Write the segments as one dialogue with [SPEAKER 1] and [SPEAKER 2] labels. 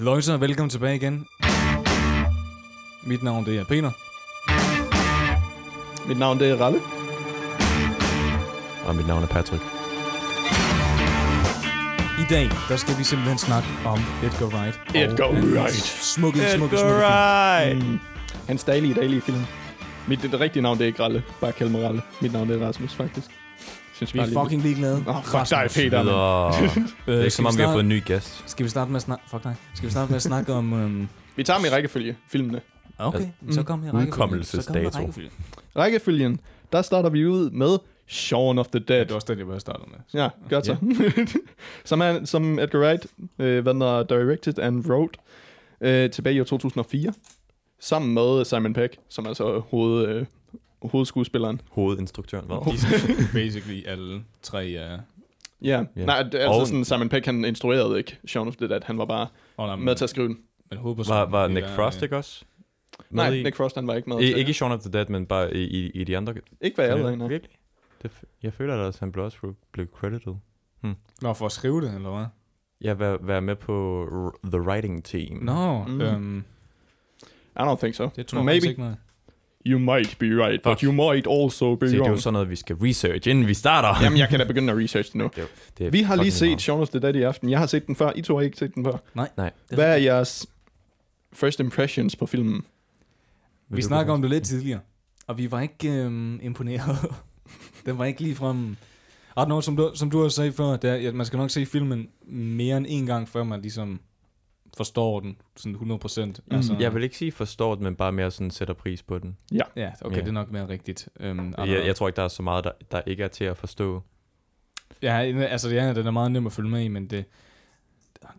[SPEAKER 1] Løjser, velkommen tilbage igen. Mit navn det er Peter.
[SPEAKER 2] Mit navn det er Ralle.
[SPEAKER 3] Og mit navn er Patrick.
[SPEAKER 1] I dag, der skal vi simpelthen snakke om Edgar Wright.
[SPEAKER 2] Edgar
[SPEAKER 1] og hans
[SPEAKER 2] Wright.
[SPEAKER 1] Smukke, smukke, smukke. film.
[SPEAKER 3] right!
[SPEAKER 2] Mm. Hans daglige, daglige film. Mit det, det rigtige navn det er ikke Ralle. Bare kald mig Ralle. Mit navn det er Rasmus, faktisk. Synes
[SPEAKER 1] Vi er fucking ligeglade.
[SPEAKER 2] Åh, oh, fuck dig,
[SPEAKER 1] Rasmus.
[SPEAKER 2] Peter.
[SPEAKER 1] Øh,
[SPEAKER 2] mand.
[SPEAKER 3] Det er
[SPEAKER 1] skal
[SPEAKER 3] ikke som om, vi har
[SPEAKER 1] starte-
[SPEAKER 3] fået en ny gæst.
[SPEAKER 1] Skal vi starte med at snakke... Fuck nej. Skal vi starte med at snakke om... Øhm,
[SPEAKER 2] Vi tager dem i rækkefølge, filmene.
[SPEAKER 3] Altså,
[SPEAKER 1] okay,
[SPEAKER 2] Mm.
[SPEAKER 1] så kom her rækkefølge. Så
[SPEAKER 3] Udkommelsesdato.
[SPEAKER 1] kom her rækkefølge.
[SPEAKER 2] Rækkefølgen, der starter vi ud med Shaun of the
[SPEAKER 1] Ja,
[SPEAKER 2] Dead.
[SPEAKER 1] det var også det, jeg bare startede med.
[SPEAKER 2] Ja, godt så. som, er, som Edgar Wright øh, hvad den hedder, directed and wrote øh, tilbage i år 2004. Sammen med Simon Peck, som er altså hoved, øh, hovedskuespilleren.
[SPEAKER 3] Hovedinstruktøren,
[SPEAKER 1] Oh.
[SPEAKER 3] hvad?
[SPEAKER 1] Basically alle tre er...
[SPEAKER 2] Ja,
[SPEAKER 3] Ja.
[SPEAKER 2] yeah. nej, det- altså
[SPEAKER 3] Og-
[SPEAKER 2] sådan, Simon Peck, han instruerede ikke Shaun of the Dead, han var bare
[SPEAKER 1] Oh, nej,
[SPEAKER 2] med til at skrive den.
[SPEAKER 1] men håber,
[SPEAKER 3] Var, var Nick Frost ikke også?
[SPEAKER 2] Nej,
[SPEAKER 3] Med i-
[SPEAKER 2] Nick Frost, han var ikke med
[SPEAKER 3] I, ikke i Shaun of the Dead, men bare i, i, i de andre.
[SPEAKER 2] Ikke hvad jeg ved, nej.
[SPEAKER 3] Virkelig? Det, f- jeg føler da, at han blev også re- blev credited.
[SPEAKER 1] Nå, for at skrive det, eller hvad?
[SPEAKER 3] Jeg var, være med på r- The Writing Team.
[SPEAKER 1] Nå,
[SPEAKER 2] Mm.
[SPEAKER 1] no, øhm,
[SPEAKER 2] I don't think so.
[SPEAKER 1] det tror jeg faktisk
[SPEAKER 2] Maybe.
[SPEAKER 1] ikke noget.
[SPEAKER 2] You might be right, but
[SPEAKER 3] Fuck.
[SPEAKER 2] you might also be
[SPEAKER 3] Se, det er jo
[SPEAKER 2] wrong.
[SPEAKER 3] sådan noget, vi skal research, inden vi starter.
[SPEAKER 2] Jamen, jeg kan da begynde at research det nu.
[SPEAKER 3] Det er
[SPEAKER 2] Vi har lige
[SPEAKER 3] fucking
[SPEAKER 2] set
[SPEAKER 3] meget.
[SPEAKER 2] Shaun of the Dead i aften. Jeg har set den før. I to har ikke set den før.
[SPEAKER 1] Det
[SPEAKER 2] Hvad er jeres first impressions på filmen?
[SPEAKER 3] Vil
[SPEAKER 1] Vi
[SPEAKER 3] du
[SPEAKER 1] snakker om
[SPEAKER 3] begynde?
[SPEAKER 1] det lidt tidligere, og vi var ikke øhm, imponeret. Den var ikke ligefrem... Arnold, som du, som du også sagde før, det er, at man skal nok se filmen mere end en gang, før man ligesom forstår den sådan 100 procent. Altså,
[SPEAKER 2] Mm,
[SPEAKER 3] Jeg vil ikke sige forstår det, men bare mere sådan sætter pris på den.
[SPEAKER 1] Ja, okay,
[SPEAKER 3] Ja.
[SPEAKER 1] det er nok mere rigtigt. Øhm,
[SPEAKER 3] Jeg, jeg tror ikke, der er så meget, der, der ikke er til at forstå.
[SPEAKER 1] Ja, altså ja, den er meget nem at følge med i, men det,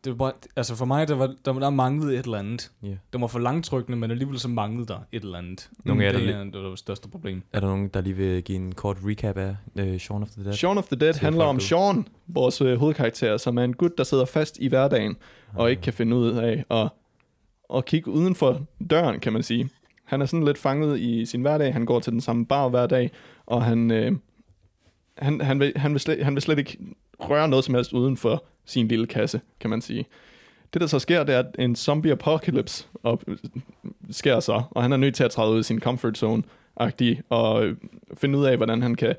[SPEAKER 1] det var bare, altså for mig, der, var, der, der manglede et eller andet.
[SPEAKER 3] Ja.
[SPEAKER 1] Den var for langtrykkende, men alligevel så manglede der et eller andet.
[SPEAKER 3] Nogle af jer,
[SPEAKER 1] det,
[SPEAKER 3] der
[SPEAKER 1] er, det var det største problem.
[SPEAKER 3] Er der nogen, der lige vil give en kort recap af uh, Shaun of the Dead?
[SPEAKER 2] Shaun of the Dead
[SPEAKER 3] Til
[SPEAKER 2] handler
[SPEAKER 3] folk
[SPEAKER 2] om
[SPEAKER 3] derude.
[SPEAKER 2] Shaun, vores øh, hovedkarakter, som er en gut, der sidder fast i hverdagen
[SPEAKER 3] Ah.
[SPEAKER 2] og ikke kan finde ud af at, at kigge uden for døren, kan man sige. Han er sådan lidt fanget i sin hverdag. Han går til den samme bar hver dag, og han, øh, han, han, vil, han, vil slet, han vil slet ikke røre noget som helst uden for sin lille kasse, kan man sige. Det, der så sker, det er, at en zombie apocalypse op, sker så, og han er nødt til at træde ud af sin comfort zone-agtig, og øh, finde ud af, hvordan han kan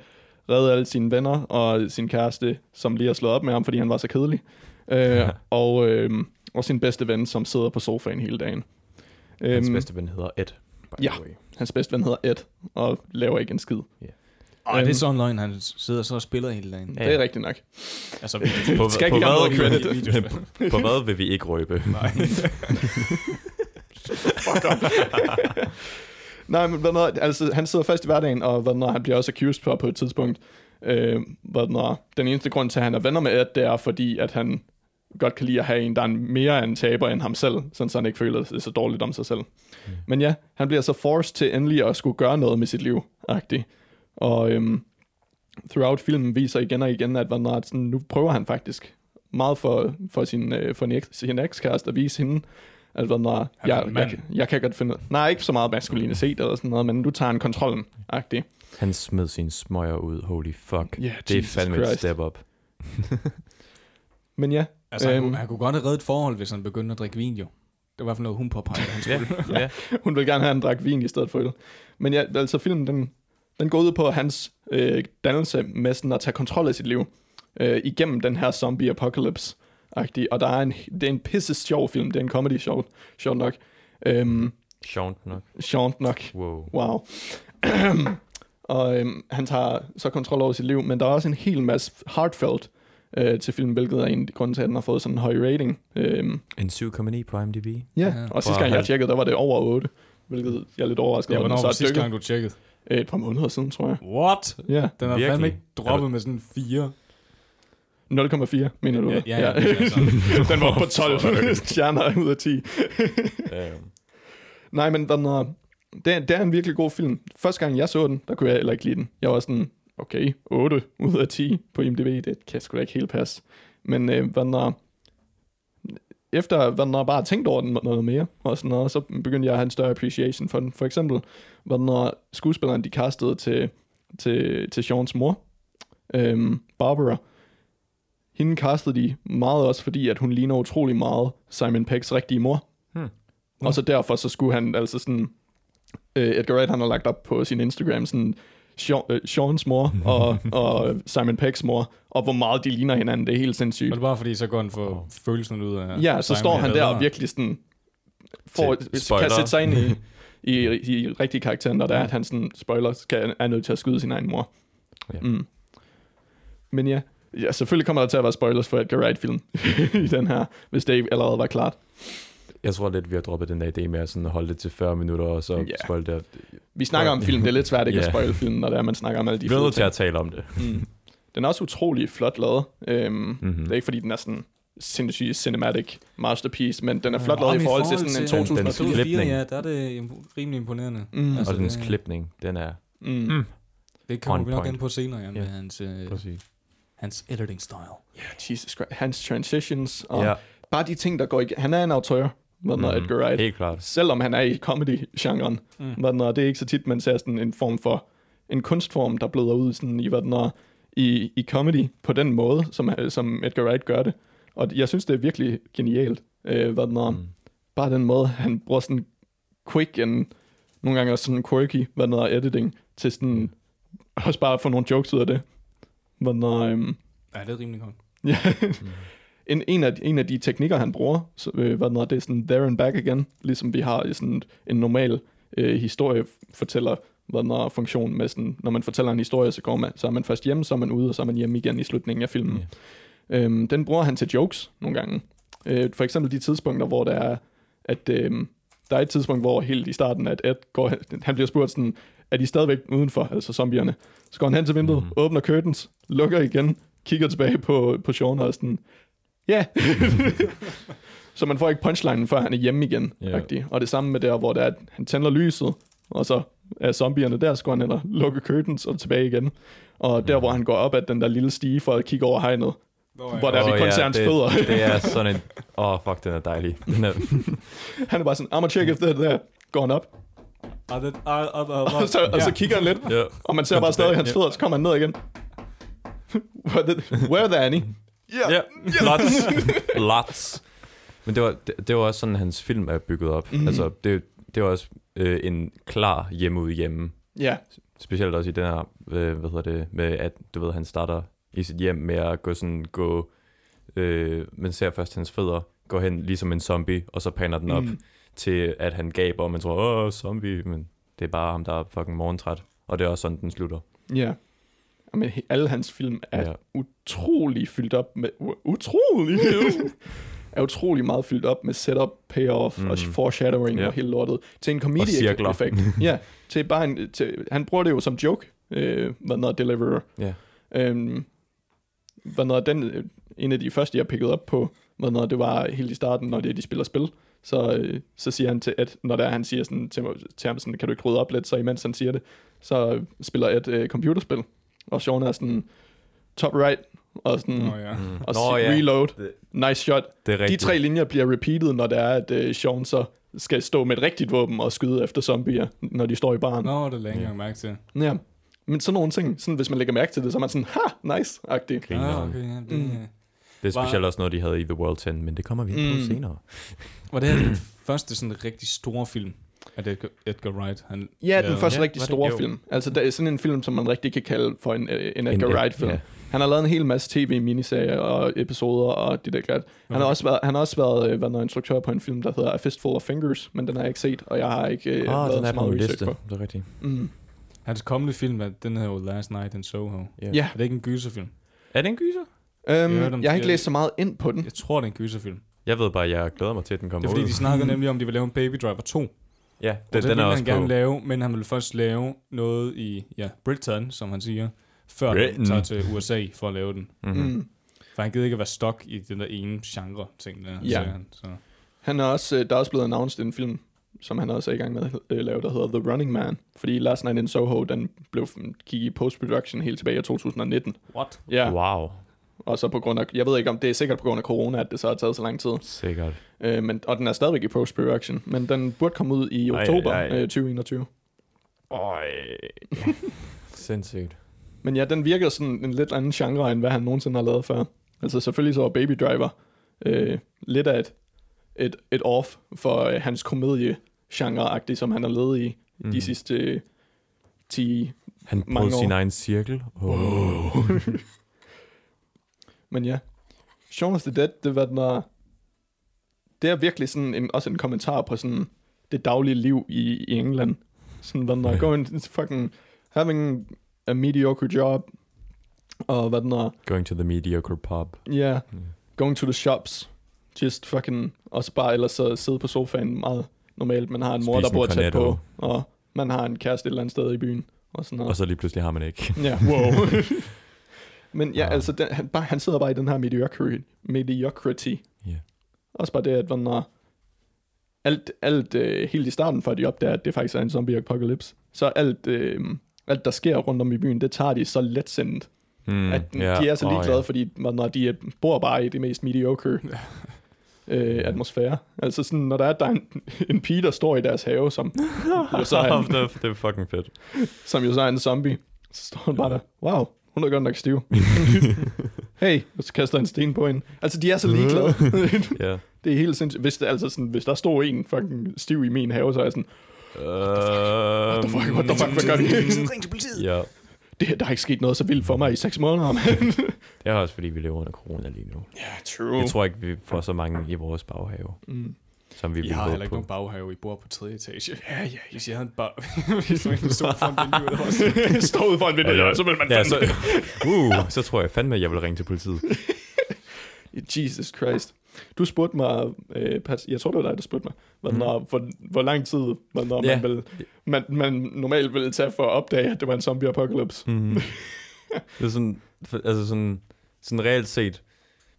[SPEAKER 2] redde alle sine venner og sin kæreste, som lige har slået op med ham, fordi han var så kedelig. Øh, og, øh, og sin bedste ven, som sidder på sofaen hele dagen.
[SPEAKER 3] Hans
[SPEAKER 2] Øhm,
[SPEAKER 3] bedste ven hedder Ed, by
[SPEAKER 2] ja.
[SPEAKER 3] the way.
[SPEAKER 2] hans bedste ven hedder Ed, og laver ikke en skid.
[SPEAKER 1] Og
[SPEAKER 2] Øhm.
[SPEAKER 1] det er sådan en løgn, han sidder så og spiller hele dagen.
[SPEAKER 3] Ja.
[SPEAKER 2] Ja. Det er rigtigt nok.
[SPEAKER 1] Altså,
[SPEAKER 3] På,
[SPEAKER 2] Skal
[SPEAKER 3] på,
[SPEAKER 2] ikke have
[SPEAKER 3] hvad,
[SPEAKER 2] noget credit.
[SPEAKER 3] på hvad vil vi ikke røbe?
[SPEAKER 1] Nej.
[SPEAKER 2] Nej, men hvad når, altså, han sidder fast i hverdagen, og hvad når, han bliver også accused for på et tidspunkt. Øh, hvad når, den eneste grund til, at han er venner med Ed, det er fordi, at han godt kan lide at have en, der er en mere af en taber end ham selv, sådan så han ikke føler sig så dårligt om sig selv. Men ja, han bliver så forced til endelig at skulle gøre noget med sit liv, agtig. Og øhm, throughout filmen viser igen og igen, at, hvad når, at sådan, nu prøver han faktisk meget for, for sin, øh, for en eks- sin ekskæreste at vise hende, at hvad når,
[SPEAKER 1] Han er
[SPEAKER 2] jeg,
[SPEAKER 1] en
[SPEAKER 2] jeg,
[SPEAKER 1] mand.
[SPEAKER 2] kan- jeg, kan godt finde Nej, ikke så meget maskulinitet eller sådan noget, men du tager en kontrollen, agtig.
[SPEAKER 3] Han smed sine smøger ud, holy fuck.
[SPEAKER 2] Ja,
[SPEAKER 3] det er
[SPEAKER 2] Jesus
[SPEAKER 3] fandme et
[SPEAKER 2] Christ.
[SPEAKER 3] step up.
[SPEAKER 2] Men ja,
[SPEAKER 1] altså, han,
[SPEAKER 2] Øhm.
[SPEAKER 1] kunne, han kunne godt have reddet et forhold, hvis han begyndte at drikke vin, jo. Det var i hvert fald noget, hun påpegede. Han
[SPEAKER 3] Ja,
[SPEAKER 1] skulle.
[SPEAKER 3] ja.
[SPEAKER 2] Hun vil gerne have, at han drak vin i stedet for øl. Men ja, altså filmen, den, den går ud på hans øh, dannelse med sådan at tage kontrol af sit liv øh, igennem den her zombie apocalypse -agtige. Og der er en, det er en pisse sjov film. Det er en comedy sjov, sjov nok. Øhm,
[SPEAKER 3] Sjovt nok.
[SPEAKER 2] sjovt nok.
[SPEAKER 3] Wow.
[SPEAKER 2] Wow. og øhm, han tager så kontrol over sit liv, men der er også en hel masse heartfelt øh, til filmen, hvilket er en af de grunde til, at den har fået sådan en høj rating. Øhm,
[SPEAKER 3] En 7,9 på IMDb.
[SPEAKER 2] ja,
[SPEAKER 1] Ja.
[SPEAKER 2] og sidste
[SPEAKER 3] Fra
[SPEAKER 2] gang jeg
[SPEAKER 3] halv-
[SPEAKER 2] tjekkede, der var det over 8, hvilket jeg er lidt overrasket
[SPEAKER 1] Ja,
[SPEAKER 2] over,
[SPEAKER 1] hvornår
[SPEAKER 2] den
[SPEAKER 1] var
[SPEAKER 2] så er
[SPEAKER 1] sidste
[SPEAKER 2] dykket.
[SPEAKER 1] gang, du tjekkede?
[SPEAKER 2] Øh, Et par måneder siden, tror jeg.
[SPEAKER 1] What?
[SPEAKER 2] Ja,
[SPEAKER 1] Den har
[SPEAKER 3] Virkelig?
[SPEAKER 1] fandme ikke droppet
[SPEAKER 3] Er
[SPEAKER 1] med sådan fire.
[SPEAKER 2] 0,4, mener du?
[SPEAKER 1] Ja,
[SPEAKER 2] det?
[SPEAKER 1] ja, ja. det er altså.
[SPEAKER 2] den var på 12 stjerner ud af 10.
[SPEAKER 3] Øhm,
[SPEAKER 2] Nej, men den er, det, er, det er en virkelig god film. Første gang jeg så den, der kunne jeg heller ikke lide den. Jeg var sådan, okay, 8 ud af 10 på IMDb, det kan sgu da ikke helt passe. Men øh, hvad den er, efter hvad den er, bare tænkt over den noget mere, og sådan noget, så begyndte jeg at have en større appreciation for den. For eksempel, hvad den er, skuespilleren de castede til, til, til Sean's mor, øhm, Barbara, Hende castede de meget også, fordi at hun ligner utrolig meget Simon Peggs rigtige mor.
[SPEAKER 3] Hmm.
[SPEAKER 1] Nå.
[SPEAKER 2] Og så derfor så skulle han altså sådan... Øh, Edgar Wright, han har lagt op på sin Instagram sådan... Sean, øh, Sean's mor og, og Simon Peggs mor, og hvor meget de ligner hinanden, det er helt sindssygt.
[SPEAKER 1] Men bare fordi, så går han for oh. følelsen ud af...
[SPEAKER 2] Ja, så
[SPEAKER 1] Simon
[SPEAKER 2] står han der
[SPEAKER 1] bedre.
[SPEAKER 2] og virkelig sådan, får,
[SPEAKER 3] Til-
[SPEAKER 2] kan
[SPEAKER 3] spoiler.
[SPEAKER 2] sætte sig ind i, i, i, rigtige karakteren, og der er, at han sådan, spoiler, skal, er nødt til at skyde sin egen mor.
[SPEAKER 3] Ja.
[SPEAKER 2] Mm. Men ja, ja, selvfølgelig kommer der til at være spoilers for Edgar Wright-film i den her, hvis det ikke allerede var klart.
[SPEAKER 3] Jeg tror lidt, vi har droppet den der idé med at sådan holde det til 40 minutter, og så
[SPEAKER 2] Ja.
[SPEAKER 3] yeah. spoil det.
[SPEAKER 2] Vi snakker om film, det er lidt svært ikke yeah.
[SPEAKER 3] Ja.
[SPEAKER 2] at spoil filmen, når det er, man snakker om alle
[SPEAKER 3] Vi
[SPEAKER 2] de
[SPEAKER 3] er
[SPEAKER 2] fede
[SPEAKER 3] nødt til
[SPEAKER 2] ting.
[SPEAKER 3] at tale om det.
[SPEAKER 2] Mm. Den er også utrolig flot lavet. Øhm, mm.
[SPEAKER 3] Mm-hmm.
[SPEAKER 2] Det er ikke, fordi den er sådan sindssygt cinematic masterpiece, men den er
[SPEAKER 1] Ja,
[SPEAKER 2] flot lavet
[SPEAKER 1] men
[SPEAKER 2] i forhold til sådan en
[SPEAKER 3] til- den- Altså-
[SPEAKER 2] 2000
[SPEAKER 3] den klip-
[SPEAKER 1] 2004,
[SPEAKER 3] klipning.
[SPEAKER 1] ja, der er det impo- rimelig imponerende.
[SPEAKER 2] Mm.
[SPEAKER 3] Og dens
[SPEAKER 1] det,
[SPEAKER 3] klipning, den er...
[SPEAKER 2] mm.
[SPEAKER 3] Mm.
[SPEAKER 1] Det kommer
[SPEAKER 3] on
[SPEAKER 1] vi nok
[SPEAKER 3] point.
[SPEAKER 1] ind på senere, ja, med
[SPEAKER 3] Ja.
[SPEAKER 1] hans, øh,
[SPEAKER 3] Præcis.
[SPEAKER 1] hans editing style.
[SPEAKER 2] Jesus Christ, hans transitions og
[SPEAKER 3] Ja,
[SPEAKER 2] yeah. bare de ting, der går igen. Han er en autør, hvad mm.
[SPEAKER 3] Mhm.
[SPEAKER 2] Ah, Edgar Wright.
[SPEAKER 3] helt klart.
[SPEAKER 2] Selvom han er i comedy-genren,
[SPEAKER 1] Mm.
[SPEAKER 2] mm. det er ikke så tit, man ser sådan en form for en kunstform, der bløder ud sådan i, hvad den er, i, i comedy på den måde, som, øh, som Edgar Wright gør det. Og jeg synes, det er virkelig genialt, øh, hvad den er, mm.
[SPEAKER 3] Mm.
[SPEAKER 2] bare den måde, han bruger sådan quick and nogle gange også sådan quirky, hvad den er, editing, til sådan også bare at få nogle jokes ud af det. Hvad den er, øhm,
[SPEAKER 1] Ja, det er rimelig godt.
[SPEAKER 2] Ja. En, en, af, en af de teknikker, han bruger, så, øh, hvad den hedder, det er sådan there and back again, ligesom vi har i sådan en normal øh, historiefortæller hvad den hedder, funktion med sådan, når man fortæller en historie, så, går man, så er man først hjemme, så er man ude, og så er man hjemme igen i slutningen af filmen.
[SPEAKER 3] Ja.
[SPEAKER 2] Yeah. Øhm, den bruger han til jokes nogle gange. Øh, for eksempel de tidspunkter, hvor der er, at øh, der er et tidspunkt, hvor helt i starten, at Ed går, han bliver spurgt sådan, er de stadigvæk udenfor, altså zombierne? Så går han hen til vinduet,
[SPEAKER 3] Mhm.
[SPEAKER 2] mm. åbner curtains, lukker igen, kigger tilbage på, på Sean og er sådan, ja. så man får ikke punchlinen, før han er hjemme igen.
[SPEAKER 3] Ja.
[SPEAKER 2] Yeah. Og det samme med der, hvor der er, at han tænder lyset, og så er zombierne der, så går han hen og lukker curtains og tilbage igen. Og der, hvor han går op ad den der lille stige for at kigge over hegnet,
[SPEAKER 1] Nå, ja.
[SPEAKER 2] Hvor der er vi
[SPEAKER 3] Åh,
[SPEAKER 2] kun ser hans
[SPEAKER 3] det,
[SPEAKER 2] fødder.
[SPEAKER 3] det er sådan en... Åh, oh, fuck, den er dejlig. Den er,
[SPEAKER 2] han er bare sådan, I'm gonna check if that, that. Går han op,
[SPEAKER 1] Ah, det, ah, ah, ah,
[SPEAKER 2] og så, og så kigger han lidt,
[SPEAKER 3] ja.
[SPEAKER 2] og man ser bare stadig hans fødder, så kommer han ned igen. Where the- Where the Annie? Yeah.
[SPEAKER 3] Ja, lots. lots. Men det var, det, det var også sådan, hans film er bygget op.
[SPEAKER 2] Mhm.
[SPEAKER 3] Mm. Altså, det, det var også øh, en klar hjemme ude hjemme.
[SPEAKER 2] Ja,
[SPEAKER 3] Specielt også i den her, øh, hvad hedder det, med at, du ved, han starter i sit hjem med at gå sådan, gå, øh, man ser først hans fødder, går hen ligesom en zombie, og så paner den op
[SPEAKER 2] Mm.
[SPEAKER 3] mm. til, at han gaber, og man tror, åh, zombie, men det er bare ham, der er fucking morgentræt. Og det er også sådan, den slutter.
[SPEAKER 2] ja. Men alle hans film er
[SPEAKER 3] Ja.
[SPEAKER 2] utrolig fyldt op med... u- Utrolig! er utrolig meget fyldt op med setup, payoff mm. og
[SPEAKER 3] Mhm.
[SPEAKER 2] foreshadowing
[SPEAKER 3] Ja.
[SPEAKER 2] og hele lortet. Til en
[SPEAKER 3] cirkler.
[SPEAKER 2] comedic-effekt. ja, til bare en... Til, han bruger det jo som joke, øh, hvad noget deliverer.
[SPEAKER 3] Ja.
[SPEAKER 2] Øhm, hvad noget, den, øh, en af de første, jeg pickede op på, hvad noget, det var helt i starten, når det er, de spiller spil, så, øh, så siger han til Ed, når der, er, han siger sådan, til, til ham, sådan, kan du ikke rydde op lidt, så imens han siger det, så øh, spiller Ed øh, computerspil, og Sean er sådan, top right, og sådan,
[SPEAKER 1] Nå, ja.
[SPEAKER 3] Mm.
[SPEAKER 2] og Nå, ja. reload,
[SPEAKER 3] Det-
[SPEAKER 2] nice shot.
[SPEAKER 3] Det er
[SPEAKER 2] De
[SPEAKER 3] rigtigt.
[SPEAKER 2] tre linjer bliver repeated, når det er, at øh, Sean så skal stå med et rigtigt våben og skyde efter zombier, når de står i baren.
[SPEAKER 1] Nå, det lagde jeg
[SPEAKER 3] Ja.
[SPEAKER 1] yeah. mærke til.
[SPEAKER 2] Ja. Men sådan nogle ting, sådan, hvis man lægger mærke til det, så er man sådan, ha, nice-agtig.
[SPEAKER 3] Grineren.
[SPEAKER 1] Ah, okay, ja, det,
[SPEAKER 2] Mm.
[SPEAKER 3] Det er
[SPEAKER 1] Var-
[SPEAKER 3] specielt også noget, de havde i The World 10, men det kommer vi ind på
[SPEAKER 2] Mm.
[SPEAKER 3] senere.
[SPEAKER 1] Var det her den første sådan rigtig store film, at Edgar, Edgar Wright, han
[SPEAKER 2] Ja, den
[SPEAKER 1] lavede?
[SPEAKER 2] første
[SPEAKER 3] Ja,
[SPEAKER 2] rigtig
[SPEAKER 3] var det?
[SPEAKER 2] store
[SPEAKER 3] Jo.
[SPEAKER 2] film. Altså, der er sådan en film, som man rigtig kan kalde for en, øh, en Edgar
[SPEAKER 3] En-
[SPEAKER 2] Wright-film.
[SPEAKER 3] ja.
[SPEAKER 2] Han har lavet en hel masse tv-miniserier og episoder og det der glat. Han har
[SPEAKER 1] Okay.
[SPEAKER 2] også været, han har også været, øh, været noget instruktør på en film, der hedder A Fistful of Fingers, men den har jeg ikke set, og jeg har ikke øh,
[SPEAKER 3] Åh,
[SPEAKER 2] lavet
[SPEAKER 3] Ah, den er
[SPEAKER 2] så
[SPEAKER 3] på
[SPEAKER 2] meget
[SPEAKER 3] min
[SPEAKER 2] research
[SPEAKER 3] liste.
[SPEAKER 2] på.
[SPEAKER 3] Det er rigtigt.
[SPEAKER 2] Mm.
[SPEAKER 1] Hans kommende film, er, den hedder jo Last Night in Soho.
[SPEAKER 3] Ja.
[SPEAKER 2] Ja.
[SPEAKER 1] Er det ikke en gyserfilm?
[SPEAKER 3] Er det en gyser?
[SPEAKER 2] Øhm,
[SPEAKER 1] hørte om
[SPEAKER 2] jeg har ikke
[SPEAKER 1] det.
[SPEAKER 2] læst så meget ind på den.
[SPEAKER 1] Jeg tror, det er en gyserfilm.
[SPEAKER 3] Jeg ved bare, jeg glæder mig til, at den kommer
[SPEAKER 1] Det er fordi,
[SPEAKER 3] ud.
[SPEAKER 1] de snakkede nemlig om, at de ville lave en Baby Driver 2. Den,
[SPEAKER 3] Ja,
[SPEAKER 1] og det
[SPEAKER 3] den, den er
[SPEAKER 1] ville
[SPEAKER 3] også
[SPEAKER 1] han gerne
[SPEAKER 3] på.
[SPEAKER 1] lave, men han ville først lave noget i ja, Britain, som han siger, før
[SPEAKER 3] Britain.
[SPEAKER 1] han tager til USA for at lave den.
[SPEAKER 3] Mm-hmm.
[SPEAKER 2] Mm.
[SPEAKER 1] For han gider ikke at være stok i den der ene genre-ting, der
[SPEAKER 2] Ja.
[SPEAKER 1] siger han. Så.
[SPEAKER 2] Han er også, øh, der er også blevet announced en film, som han også er i gang med at øh, lave, der hedder The Running Man. Fordi Last Night in Soho, den blev gik i post-production helt tilbage i 2019.
[SPEAKER 1] What?
[SPEAKER 2] Ja. Yeah.
[SPEAKER 3] Wow,
[SPEAKER 2] Og så på grund af, jeg ved ikke om det er sikkert på grund af corona, at det så har taget så lang tid.
[SPEAKER 3] sikkert.
[SPEAKER 2] Øh, men, og den er stadigvæk i post-production, men den burde komme ud i
[SPEAKER 3] Ej,
[SPEAKER 2] oktober
[SPEAKER 3] ej.
[SPEAKER 2] øh, 2021.
[SPEAKER 3] Øj. Sindssygt.
[SPEAKER 2] Men ja, den virker sådan en lidt anden genre, end hvad han nogensinde har lavet før. Altså selvfølgelig så var Baby Driver øh, lidt af et, et, et off for øh, hans komedie genre som han har levet i mm. de sidste øh, 10
[SPEAKER 3] Mhm. Han
[SPEAKER 2] mange
[SPEAKER 3] brød
[SPEAKER 2] år.
[SPEAKER 3] sin egen cirkel. Oh.
[SPEAKER 2] Men ja, Shaun of the Dead, det var den der, det er virkelig sådan en, også en kommentar på sådan det daglige liv i, i England. Sådan, hvad den der,
[SPEAKER 3] Ja.
[SPEAKER 2] going fucking, having a mediocre job, og hvad den der,
[SPEAKER 3] Going to the mediocre pub.
[SPEAKER 2] yeah,
[SPEAKER 3] Ja.
[SPEAKER 2] going to the shops, just fucking, og så bare ellers så sidde på sofaen meget normalt. Man har en mor,
[SPEAKER 3] Spise
[SPEAKER 2] der
[SPEAKER 3] en
[SPEAKER 2] bor tæt
[SPEAKER 3] cornetto.
[SPEAKER 2] på, og man har en kæreste et eller andet sted i byen, og sådan noget.
[SPEAKER 3] Og så lige pludselig har man ikke.
[SPEAKER 2] Ja, wow. Men ja,
[SPEAKER 3] Ah.
[SPEAKER 2] altså, den, han, bare, han sidder bare i den her mediocrity. mediocrity.
[SPEAKER 3] Ja.
[SPEAKER 2] Også bare det, at man når alt, alt øh, helt i starten, før de opdager, at det faktisk er en zombie apocalypse, så alt, øh, alt, der sker rundt om i byen, det tager de så let sendt,
[SPEAKER 3] Mm,
[SPEAKER 2] mm, at
[SPEAKER 3] ja.
[SPEAKER 2] de er så
[SPEAKER 3] Åh,
[SPEAKER 2] ligeglade, oh, fordi man, når de øh, bor bare i det mest mediocre øh, atmosfære. Altså sådan, når der er, der er en, en pige, der står i deres have, som, jo så er en,
[SPEAKER 3] det, er- det er fucking fedt.
[SPEAKER 2] som jo så er en zombie. Så står han bare der, wow, hun er godt nok stiv. hey, og så kaster han sten på hende. Altså, de er så ligeglade.
[SPEAKER 3] Ja.
[SPEAKER 2] det er helt sindssygt. Hvis, det, altså sådan, hvis der stod en fucking stiv i min have, så er jeg sådan,
[SPEAKER 3] What
[SPEAKER 2] the fuck, what the fuck, hvad gør de?
[SPEAKER 1] Ring til politiet.
[SPEAKER 3] Um, Ja.
[SPEAKER 2] det, her, der er ikke sket noget så vildt for mig i seks måneder, mand.
[SPEAKER 3] Det er også fordi, vi lever under corona lige nu.
[SPEAKER 2] ja, true.
[SPEAKER 1] Uh.
[SPEAKER 3] Jeg tror ikke, vi får så mange i vores baghave,
[SPEAKER 2] mm.
[SPEAKER 3] som vi
[SPEAKER 1] I
[SPEAKER 3] ville
[SPEAKER 1] har heller
[SPEAKER 3] håbe
[SPEAKER 1] ikke
[SPEAKER 3] på.
[SPEAKER 1] nogen baghave, I bor på tredje etage.
[SPEAKER 2] Ja, ja, ja.
[SPEAKER 1] Hvis jeg havde en bag... Hvis man stod foran vinduet ud også.
[SPEAKER 2] Står ude foran vinduet,
[SPEAKER 3] Eller-
[SPEAKER 2] ja, så vil man
[SPEAKER 3] Ja,
[SPEAKER 2] ja,
[SPEAKER 3] så,
[SPEAKER 2] fandme...
[SPEAKER 3] uh, så tror jeg fandme, at jeg vil ringe til politiet.
[SPEAKER 2] Jesus Christ. Du spurgte mig, øh, Pat, jeg tror det var dig, der spurgte mig, hvad,
[SPEAKER 3] Mhm.
[SPEAKER 2] når, hvor, hvor lang tid hvornår
[SPEAKER 3] Ja.
[SPEAKER 2] man, vil, man, man normalt ville tage for at opdage, at det var en zombie apocalypse.
[SPEAKER 3] Mm. det er sådan, for- altså sådan, sådan reelt set,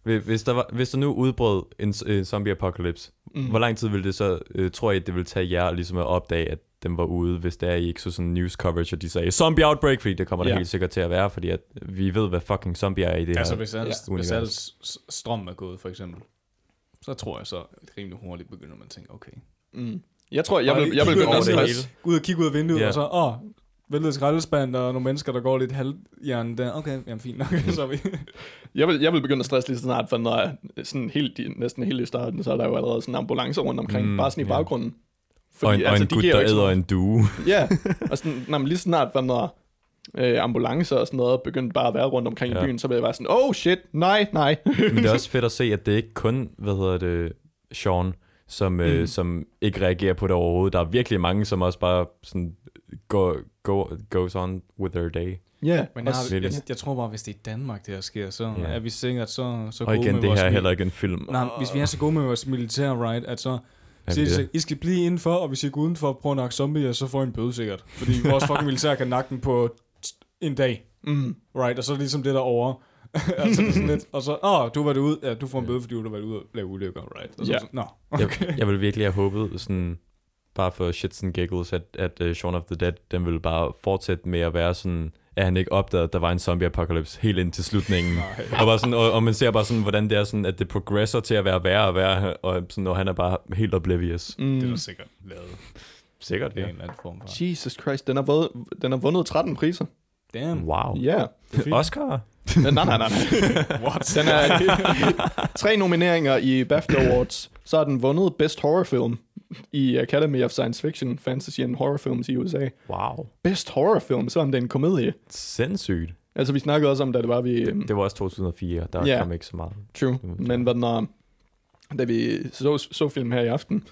[SPEAKER 3] hvi- hvis der, var, hvis der nu udbrød en, s- en zombie apocalypse, mm. hvor lang tid ville det så, øh, tror jeg, det ville tage jer ligesom at opdage, at den var ude, hvis der I ikke så sådan news coverage, og de sagde, zombie outbreak, fordi det kommer der
[SPEAKER 2] Ja.
[SPEAKER 3] helt sikkert til at være, fordi at vi ved, hvad fucking zombie er i det
[SPEAKER 1] Altså,
[SPEAKER 3] her.
[SPEAKER 1] hvis al,
[SPEAKER 3] Ja.
[SPEAKER 1] ja. hvis al s- strøm er gået, for eksempel, så tror jeg så, at rimelig hurtigt begynder man at tænke, okay.
[SPEAKER 2] Mm. Jeg tror, jeg vil,
[SPEAKER 1] Og
[SPEAKER 2] jeg vil
[SPEAKER 1] kigger
[SPEAKER 2] begynde
[SPEAKER 1] over
[SPEAKER 2] at
[SPEAKER 1] det
[SPEAKER 2] stresse.
[SPEAKER 1] hele. Gå ud og kigge ud af vinduet,
[SPEAKER 3] Ja.
[SPEAKER 1] og så, åh, væltet skraldespand, og nogle mennesker, der går lidt halvhjernen der. Okay, jamen fint
[SPEAKER 3] Mm.
[SPEAKER 1] nok, så er vi.
[SPEAKER 2] Jeg vil, jeg vil begynde at stresse lige så snart, for når jeg, sådan helt, i- næsten helt i starten, så er der jo allerede sådan ambulancer rundt omkring,
[SPEAKER 3] Mm,
[SPEAKER 2] mm, bare sådan i
[SPEAKER 3] ja.
[SPEAKER 2] baggrunden. altså,
[SPEAKER 3] og en, og en gut,
[SPEAKER 2] giver jo
[SPEAKER 3] der
[SPEAKER 2] ikke så
[SPEAKER 3] æder en due.
[SPEAKER 2] Ja, og sådan, når man lige så snart var når øh, ambulancer og sådan noget begyndte bare at være rundt omkring ja.
[SPEAKER 3] Ja.
[SPEAKER 2] i byen, så blev jeg bare sådan, oh shit, nej, nej.
[SPEAKER 3] Men det er også fedt at se, at det ikke kun, hvad hedder det, Sean, som, mm. øh, som ikke reagerer på det overhovedet. Der er virkelig mange, som også bare sådan go, go, goes on with their day.
[SPEAKER 2] ja,
[SPEAKER 1] Men jeg, har,
[SPEAKER 3] Lidt.
[SPEAKER 1] jeg, jeg, tror bare, hvis det er i Danmark, det her sker, så
[SPEAKER 3] Ja.
[SPEAKER 1] er vi sikkert så, så
[SPEAKER 3] Og
[SPEAKER 1] gode
[SPEAKER 3] igen,
[SPEAKER 1] med
[SPEAKER 3] det
[SPEAKER 1] vores
[SPEAKER 3] her er
[SPEAKER 1] mil-
[SPEAKER 3] heller ikke en film.
[SPEAKER 1] Nej, hvis vi er så gode med vores militær right, at så
[SPEAKER 3] Er
[SPEAKER 1] siger
[SPEAKER 3] vi
[SPEAKER 1] de,
[SPEAKER 3] det?
[SPEAKER 1] så, I skal blive indenfor, og hvis I går udenfor og prøver at nakke zombier, så får I en bøde sikkert. Fordi vores fucking militær kan nakke den på t- en dag.
[SPEAKER 2] mm,
[SPEAKER 1] Right, og så er det ligesom det der over. altså, det er sådan lidt, og så, åh, oh, du var det ud, ja, du får en bøde, fordi du har været ude og lave ulykker, right? Og så,
[SPEAKER 2] Ja.
[SPEAKER 1] sådan, Nå,
[SPEAKER 3] jeg, jeg ville virkelig have håbet, sådan, bare for shits and giggles, at, at uh, Shaun of the Dead, den ville bare fortsætte med at være sådan, at han ikke opdagede, at der var en zombie apocalypse helt ind til slutningen.
[SPEAKER 1] Nej.
[SPEAKER 3] og, bare sådan, og, og, man ser bare sådan, hvordan det er sådan, at det progresser til at være værre og værre, og sådan, når han er bare helt oblivious.
[SPEAKER 2] mm.
[SPEAKER 1] det er da sikkert lavet
[SPEAKER 3] Sikkert,
[SPEAKER 1] i
[SPEAKER 3] ja.
[SPEAKER 1] en eller anden form for.
[SPEAKER 2] Jesus Christ, den har, vundet, den har vundet 13 priser.
[SPEAKER 1] Damn,
[SPEAKER 3] Wow.
[SPEAKER 2] Ja, yeah.
[SPEAKER 1] det er fint.
[SPEAKER 3] Oscar?
[SPEAKER 2] nej, nej, nej. nej.
[SPEAKER 1] What?
[SPEAKER 2] Den er tre nomineringer i BAFTA Awards. Så har den vundet Best Horror Film i Academy of Science Fiction, Fantasy and Horror Films i USA.
[SPEAKER 3] Wow.
[SPEAKER 2] Best Horror Film, selvom det er en komedie.
[SPEAKER 3] Sindssygt.
[SPEAKER 2] Altså, vi snakkede også om, da det var vi... øhm,
[SPEAKER 3] Det var også 2004, der
[SPEAKER 2] Ja.
[SPEAKER 3] kom ikke så meget.
[SPEAKER 2] True.
[SPEAKER 3] Mm,
[SPEAKER 2] Men hvad den er, da vi så, så film her i aften,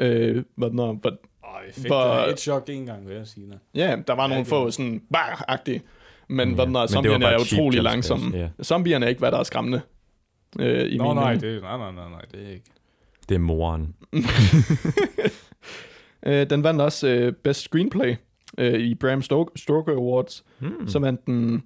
[SPEAKER 2] øh, hvad den er, but,
[SPEAKER 1] Ej, fedt,
[SPEAKER 2] Hvor-
[SPEAKER 1] det er et chok en gang, vil jeg sige. Nej.
[SPEAKER 2] ja, der var
[SPEAKER 1] Ja,
[SPEAKER 2] nogle
[SPEAKER 1] det-
[SPEAKER 2] få sådan bare-agtige, men
[SPEAKER 3] Ja.
[SPEAKER 2] ja. hvad den
[SPEAKER 3] Mm. Men
[SPEAKER 2] er,
[SPEAKER 3] det var
[SPEAKER 2] zombierne
[SPEAKER 3] bare
[SPEAKER 2] er
[SPEAKER 3] cheap altså.
[SPEAKER 2] utrolig
[SPEAKER 3] jump
[SPEAKER 2] langsomme.
[SPEAKER 3] scares,
[SPEAKER 2] Zombierne er ikke, hvad der er skræmmende. Øh, i
[SPEAKER 1] Nå,
[SPEAKER 2] min
[SPEAKER 1] nej,
[SPEAKER 2] mening.
[SPEAKER 1] det, nej, nej, nej, nej, det er ikke.
[SPEAKER 3] Det er moren.
[SPEAKER 2] Øh, den vandt også øh, Best Screenplay øh, i Bram Stoker, Stoker Awards.
[SPEAKER 3] Hmm.
[SPEAKER 2] Mm. Så vandt den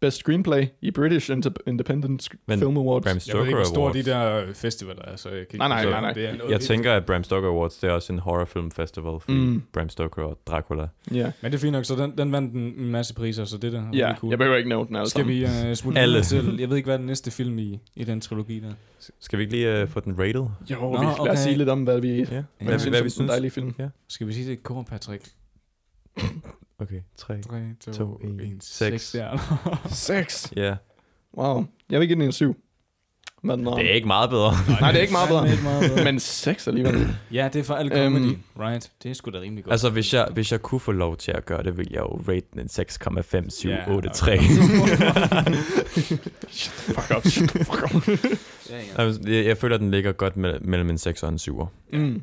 [SPEAKER 2] Best Screenplay i British Inter- Independent Sc-
[SPEAKER 3] Men
[SPEAKER 2] Film Awards.
[SPEAKER 3] Bram
[SPEAKER 1] Jeg ved
[SPEAKER 3] Stoker
[SPEAKER 1] ikke, hvor store
[SPEAKER 3] Awards.
[SPEAKER 1] de der festivaler er, så jeg kan ikke...
[SPEAKER 2] Nej, nej,
[SPEAKER 1] så
[SPEAKER 2] nej, nej.
[SPEAKER 1] Det er noget
[SPEAKER 3] Jeg
[SPEAKER 1] vildt.
[SPEAKER 3] tænker, at Bram Stoker Awards, det er også en horrorfilm festival, fordi mm.
[SPEAKER 2] Mm.
[SPEAKER 3] Bram Stoker og Dracula.
[SPEAKER 2] Ja,
[SPEAKER 1] Men det er fint nok, så den, den vandt en en masse priser, så det der er
[SPEAKER 2] ja
[SPEAKER 1] really cool.
[SPEAKER 2] jeg behøver ikke nævne den alle
[SPEAKER 1] Skal
[SPEAKER 2] sammen.
[SPEAKER 1] vi uh, smutte
[SPEAKER 3] Alle.
[SPEAKER 1] videre til, jeg ved ikke, hvad er den næste film i, i den trilogi der?
[SPEAKER 3] Skal vi ikke lige uh, få den rated?
[SPEAKER 2] Jo,
[SPEAKER 1] Nå,
[SPEAKER 2] vi, lad os
[SPEAKER 1] okay.
[SPEAKER 2] sige lidt om, hvad vi, hvad
[SPEAKER 3] Ja.
[SPEAKER 2] vi
[SPEAKER 1] Hvad
[SPEAKER 2] synes om den dejlige film.
[SPEAKER 1] Skal vi sige det kort, Patrick?
[SPEAKER 3] Okay, tre.
[SPEAKER 1] 3, 2,
[SPEAKER 3] To,
[SPEAKER 1] 2
[SPEAKER 3] en,
[SPEAKER 1] 1,
[SPEAKER 3] seks.
[SPEAKER 1] 6 stjerner.
[SPEAKER 2] Seks!
[SPEAKER 3] Ja.
[SPEAKER 2] Wow, jeg vil give den en syv. Men, uh,
[SPEAKER 3] Det er ikke meget bedre.
[SPEAKER 2] nej, det er ikke meget bedre.
[SPEAKER 1] Fandme ikke meget bedre.
[SPEAKER 2] Men sex alligevel.
[SPEAKER 1] ja, det er for al
[SPEAKER 2] Øhm.
[SPEAKER 1] comedy, right? Det er sgu da rimelig godt.
[SPEAKER 3] altså, hvis jeg, hvis jeg kunne få lov til at gøre det, ville jeg jo rate den en 6,5783.
[SPEAKER 1] Ja,
[SPEAKER 2] Fuck up. Fuck up.
[SPEAKER 1] ja, ja.
[SPEAKER 3] Altså, jeg, jeg føler, at den ligger godt me- mellem en 6 og en 7'er.
[SPEAKER 2] Mm.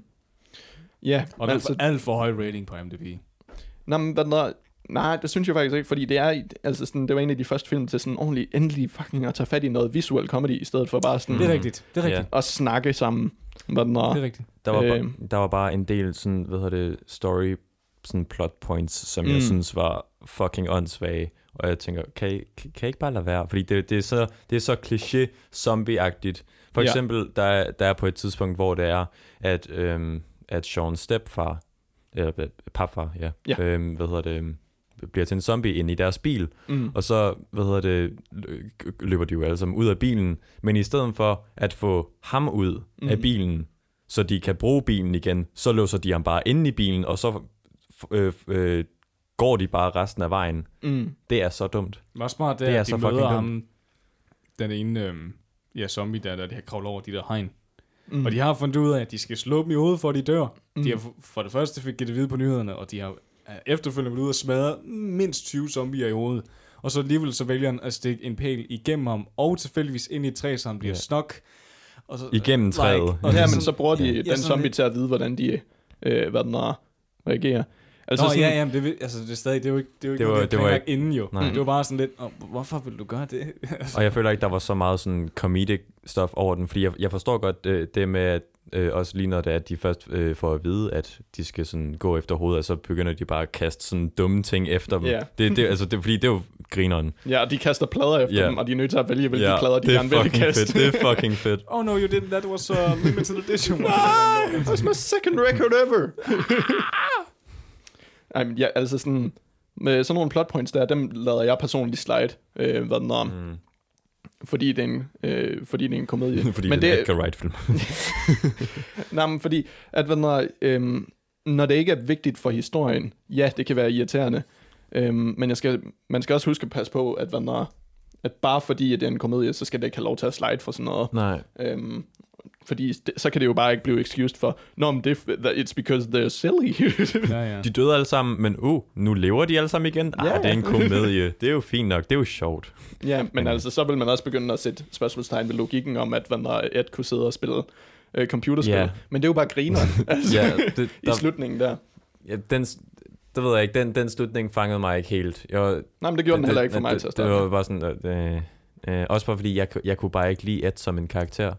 [SPEAKER 2] Ja, altså,
[SPEAKER 1] Og der er for, alt for høj rating på IMDb.
[SPEAKER 2] Nå, men hvad den hedder- Nej, det synes jeg faktisk ikke, fordi det er, i- altså sådan, det var en af de første film til sådan ordentlig endelig fucking at tage fat i noget visuel comedy, i stedet for bare sådan
[SPEAKER 1] Det er
[SPEAKER 3] Mhm.
[SPEAKER 1] rigtigt. Det er rigtigt.
[SPEAKER 2] at snakke sammen. Hvad den
[SPEAKER 1] Det
[SPEAKER 2] hedder.
[SPEAKER 1] er rigtigt.
[SPEAKER 3] Der var, øh.
[SPEAKER 2] Øhm.
[SPEAKER 3] der var bare en del sådan, hvad hedder det, story sådan plot points, som mm.
[SPEAKER 2] Mm.
[SPEAKER 3] jeg synes var fucking åndssvage. Og jeg tænker, kan I, kan I ikke bare lade være? Fordi det, det, er, så, det er så kliché zombie-agtigt. For
[SPEAKER 2] Ja.
[SPEAKER 3] eksempel, der, er- der er på et tidspunkt, hvor det er, at, øhm, at Sean's stepfar, eller øh, papfar, ja,
[SPEAKER 2] Ja.
[SPEAKER 3] Øhm, hvad hedder det, øhm, bliver til en zombie inde i deres bil.
[SPEAKER 2] Mm.
[SPEAKER 3] Og så, hvad hedder det, lø- løber de jo alle sammen ud af bilen. Men i stedet for at få ham ud mm. af
[SPEAKER 2] Mhm.
[SPEAKER 3] bilen, så de kan bruge bilen igen, så låser de ham bare inde i bilen, og så f- øh, øh, går de bare resten af vejen.
[SPEAKER 2] Mm.
[SPEAKER 3] Det er så dumt.
[SPEAKER 1] Men også smart, det,
[SPEAKER 3] Det
[SPEAKER 1] er,
[SPEAKER 3] er
[SPEAKER 1] at de
[SPEAKER 3] så fucking
[SPEAKER 1] møder
[SPEAKER 3] dumt.
[SPEAKER 1] ham, den ene øhm, ja, zombie, der, der de har kravlet over de der hegn.
[SPEAKER 2] Mm.
[SPEAKER 1] Mm. Og de har fundet ud af, at de skal slå dem i hovedet, for at de dør. Mm. De
[SPEAKER 2] Mm.
[SPEAKER 1] har f- for det første fik de det vide på nyhederne, og de har øh, efterfølgende været ude og smadre mindst 20 zombier i hovedet. Og så alligevel så vælger han at stikke en pæl igennem ham, og tilfældigvis ind i et træ, så han bliver
[SPEAKER 3] Ja.
[SPEAKER 1] snok. Og så,
[SPEAKER 3] Igennem træet.
[SPEAKER 1] og
[SPEAKER 2] Mm. Ja,
[SPEAKER 1] det er
[SPEAKER 2] men
[SPEAKER 1] sådan-
[SPEAKER 2] så bruger de den
[SPEAKER 1] sådan
[SPEAKER 2] zombie
[SPEAKER 1] lidt.
[SPEAKER 2] til at vide, hvordan de, øh, hvad den hedder, reagerer.
[SPEAKER 1] Altså
[SPEAKER 2] Altså
[SPEAKER 1] Nå,
[SPEAKER 2] sådan,
[SPEAKER 1] ja, ja, men det, vil- altså, det er stadig, det er jo ikke, det er jo ikke
[SPEAKER 3] Det
[SPEAKER 1] det var,
[SPEAKER 3] var-
[SPEAKER 1] noget, det
[SPEAKER 3] det var
[SPEAKER 1] var ikke, inden jo. Nej.
[SPEAKER 3] Nej.
[SPEAKER 1] Det var bare sådan lidt, oh, hvorfor vil du gøre det?
[SPEAKER 3] Og jeg føler ikke, der var så meget sådan comedic stuff over den, fordi jeg, jeg forstår godt øh, det med, at øh, også lige når det er, at de først øh, får at vide, at de skal sådan gå efter hovedet, og så begynder de bare at kaste sådan dumme ting efter dem.
[SPEAKER 2] Ja.
[SPEAKER 3] Det, det, altså, det, fordi det er jo grineren.
[SPEAKER 2] ja, og de kaster plader efter
[SPEAKER 3] Ja.
[SPEAKER 2] dem, og de er nødt til at vælge, hvilke
[SPEAKER 3] Ja,
[SPEAKER 2] plader de
[SPEAKER 3] det er
[SPEAKER 2] gerne vil
[SPEAKER 3] fucking
[SPEAKER 2] kaste.
[SPEAKER 3] Fedt. Det er fucking fedt.
[SPEAKER 1] oh no, you didn't, that was a limited edition.
[SPEAKER 2] Nej, that's my second record ever. Ej, men ja, altså sådan, med sådan nogle plot points der, dem lader jeg personligt slide, øh, hvad den er, mm.
[SPEAKER 3] Mm.
[SPEAKER 2] fordi, det er en, øh, fordi det er en komedie.
[SPEAKER 3] Fordi
[SPEAKER 2] men
[SPEAKER 3] det er en Edgar Wright-film.
[SPEAKER 2] nej, men fordi, at hvad den er, øh, når det ikke er vigtigt for historien, ja, det kan være irriterende, øh, men jeg skal, man skal også huske at passe på, at hvad den er, at bare fordi at det er en komedie, så skal det ikke have lov til at slide for sådan noget.
[SPEAKER 3] Nej.
[SPEAKER 2] Øhm, fordi det, så kan det jo bare ikke blive excused for, Nå, men det, that it's because they're silly.
[SPEAKER 1] ja, ja.
[SPEAKER 3] De døde alle sammen, men uh, nu lever de alle sammen igen. Ah,
[SPEAKER 2] Ja.
[SPEAKER 3] det er en komedie. Det er jo fint nok. Det er jo sjovt.
[SPEAKER 2] ja, men altså, så vil man også begynde at sætte spørgsmålstegn ved logikken om, at Van der Ed kunne sidde og spille øh, computerspil.
[SPEAKER 3] Ja.
[SPEAKER 2] Men det er jo bare grineren altså,
[SPEAKER 3] Ja,
[SPEAKER 2] ja,
[SPEAKER 3] det,
[SPEAKER 2] i
[SPEAKER 3] der,
[SPEAKER 2] slutningen der.
[SPEAKER 3] ja, den, det ved jeg ikke. Den, den slutning fangede mig ikke helt. Jeg,
[SPEAKER 2] Nej, men det gjorde den heller ikke for mig
[SPEAKER 3] det,
[SPEAKER 2] til at
[SPEAKER 3] det,
[SPEAKER 2] starte.
[SPEAKER 3] det var
[SPEAKER 2] med.
[SPEAKER 3] bare sådan... Øh, øh, også bare fordi, jeg, ku- jeg kunne bare ikke lide Ed som en karakter.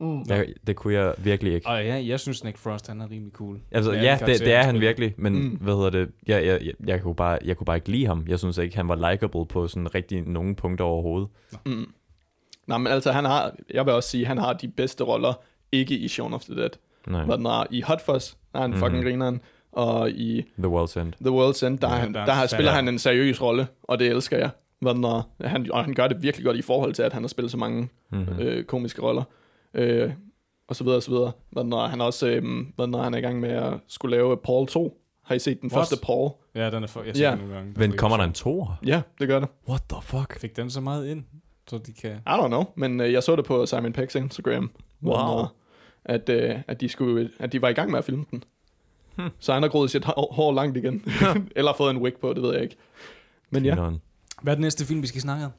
[SPEAKER 2] Mm.
[SPEAKER 3] Jeg, det kunne jeg virkelig ikke.
[SPEAKER 1] Og ja, jeg synes Nick Frost, han er rimelig cool.
[SPEAKER 3] Altså,
[SPEAKER 1] Ja,
[SPEAKER 3] ja, det,
[SPEAKER 1] karakteren
[SPEAKER 3] det er han
[SPEAKER 1] spiller.
[SPEAKER 3] virkelig, men
[SPEAKER 2] Mm.
[SPEAKER 3] mm. hvad hedder det? Jeg, jeg, jeg, jeg, kunne bare, jeg kunne bare ikke lide ham. Jeg synes ikke, han var likable på sådan rigtig nogen punkter overhovedet.
[SPEAKER 2] Mm. Nej, men altså, han har, jeg vil også sige, han har de bedste roller, ikke i Shaun of the Dead.
[SPEAKER 3] Nej,
[SPEAKER 2] Hvad den har i Hot Fuzz, der er han fucking
[SPEAKER 3] Mhm.
[SPEAKER 2] grineren, og i
[SPEAKER 3] The World's End.
[SPEAKER 2] The World's End, der, ja,
[SPEAKER 1] Ja,
[SPEAKER 2] han,
[SPEAKER 1] der
[SPEAKER 2] der,
[SPEAKER 1] er
[SPEAKER 2] der
[SPEAKER 1] en
[SPEAKER 2] spiller
[SPEAKER 1] særlig-
[SPEAKER 2] han en seriøs rolle, og det elsker jeg. Hvad den er. han, og han gør det virkelig godt i forhold til, at han har spillet så mange
[SPEAKER 3] Mm-hmm.
[SPEAKER 2] mm. øh, komiske roller. Øh, og så videre, og så videre. Hvad den er. han er også, øh, hvad den er, han er i gang med at skulle lave Paul 2. Har I set den
[SPEAKER 1] What?
[SPEAKER 2] første Paul?
[SPEAKER 1] Ja, den er for, jeg ser
[SPEAKER 2] Ja.
[SPEAKER 1] den nogle gange.
[SPEAKER 3] Men kommer der en toer?
[SPEAKER 2] Ja, det gør det.
[SPEAKER 3] What the fuck?
[SPEAKER 1] Fik den så meget ind, så de kan...
[SPEAKER 2] I don't know, men øh, jeg så det på Simon Peck's Instagram. hvor
[SPEAKER 3] Wow.
[SPEAKER 2] han var- At, øh, at, de skulle, at de var i gang med at filme den.
[SPEAKER 1] Hm.
[SPEAKER 3] Hmm.
[SPEAKER 2] Så han har groet sit hår, hår langt igen. Eller fået en wig på, det ved jeg ikke. Men ja.
[SPEAKER 3] Grineren.
[SPEAKER 1] Hvad er den næste film, vi skal snakke om?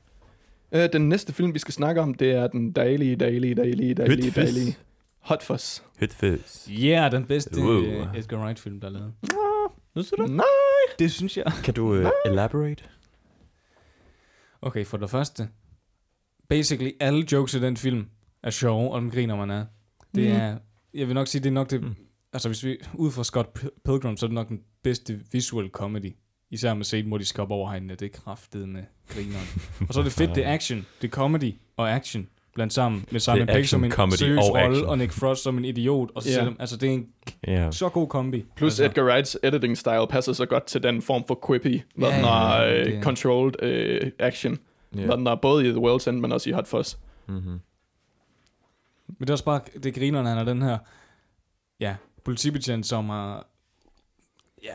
[SPEAKER 2] Øh, den næste film, vi skal snakke om, det er den dejlige, dejlige, dejlige, dejlige,
[SPEAKER 3] Hot Fuzz.
[SPEAKER 2] dejlige Hot Fuzz.
[SPEAKER 3] Hot fizz.
[SPEAKER 1] Ja, yeah, den bedste
[SPEAKER 3] Wow.
[SPEAKER 1] uh, Edgar Wright-film, der er lavet.
[SPEAKER 3] Nu ser
[SPEAKER 2] Nej!
[SPEAKER 1] Det synes jeg.
[SPEAKER 3] Kan du uh, elaborate?
[SPEAKER 1] Okay, for det første. Basically, alle jokes i den film er sjove, og dem griner man af. Det
[SPEAKER 2] Mm.
[SPEAKER 1] er... Jeg vil nok sige, det er nok det...
[SPEAKER 3] Mm.
[SPEAKER 1] Altså, hvis vi... Ud fra Scott Pil- Pilgrim, så er det nok den bedste visual comedy. Især med set, hvor de skal op over hegnene. Det er kraftet med grineren. og så er det fedt, det er action. Det er comedy og action blandt sammen med Simon Pegg som
[SPEAKER 3] action,
[SPEAKER 1] en
[SPEAKER 3] comedy
[SPEAKER 1] seriøs
[SPEAKER 3] og
[SPEAKER 1] rolle,
[SPEAKER 3] action.
[SPEAKER 1] og Nick Frost som en idiot. Og så
[SPEAKER 2] Ja.
[SPEAKER 1] yeah. altså, det er en
[SPEAKER 3] Ja.
[SPEAKER 1] så god kombi.
[SPEAKER 2] Plus
[SPEAKER 1] altså,
[SPEAKER 2] Edgar Wrights editing style passer så godt til den form for quippy, hvad
[SPEAKER 1] Ja,
[SPEAKER 2] den
[SPEAKER 1] ja,
[SPEAKER 2] er
[SPEAKER 1] ja,
[SPEAKER 2] øh,
[SPEAKER 1] det-
[SPEAKER 2] controlled øh, action,
[SPEAKER 3] Ja.
[SPEAKER 2] hvad den er både i The World's End, men også i Hot Fuzz.
[SPEAKER 3] Mhm.
[SPEAKER 1] Men det er også bare, det griner, når han er den her, ja, politibetjent, som har, ja,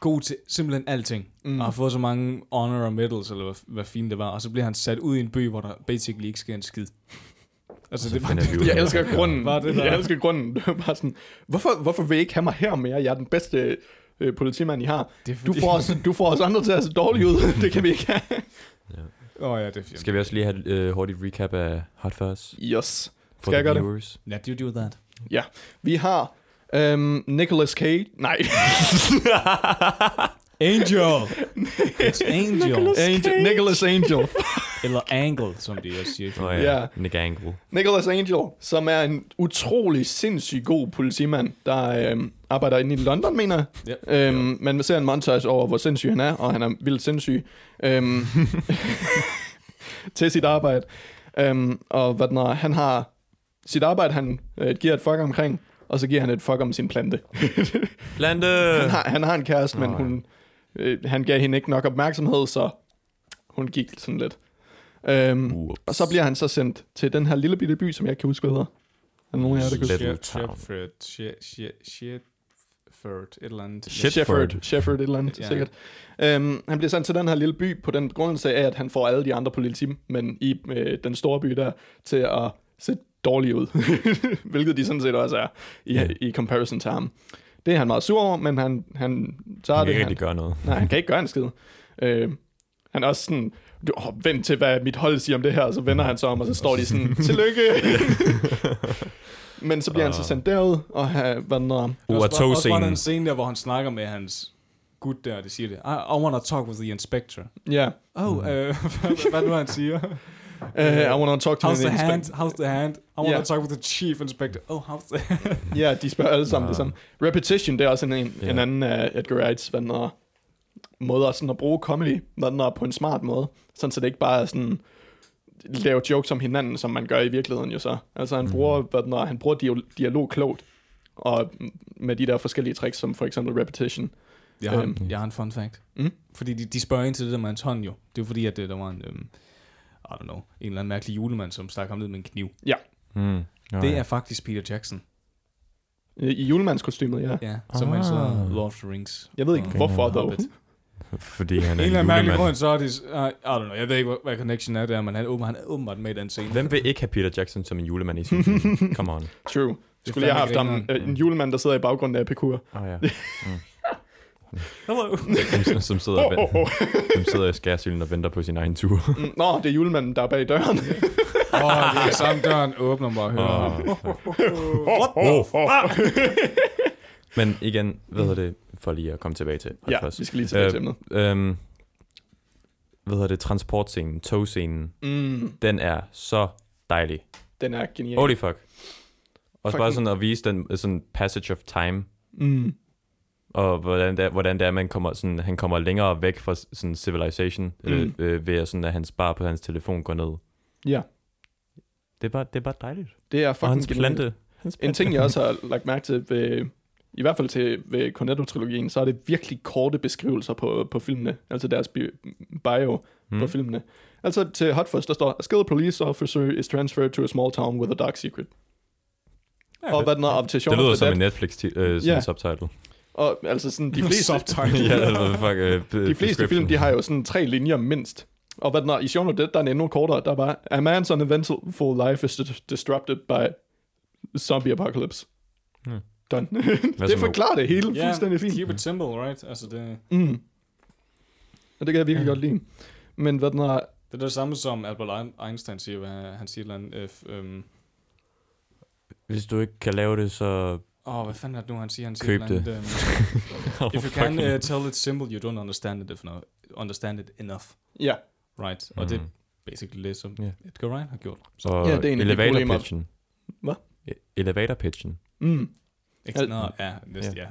[SPEAKER 1] god til simpelthen alting, mm.
[SPEAKER 2] Mm.
[SPEAKER 1] og har fået så mange honor og medals, eller hvad, hvad fint det var, og så bliver han sat ud i en by, hvor der basically ikke sker en skid. Altså,
[SPEAKER 3] Så
[SPEAKER 1] det var
[SPEAKER 3] finder vi ud af
[SPEAKER 2] Jeg
[SPEAKER 3] det.
[SPEAKER 2] elsker grunden.
[SPEAKER 1] Var det der?
[SPEAKER 2] jeg elsker grunden. Det var bare sådan, hvorfor, hvorfor vil I ikke have mig her mere? Jeg er den bedste øh, politimand, I har.
[SPEAKER 1] Det er
[SPEAKER 2] Du
[SPEAKER 1] fordi-
[SPEAKER 2] får, os, du får os andre til at se dårlige ud. det kan vi ikke have.
[SPEAKER 1] Åh oh, ja, det er fint.
[SPEAKER 3] Skal vi også lige have et øh, hurtigt recap af Hot Fuzz?
[SPEAKER 2] Yes.
[SPEAKER 3] For
[SPEAKER 2] Skal jeg gøre det?
[SPEAKER 3] viewers?
[SPEAKER 1] Let you do that.
[SPEAKER 2] Ja. Vi har øhm, Nicolas Cage. Nej.
[SPEAKER 1] Angel! It's Angel.
[SPEAKER 2] Angel, Nicolas Angel.
[SPEAKER 1] Eller Angle, som det også siger.
[SPEAKER 3] Nå
[SPEAKER 1] Oh,
[SPEAKER 3] ja,
[SPEAKER 2] Ja.
[SPEAKER 3] yeah. Nick Angle.
[SPEAKER 2] Nicholas Angel, som er en utrolig sindssygt god politimand, der øhm, arbejder inde i London, mener jeg.
[SPEAKER 1] Yep.
[SPEAKER 2] Øhm, man ser en montage over, hvor sindssyg han er, og han er vildt sindssyg øhm, til sit arbejde. Øhm, og hvad når han har sit arbejde, han øh, giver et fuck omkring, og så giver han et fuck om sin plante.
[SPEAKER 3] Plante!
[SPEAKER 2] han, har, han har en kæreste, men
[SPEAKER 3] Øh. Nå, ja.
[SPEAKER 2] hun, øh, han gav hende ikke nok opmærksomhed, så hun gik sådan lidt. Øhm,
[SPEAKER 3] Ups.
[SPEAKER 2] og så bliver han så sendt til den her lille bitte by, som jeg ikke kan huske, hvad hedder. Er der nogen af jer, der kan huske?
[SPEAKER 3] Little Town.
[SPEAKER 1] Shepford. Shepford. Et eller andet.
[SPEAKER 3] Shep-
[SPEAKER 2] Shefford.
[SPEAKER 3] Shepford.
[SPEAKER 2] Shefford, et eller andet,
[SPEAKER 1] Ja.
[SPEAKER 2] ja. sikkert. Øhm, han bliver sendt til den her lille by på den grundsag af, at han får alle de andre politimænd i øh, den store by der til at se dårlige ud. Hvilket de sådan set også er i,
[SPEAKER 3] Ja.
[SPEAKER 2] i comparison til ham. Det er han meget sur over, men han, han tager
[SPEAKER 3] Han kan
[SPEAKER 2] det.
[SPEAKER 3] ikke rigtig gøre noget.
[SPEAKER 2] Nej, han kan ikke gøre en skid. Øh, han er også sådan, du, oh, vent til, hvad mit hold siger om det her, og så vender han sig om, og så står de sådan, tillykke! Men så bliver han
[SPEAKER 1] Ah.
[SPEAKER 2] så sendt derud, og ha, hvad når,
[SPEAKER 3] Uh, og
[SPEAKER 1] Også var der
[SPEAKER 3] togscenen.
[SPEAKER 1] en scene der, hvor han snakker med hans gut der, og det siger det. I, I wanna talk with the inspector.
[SPEAKER 2] ja,
[SPEAKER 1] Oh, mm. øh, hvad, hvad nu han siger?
[SPEAKER 2] øh, I wanna talk to
[SPEAKER 1] How's
[SPEAKER 2] an
[SPEAKER 1] the hand?
[SPEAKER 2] inspector.
[SPEAKER 1] How's the hand? I wanna
[SPEAKER 2] Ja.
[SPEAKER 1] talk with the chief inspector. Oh, how's the
[SPEAKER 2] Ja, de spørger alle sammen
[SPEAKER 3] Nå.
[SPEAKER 2] det samme. Repetition, det er også en, en,
[SPEAKER 3] Ja.
[SPEAKER 2] en anden af Edgar Wrights, hvad når, måder sådan at bruge comedy, hvad når, på en smart måde, sådan så det ikke bare er sådan, lave jokes om hinanden, som man gør i virkeligheden jo så. Altså
[SPEAKER 3] Mhm.
[SPEAKER 2] han bruger, mm. hvad når, han bruger dialog, dialog klogt, og med de der forskellige tricks, som for eksempel repetition.
[SPEAKER 1] Jeg har,
[SPEAKER 2] Øhm.
[SPEAKER 1] øhm. jeg har en fun fact.
[SPEAKER 2] Mm.
[SPEAKER 1] Fordi de, de spørger ind til det der med hans hånd jo. Det er jo fordi, at øh, der var en, øhm, I don't know, en eller anden mærkelig julemand, som stak ham ned med en kniv.
[SPEAKER 3] Mm. Nå,
[SPEAKER 1] Det
[SPEAKER 3] ja.
[SPEAKER 1] er faktisk Peter Jackson.
[SPEAKER 2] I julemandskostymet, ja.
[SPEAKER 1] Ja, som han så
[SPEAKER 3] Ah.
[SPEAKER 1] Lord of the Rings.
[SPEAKER 2] Jeg ved ikke,
[SPEAKER 1] Okay.
[SPEAKER 2] hvorfor dog.
[SPEAKER 1] Hobbit.
[SPEAKER 3] Fordi han
[SPEAKER 1] En
[SPEAKER 3] er en
[SPEAKER 1] eller anden mærkelig
[SPEAKER 3] julemand.
[SPEAKER 1] grund, så er det... Uh, I don't know, jeg ved ikke, hvad, hvad connection er der, men han, er åben- han er åbenbart med i den scene.
[SPEAKER 3] Hvem vil ikke have Peter Jackson som en julemand i sin film? Come on.
[SPEAKER 2] True. Skulle jeg
[SPEAKER 1] fandme
[SPEAKER 2] have haft ham,
[SPEAKER 1] grineren.
[SPEAKER 2] øh, en julemand, der sidder i baggrunden af Epikur.
[SPEAKER 3] Oh, ja.
[SPEAKER 1] Hello.
[SPEAKER 3] som, som, sidder
[SPEAKER 2] Oh,
[SPEAKER 3] oh,
[SPEAKER 2] oh, oh.
[SPEAKER 3] som sidder i skærsylen og venter på sin egen tur.
[SPEAKER 2] Mm, Nå, det er julemanden, der er bag døren.
[SPEAKER 1] Åh, oh, det er samme døren åbner mig og hører
[SPEAKER 3] Åh,
[SPEAKER 1] ham.
[SPEAKER 2] What the fuck?
[SPEAKER 3] Men igen, hvad hedder det, for lige at komme tilbage til. Hold
[SPEAKER 2] ja,
[SPEAKER 3] fast.
[SPEAKER 2] vi skal lige tilbage til emnet.
[SPEAKER 3] øhm, hvad hedder det, transportscenen, togscenen,
[SPEAKER 2] Mm,
[SPEAKER 3] den er så dejlig.
[SPEAKER 2] den er genial.
[SPEAKER 3] Holy fuck. Også bare
[SPEAKER 2] Fucking-
[SPEAKER 3] sådan at vise den øh, sådan passage of time,
[SPEAKER 2] Mm.
[SPEAKER 3] og hvordan det er, hvordan det er man kommer, sådan, han kommer længere væk fra sådan civilization, mm. øh,
[SPEAKER 2] Mm.
[SPEAKER 3] øh, ved at, sådan, at hans bar på hans telefon går ned.
[SPEAKER 2] Ja.
[SPEAKER 3] Det er bare, det er bare dejligt.
[SPEAKER 2] Det er
[SPEAKER 3] Og
[SPEAKER 2] fucking
[SPEAKER 3] hans
[SPEAKER 2] genialt.
[SPEAKER 3] plante. Hans
[SPEAKER 2] En ting, jeg også har lagt mærke til ved, i hvert fald til ved Cornetto-trilogien, så er det virkelig korte beskrivelser på, på filmene, altså deres bi- bio mm.
[SPEAKER 3] Hmm.
[SPEAKER 2] på filmene. Altså til Hot Fuzz, der står, A skilled police officer is transferred to a small town with a dark secret. Ja, og hvad den er op til Shaun
[SPEAKER 3] Det lyder
[SPEAKER 2] of the
[SPEAKER 3] som
[SPEAKER 2] Dead.
[SPEAKER 3] en Netflix ti- øh, sådan
[SPEAKER 2] Ja.
[SPEAKER 3] yeah. subtitle.
[SPEAKER 2] Og altså sådan, de fleste,
[SPEAKER 1] Subtitle.
[SPEAKER 3] ja, eller hvad fuck, øh, b-
[SPEAKER 2] de fleste film,
[SPEAKER 3] description.
[SPEAKER 2] de har jo sådan tre linjer mindst. Og hvad den er, i Shaun of the Dead, der er en endnu kortere, der var, A man's uneventful life is dis- disrupted by zombie apocalypse.
[SPEAKER 3] Hmm.
[SPEAKER 2] Done.
[SPEAKER 3] så
[SPEAKER 2] det
[SPEAKER 3] med-
[SPEAKER 2] forklarer det hele
[SPEAKER 1] Ja,
[SPEAKER 2] fuldstændig fint.
[SPEAKER 1] keep it simple, right? Altså, det,
[SPEAKER 2] Mm. Og det kan jeg virkelig godt lide. Men hvad den er,
[SPEAKER 1] det er det samme som Albert Ein- Einstein siger, hvad han han siger et eller andet... øh, f- øhm,
[SPEAKER 3] Hvis du ikke kan lave det, så...
[SPEAKER 1] Åh, oh, hvad fanden er det nu, han siger? Han siger
[SPEAKER 3] Køb
[SPEAKER 1] et eller andet, øhm,
[SPEAKER 3] Oh,
[SPEAKER 1] If you can uh,
[SPEAKER 2] øh,
[SPEAKER 1] tell it's simple, you don't understand it, if no, understand it enough,
[SPEAKER 2] ja,
[SPEAKER 1] right? Og det er basically det, som
[SPEAKER 3] Mm. Ja.
[SPEAKER 1] yeah. Edgar Wright har gjort. Så
[SPEAKER 3] Og
[SPEAKER 2] Ja,
[SPEAKER 3] ja,
[SPEAKER 2] det er en af de
[SPEAKER 3] elevator
[SPEAKER 2] problemer.
[SPEAKER 3] pitchen.
[SPEAKER 2] Hvad?
[SPEAKER 3] E- Elevator pitchen.
[SPEAKER 2] mm.
[SPEAKER 1] ikke
[SPEAKER 2] Al-
[SPEAKER 1] Nå, ja, næste, ja.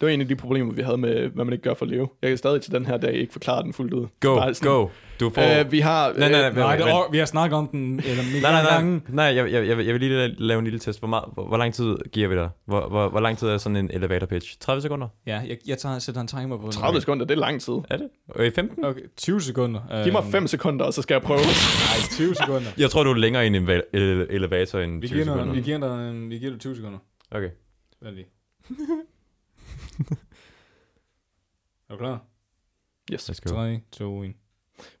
[SPEAKER 2] det var en af de problemer, vi havde med, hvad man ikke gør for at leve. Jeg kan stadig til den her dag ikke forklare den fuldt ud.
[SPEAKER 3] Go,
[SPEAKER 2] Bare sådan,
[SPEAKER 3] go. Du får...
[SPEAKER 2] Øh, vi har...
[SPEAKER 3] Nej, nej, nej,
[SPEAKER 2] øh,
[SPEAKER 1] Nej, det
[SPEAKER 3] men-
[SPEAKER 1] er, vi har snakket om den, øh, eller
[SPEAKER 3] nej, nej, nej.
[SPEAKER 1] gange.
[SPEAKER 3] nej jeg, jeg, jeg, vil- jeg vil lige la- lave en lille test. Hvor, meget, hvor, hvor lang tid giver vi dig? Hvor, hvor, hvor lang tid er sådan en elevator pitch? 30 sekunder?
[SPEAKER 1] Ja, jeg, jeg tager, sætter en timer på. den.
[SPEAKER 2] 30 sekunder, det er lang tid.
[SPEAKER 3] Er det? Øh, 15?
[SPEAKER 1] Okay, 20 sekunder.
[SPEAKER 2] Giv mig
[SPEAKER 1] Øhm,
[SPEAKER 2] 5 sekunder, og så skal jeg prøve.
[SPEAKER 1] Nej, 20 sekunder.
[SPEAKER 3] Jeg tror, du er længere i en eva- ele- elevator end
[SPEAKER 1] Vi
[SPEAKER 3] 20
[SPEAKER 1] giver, dig, vi,
[SPEAKER 3] sekunder.
[SPEAKER 1] giver dig, øhm, vi giver dig 20 sekunder.
[SPEAKER 3] Okay.
[SPEAKER 1] Vent lige. er du klar?
[SPEAKER 2] Yes.
[SPEAKER 3] Let's go.
[SPEAKER 1] 3, 2, 1.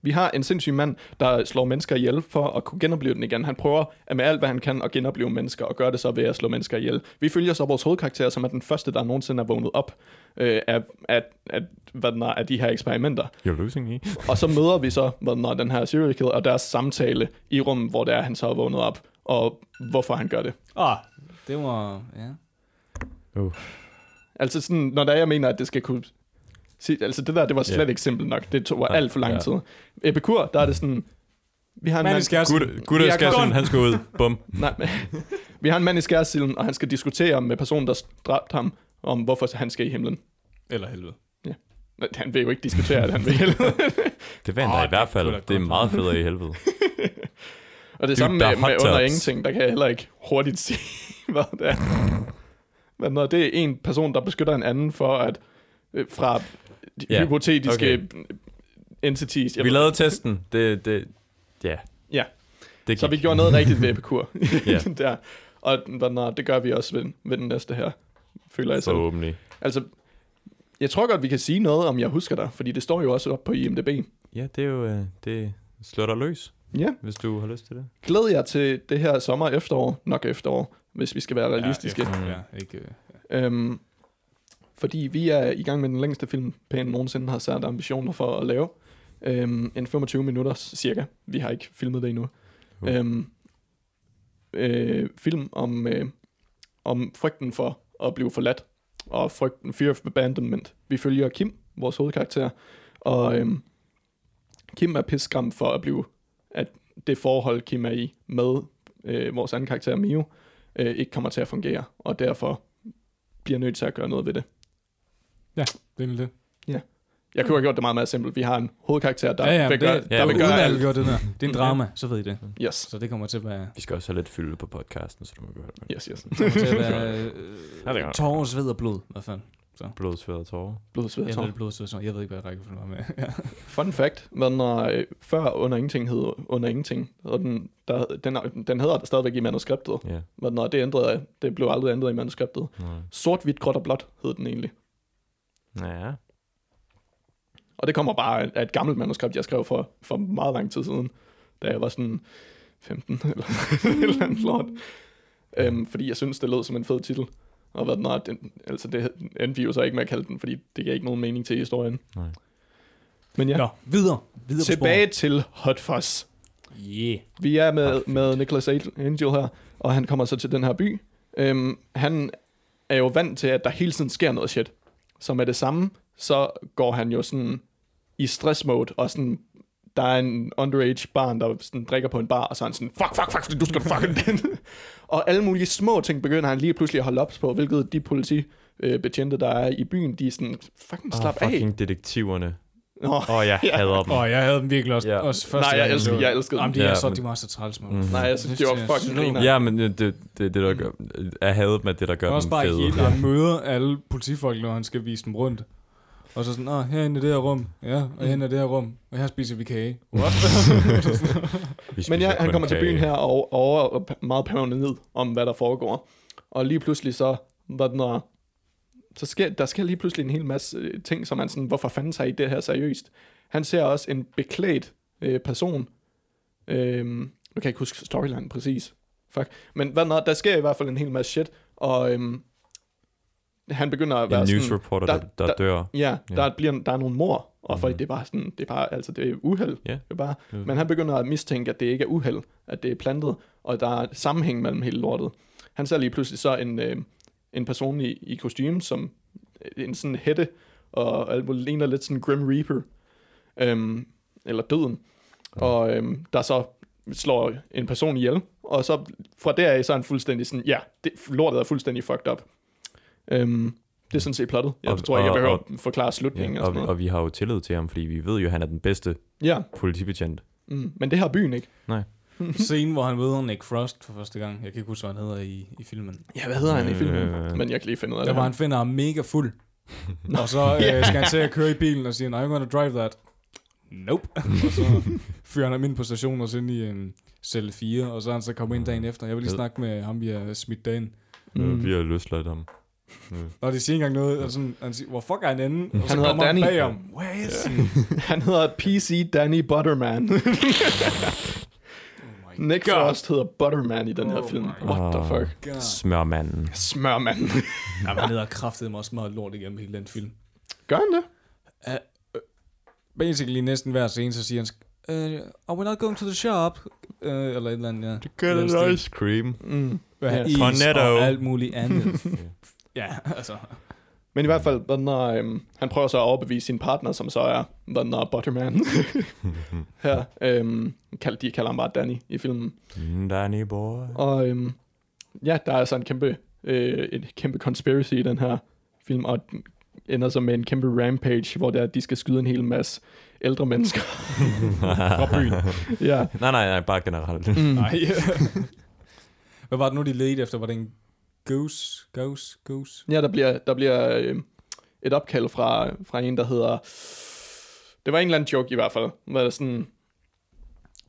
[SPEAKER 2] Vi har en sindssyg mand, der slår mennesker ihjel for at kunne genopleve den igen. Han prøver at med alt, hvad han kan, at genopleve mennesker, og gør det så ved at slå mennesker ihjel. Vi følger så vores hovedkarakter, som er den første, der nogensinde er vågnet op øh, af, af, af, hvad den er, af de her eksperimenter.
[SPEAKER 3] You're losing me.
[SPEAKER 2] Og så møder vi så hvad den, er, den her serial killer og deres samtale i rummet, hvor det er, han så er vågnet op, og hvorfor han gør det.
[SPEAKER 1] Ah, det var... Ja.
[SPEAKER 2] Altså sådan, når der er, jeg mener, at det skal kunne... Se, altså det der, det var slet
[SPEAKER 3] Ja.
[SPEAKER 2] yeah. ikke simpelt nok. Det tog
[SPEAKER 3] Nej,
[SPEAKER 2] alt for lang
[SPEAKER 3] ja.
[SPEAKER 2] tid. Epikur, der er det sådan... Vi har en
[SPEAKER 1] Manden
[SPEAKER 2] mand,
[SPEAKER 1] skal også...
[SPEAKER 3] Gutter, gutter
[SPEAKER 2] Jeg
[SPEAKER 3] skal
[SPEAKER 2] går-
[SPEAKER 3] sådan, han skal ud. Bum.
[SPEAKER 2] nej, men- vi har en mand i skærsilden, og han skal diskutere med personen, der dræbte ham, om hvorfor han skal i himlen.
[SPEAKER 1] Eller helvede.
[SPEAKER 2] Men Han vil jo ikke diskutere, at han vil helvede.
[SPEAKER 3] Det vandt
[SPEAKER 1] Åh,
[SPEAKER 3] oh, i hvert
[SPEAKER 1] det kunne da
[SPEAKER 3] fald. Det er
[SPEAKER 1] godt.
[SPEAKER 3] meget federe i helvede.
[SPEAKER 2] Og det
[SPEAKER 3] Dude,
[SPEAKER 2] samme
[SPEAKER 3] der er
[SPEAKER 2] med,
[SPEAKER 3] hot
[SPEAKER 2] med under
[SPEAKER 3] tubs.
[SPEAKER 2] ingenting, der kan jeg heller ikke hurtigt sige, hvad det er. Men når det er en person, der beskytter en anden for at... øh, Fra de
[SPEAKER 3] Ja,
[SPEAKER 2] hypotetiske
[SPEAKER 3] okay.
[SPEAKER 2] entities. Jeg
[SPEAKER 3] Vi
[SPEAKER 2] ved-
[SPEAKER 3] lavede testen. Det, det, ja.
[SPEAKER 2] Ja.
[SPEAKER 3] Det
[SPEAKER 2] Så vi
[SPEAKER 3] gik.
[SPEAKER 2] gjorde noget rigtigt ved Epikur.
[SPEAKER 3] Ja.
[SPEAKER 2] der. Og hvad den er, det gør vi også ved, ved den næste her, føler jeg selv.
[SPEAKER 3] Forhåbentlig.
[SPEAKER 2] Altså, jeg tror godt, vi kan sige noget, om jeg husker dig, fordi det står jo også op på IMDb.
[SPEAKER 3] Ja, det er jo, øh, det slår dig løs,
[SPEAKER 2] Ja,
[SPEAKER 3] hvis du har lyst til det.
[SPEAKER 2] glæd jer til det her sommer og efterår, nok efterår, hvis vi skal være realistiske.
[SPEAKER 1] Ja,
[SPEAKER 2] Ja,
[SPEAKER 1] efter- ja, ikke... øh,
[SPEAKER 2] øhm, fordi vi er i gang med den længste film, Pan nogensinde har sat ambitioner for at lave. Øhm, en 25 minutter cirka. Vi har ikke filmet det endnu.
[SPEAKER 3] Uh.
[SPEAKER 2] Øhm, øh, film om, øh, om frygten for at blive forladt, og frygten, fear of abandonment. Vi følger Kim, vores hovedkarakter, og øhm, Kim er pisskram for at blive, at det forhold, Kim er i med øh, vores anden karakter, Mio, øh, ikke kommer til at fungere, og derfor bliver nødt til at gøre noget ved det.
[SPEAKER 1] Det er lidt det.
[SPEAKER 2] Jeg kunne have gjort det meget mere simpelt. Vi har en hovedkarakter, der
[SPEAKER 1] ja, ja, det,
[SPEAKER 2] vil gøre,
[SPEAKER 1] det,
[SPEAKER 2] der
[SPEAKER 1] ja,
[SPEAKER 2] vil
[SPEAKER 1] uden
[SPEAKER 2] gøre
[SPEAKER 1] at
[SPEAKER 2] alt.
[SPEAKER 1] vi gjorde det der. Det er en drama, så ved I det.
[SPEAKER 2] Yes,
[SPEAKER 1] Så det kommer til at være...
[SPEAKER 3] Vi skal også have lidt fylde på podcasten, så du må gøre det.
[SPEAKER 2] yes, yes.
[SPEAKER 1] Det kommer til at være
[SPEAKER 3] Ja, det gør
[SPEAKER 1] øh,
[SPEAKER 3] det.
[SPEAKER 1] tårer, sved og blod, i hvert fald.
[SPEAKER 3] Blod, sved og tårer.
[SPEAKER 2] Blod, sved og
[SPEAKER 1] Jeg
[SPEAKER 2] tårer.
[SPEAKER 1] ved blod, sved og tårer. Jeg ved ikke, hvad rækkefølgen var med. Ja.
[SPEAKER 2] Fun fact, hvad den er, øh, før Under Ingenting hed Under Ingenting, og den, der, den, er- den hedder stadigvæk i manuskriptet,
[SPEAKER 3] Ja.
[SPEAKER 2] men når det ændrede, det blev aldrig ændret i manuskriptet. Sort, hvidt, gråt og blåt hed den egentlig.
[SPEAKER 3] Ja.
[SPEAKER 2] Og det kommer bare af et gammelt manuskript, jeg skrev for, for meget lang tid siden, da jeg var sådan 15 eller et eller andet lort. Øhm, fordi jeg synes, det lød som en fed titel. Og hvad den er, den, altså det endte vi jo så ikke med at kalde den, fordi det gav ikke nogen mening til historien.
[SPEAKER 3] Nej.
[SPEAKER 2] Men ja,
[SPEAKER 1] Nå, videre. Videre
[SPEAKER 2] tilbage til Hot Fuzz.
[SPEAKER 1] på sporet. Yeah.
[SPEAKER 2] Vi er
[SPEAKER 3] Ah,
[SPEAKER 2] med,
[SPEAKER 3] fedt.
[SPEAKER 2] med Nicholas Angel her, og han kommer så til den her by. Øhm, han er jo vant til, at der hele tiden sker noget shit. Så med det samme, så går han jo sådan i stress mode, og sådan, der er en underage barn, der sådan drikker på en bar, og så er han sådan, fuck, fuck, fuck, du skal fuck den. og alle mulige små ting begynder han lige pludselig at holde op på, hvilket de politibetjente, der er i byen, de er sådan, fucking slap
[SPEAKER 3] oh,
[SPEAKER 2] oh, af.
[SPEAKER 3] fucking detektiverne.
[SPEAKER 2] Nå,
[SPEAKER 3] Åh, oh, jeg hader dem.
[SPEAKER 1] Åh, jeg havde dem virkelig også,
[SPEAKER 3] Ja.
[SPEAKER 1] også første
[SPEAKER 2] Nej, jeg
[SPEAKER 1] gang,
[SPEAKER 2] elskede-
[SPEAKER 1] det var-
[SPEAKER 2] jeg elskede dem.
[SPEAKER 1] Jamen, de, er
[SPEAKER 3] Ja,
[SPEAKER 1] så,
[SPEAKER 3] men-
[SPEAKER 1] de var så træls, mand.
[SPEAKER 3] Mhm.
[SPEAKER 2] nej, jeg synes, det var fucking griner.
[SPEAKER 3] Ja, men øh, det, det, er det der gør, jeg hader dem, at det, der gør
[SPEAKER 1] Det er også
[SPEAKER 3] dem
[SPEAKER 1] bare
[SPEAKER 3] fede.
[SPEAKER 1] helt, når han møder alle politifolk, når han skal vise dem rundt. Og så sådan, åh, herinde i det her rum, ja, og herinde i det her rum, og her spiser vi kage.
[SPEAKER 3] Vi
[SPEAKER 2] Men
[SPEAKER 3] spiser
[SPEAKER 2] ja, han
[SPEAKER 3] kun
[SPEAKER 2] kommer til
[SPEAKER 3] kage.
[SPEAKER 2] byen her og over og p- meget pævende ned om, hvad der foregår. Og lige pludselig så, hvad den er, så sker, der sker lige pludselig en hel masse øh, ting, som man sådan, hvorfor fanden sig i det her seriøst? Han ser også en beklædt øh, person. Øhm, nu kan jeg ikke huske storyline præcis. Fuck. Men hvad den er, der sker i hvert fald en hel masse shit, og øhm, han begynder at
[SPEAKER 3] En
[SPEAKER 2] være
[SPEAKER 3] news
[SPEAKER 2] sådan...
[SPEAKER 3] reporter,
[SPEAKER 2] der-
[SPEAKER 3] der, der,
[SPEAKER 2] der-
[SPEAKER 3] dør.
[SPEAKER 2] Ja,
[SPEAKER 3] Ja.
[SPEAKER 2] der, bliver, der er nogle mor, og folk,
[SPEAKER 3] Mhm.
[SPEAKER 2] det er bare sådan, det er bare, altså, det er uheld.
[SPEAKER 3] Ja.
[SPEAKER 2] Det er bare,
[SPEAKER 3] Øh,
[SPEAKER 2] men han begynder at mistænke, at det ikke er uheld, at det er plantet, og der er sammenhæng mellem hele lortet. Han ser lige pludselig så en, øh, en person i, i kostume, som øh, en sådan hætte, og alt muligt ligner lidt sådan Grim Reaper, øhm, eller døden, og øhm, der så slår en person ihjel, og så fra deraf, så er han fuldstændig sådan, ja, det, lortet er fuldstændig fucked up. Øhm, det er sådan set plottet. Jeg
[SPEAKER 3] Og-
[SPEAKER 2] tror ikke, jeg
[SPEAKER 3] og-
[SPEAKER 2] behøver
[SPEAKER 3] og-
[SPEAKER 2] at forklare slutningen.
[SPEAKER 3] ja,
[SPEAKER 2] og,
[SPEAKER 3] og,
[SPEAKER 2] sådan noget.
[SPEAKER 3] og vi har jo tillid til ham, fordi vi ved jo, at han er den bedste
[SPEAKER 2] ja
[SPEAKER 3] politibetjent.
[SPEAKER 2] mm, men det har byen ikke.
[SPEAKER 1] Scenen, hvor han møder Nick Frost for første gang. Jeg kan ikke huske, hvad han hedder i, i filmen.
[SPEAKER 2] Ja, hvad hedder han i filmen?
[SPEAKER 3] Øh.
[SPEAKER 2] Men jeg kan lige finde ud af
[SPEAKER 1] Der
[SPEAKER 2] det.
[SPEAKER 1] var
[SPEAKER 2] her.
[SPEAKER 1] han finder ham mega fuld. og så øh, skal han til at køre i bilen og sige, I'm gonna drive that. Nope. og så fyrer han ham ind på stationen og så ind i en celle 4, og så er han så kommet ind dagen efter. Jeg vil lige snakke med ham, vi har smidt dagen.
[SPEAKER 3] Mm. Vi har Øh, løsladt ham.
[SPEAKER 1] Når de siger ikke engang noget, og sådan, han siger, hvor fuck er en anden? Og så
[SPEAKER 2] hedder
[SPEAKER 1] kommer han
[SPEAKER 2] Danny.
[SPEAKER 1] bagom. Where is he?
[SPEAKER 2] Han hedder PC Danny Butterman. Nick
[SPEAKER 1] Oh God.
[SPEAKER 2] Frost hedder Butterman i den her
[SPEAKER 1] Oh
[SPEAKER 2] film.
[SPEAKER 1] my
[SPEAKER 2] What the
[SPEAKER 3] God.
[SPEAKER 2] fuck?
[SPEAKER 1] God.
[SPEAKER 3] Smørmanden.
[SPEAKER 2] Smørmand.
[SPEAKER 1] Jamen, han hedder kraftet mig også meget lort igennem hele den film.
[SPEAKER 2] Gør han det?
[SPEAKER 1] Basically næsten hver scene, så siger han, uh, are we not going to the shop? Uh, eller et eller andet, ja. Det
[SPEAKER 3] ice cream.
[SPEAKER 2] Mm.
[SPEAKER 1] Ja,
[SPEAKER 2] Ja.
[SPEAKER 1] is
[SPEAKER 3] Tornado.
[SPEAKER 1] og alt muligt andet. ja, altså.
[SPEAKER 2] Men i hvert fald, den er, øhm, han prøver så at overbevise sin partner, som så er den er Butterman. her, øhm, kald, de kalder ham bare Danny i filmen.
[SPEAKER 3] Danny boy.
[SPEAKER 2] Og øhm, ja, der er så en kæmpe, øh, et kæmpe conspiracy i den her film, og den ender så med en kæmpe rampage, hvor der, de skal skyde en hel masse ældre mennesker.
[SPEAKER 1] Fra byen.
[SPEAKER 3] Mm.
[SPEAKER 2] ja.
[SPEAKER 3] nej, nej, nej, bare generelt.
[SPEAKER 2] Mm.
[SPEAKER 1] Nej. Hvad var det nu, de ledte efter? Var det en goose? Goose? Goose?
[SPEAKER 2] Ja, der bliver, der bliver øh, et opkald fra, fra en, der hedder... Det var en eller anden joke i hvert fald. Var det sådan,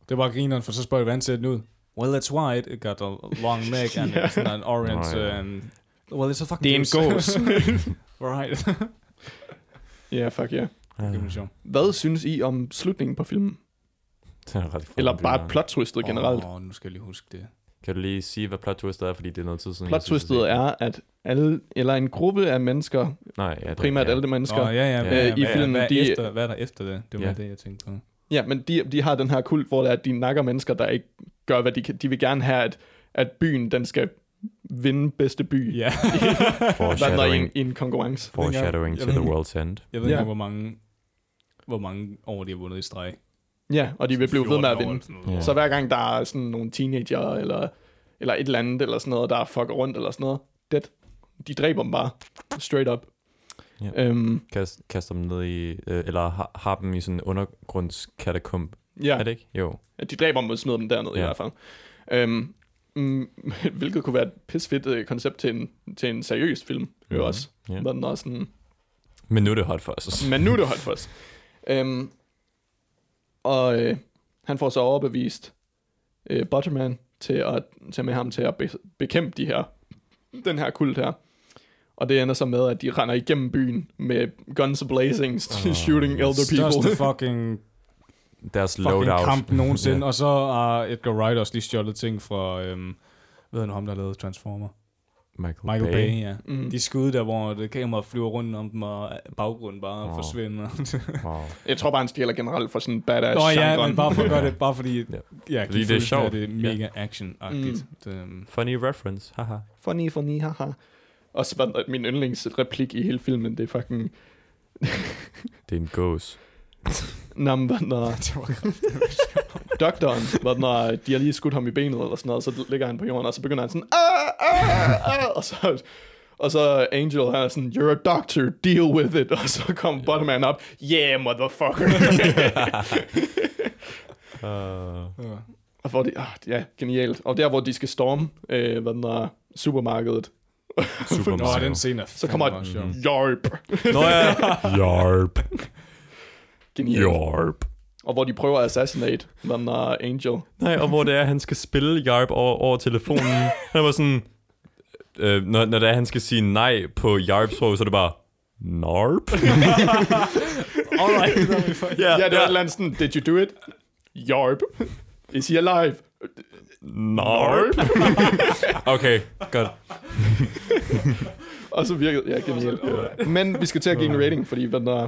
[SPEAKER 1] Det var grineren, for så spørger jeg, hvordan ser den ud? Well, it's white. It got a long neck and
[SPEAKER 2] Ja.
[SPEAKER 1] yeah. sådan en orange.
[SPEAKER 3] Nå, ja.
[SPEAKER 1] and, well, it's a fucking
[SPEAKER 2] det er en
[SPEAKER 1] goose.
[SPEAKER 2] gås.
[SPEAKER 1] right.
[SPEAKER 2] ja, fuck ja. Yeah.
[SPEAKER 3] Ja,
[SPEAKER 1] det er sjovt.
[SPEAKER 2] Hvad synes I om slutningen på filmen?
[SPEAKER 3] det er ret
[SPEAKER 2] Eller
[SPEAKER 3] fucking
[SPEAKER 2] bare
[SPEAKER 3] grineren.
[SPEAKER 2] plot-twistet generelt?
[SPEAKER 1] Åh, oh, nu skal jeg lige huske det.
[SPEAKER 3] Kan du lige sige, hvad plot twistet er, fordi det er noget tid siden. jeg synes, jeg
[SPEAKER 2] Plot-twistet
[SPEAKER 3] har set
[SPEAKER 2] er, at alle, eller en gruppe af mennesker,
[SPEAKER 3] det. Nej, ja, det,
[SPEAKER 2] primært
[SPEAKER 3] ja.
[SPEAKER 2] alle de
[SPEAKER 1] Nå,
[SPEAKER 2] mennesker,
[SPEAKER 1] ja, ja.
[SPEAKER 3] Øh,
[SPEAKER 1] Hvad,
[SPEAKER 2] i
[SPEAKER 1] ja, hvad,
[SPEAKER 2] filmen,
[SPEAKER 1] hvad,
[SPEAKER 2] de-
[SPEAKER 1] er efter, hvad er der efter det? Det var
[SPEAKER 3] Ja.
[SPEAKER 1] det, jeg tænkte på.
[SPEAKER 2] Ja, men de, de har den her kult, hvor det er, at de nakker mennesker, der ikke gør, hvad de kan. De vil gerne have, at, at byen den skal vinde bedste by.
[SPEAKER 1] Ja.
[SPEAKER 2] Hvad der i en,
[SPEAKER 3] Foreshadowing,
[SPEAKER 2] i en konkurrence.
[SPEAKER 3] foreshadowing
[SPEAKER 1] Jeg
[SPEAKER 3] to
[SPEAKER 1] ved
[SPEAKER 3] the
[SPEAKER 1] ikke-
[SPEAKER 3] world's end.
[SPEAKER 1] Jeg ved ikke,
[SPEAKER 2] Ja.
[SPEAKER 1] hvor mange hvor mange år de har vundet i streg.
[SPEAKER 2] Ja, og de vil blive ved med at
[SPEAKER 1] 14 år
[SPEAKER 2] vinde.
[SPEAKER 1] eller sådan noget.
[SPEAKER 3] Ja.
[SPEAKER 2] Så hver gang der er sådan nogle teenager, eller, eller et eller andet, eller sådan noget, der fucker rundt, eller sådan noget, dead. De dræber dem bare. Straight up.
[SPEAKER 3] Ja.
[SPEAKER 2] Øhm,
[SPEAKER 3] Kast, kaster dem ned i, øh, eller har, har dem i sådan en undergrundskatakomb.
[SPEAKER 2] ja,
[SPEAKER 3] Ja. Er det ikke? Jo.
[SPEAKER 2] at de dræber dem og smider dem derned ja. i
[SPEAKER 3] Ja.
[SPEAKER 2] hvert fald. Øhm, mm, hvilket kunne være et pisfedt øh, koncept til en, til en seriøs film, mm-hmm. jo også.
[SPEAKER 3] Ja.
[SPEAKER 2] Yeah. Den er sådan,
[SPEAKER 3] Men nu er det hot for os.
[SPEAKER 2] Men nu er det holdt fast. Øhm, og øh, han får så overbevist øh, Butterman til at tage med ham til at be- bekæmpe de her, den her kult her. Og det ender så med, at de render igennem byen med guns blazing, oh, shooting elder
[SPEAKER 1] Største
[SPEAKER 2] people.
[SPEAKER 1] fucking
[SPEAKER 3] Deres
[SPEAKER 1] fucking
[SPEAKER 3] loadout.
[SPEAKER 1] kamp nogensinde.
[SPEAKER 3] Ja.
[SPEAKER 1] Og så har Edgar Wright også lige stjålet ting fra, øhm, hvad er nu ham, der lavede Transformer?
[SPEAKER 3] Michael,
[SPEAKER 1] Michael Bay, Bay ja.
[SPEAKER 2] Mm.
[SPEAKER 1] De skud der, hvor det kamera flyver rundt om dem, og baggrunden bare
[SPEAKER 3] Åh.
[SPEAKER 1] oh. forsvinder.
[SPEAKER 3] Wow.
[SPEAKER 2] Jeg tror bare, han stjæler generelt for sådan badass
[SPEAKER 1] Nå ja,
[SPEAKER 2] genren.
[SPEAKER 1] men bare for at gøre det, bare fordi, ja,
[SPEAKER 3] Ja.
[SPEAKER 1] ja
[SPEAKER 3] Fordi det er
[SPEAKER 1] fordi det er sjovt.
[SPEAKER 3] sjovt.
[SPEAKER 1] Det er mega action-agtigt. Mm. Det, øhm,
[SPEAKER 3] Funny reference, haha.
[SPEAKER 2] Funny, funny, haha. Og så var der- min yndlingsreplik i hele filmen, det er fucking...
[SPEAKER 3] Det er en gås.
[SPEAKER 2] Nam, hvad der...
[SPEAKER 1] det var
[SPEAKER 2] doktoren, hvor når de har lige skudt ham i benet eller sådan noget, så ligger han på jorden, og så begynder han sådan, ah, ah, ah, og så, og så Angel, han er sådan, you're a doctor, deal with it, og så kom yeah. Butterman op, yeah, motherfucker.
[SPEAKER 3] Uh,
[SPEAKER 1] ja.
[SPEAKER 2] og hvor de, ah, ja, genialt. Og der, hvor de skal storme, øh, hvad den er, supermarkedet,
[SPEAKER 3] Super
[SPEAKER 1] Nå,
[SPEAKER 3] Mario.
[SPEAKER 1] den scene er
[SPEAKER 2] så kommer
[SPEAKER 1] fandme også sjov.
[SPEAKER 2] et, jarp,
[SPEAKER 3] Nå ja. Yarp.
[SPEAKER 2] genialt.
[SPEAKER 3] Yarp.
[SPEAKER 2] Og hvor de prøver at assassinate, hvad den er, Angel.
[SPEAKER 3] Nej, og hvor det er, at han skal spille Jarp over, over telefonen. Han var sådan... Øh, når, når det er, han skal sige nej på Jarps sprog, så er det bare... Narp?
[SPEAKER 1] Alright, that was fun.
[SPEAKER 2] Ja, det var et eller andet sådan, did you do it? Jarp. Is he alive?
[SPEAKER 3] Narp? okay, godt.
[SPEAKER 2] Og så virkede jeg ja, genialt. Men vi skal til at give en rating, fordi hvad der,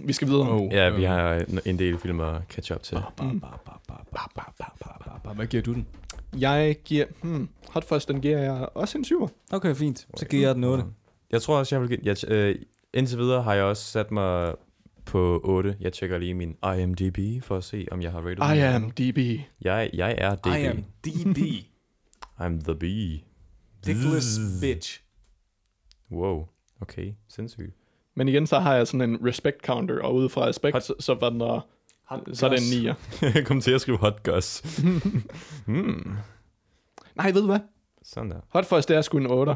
[SPEAKER 2] vi skal videre. Oh.
[SPEAKER 3] Ja, vi har en del film at catch up til.
[SPEAKER 2] Mm.
[SPEAKER 1] Hvad giver du den?
[SPEAKER 2] Jeg giver... Hmm, Hot Fuzz, den giver jeg også en syver.
[SPEAKER 1] Okay, fint. Så giver jeg den 8.
[SPEAKER 3] Jeg tror også, jeg vil... give- Jeg, t- øh, indtil videre har jeg også sat mig på 8. Jeg tjekker lige min IMDb for at se, om jeg har rated
[SPEAKER 2] I
[SPEAKER 3] den.
[SPEAKER 2] am DB.
[SPEAKER 3] Jeg, jeg er DB.
[SPEAKER 1] I am DB.
[SPEAKER 3] I'm the bee.
[SPEAKER 1] Dickless bitch.
[SPEAKER 3] Wow. Okay, sindssygt.
[SPEAKER 2] Men igen, så har jeg sådan en respect counter, og ude fra respekt,
[SPEAKER 3] Hot-
[SPEAKER 2] så, så var den der,
[SPEAKER 1] Ah,
[SPEAKER 2] så er det en 9'er.
[SPEAKER 3] Jeg kom til at skrive hot gus. mm.
[SPEAKER 2] Nej, ved du hvad?
[SPEAKER 3] Sådan der.
[SPEAKER 2] Hot Fuzz, det er sgu en 8'er.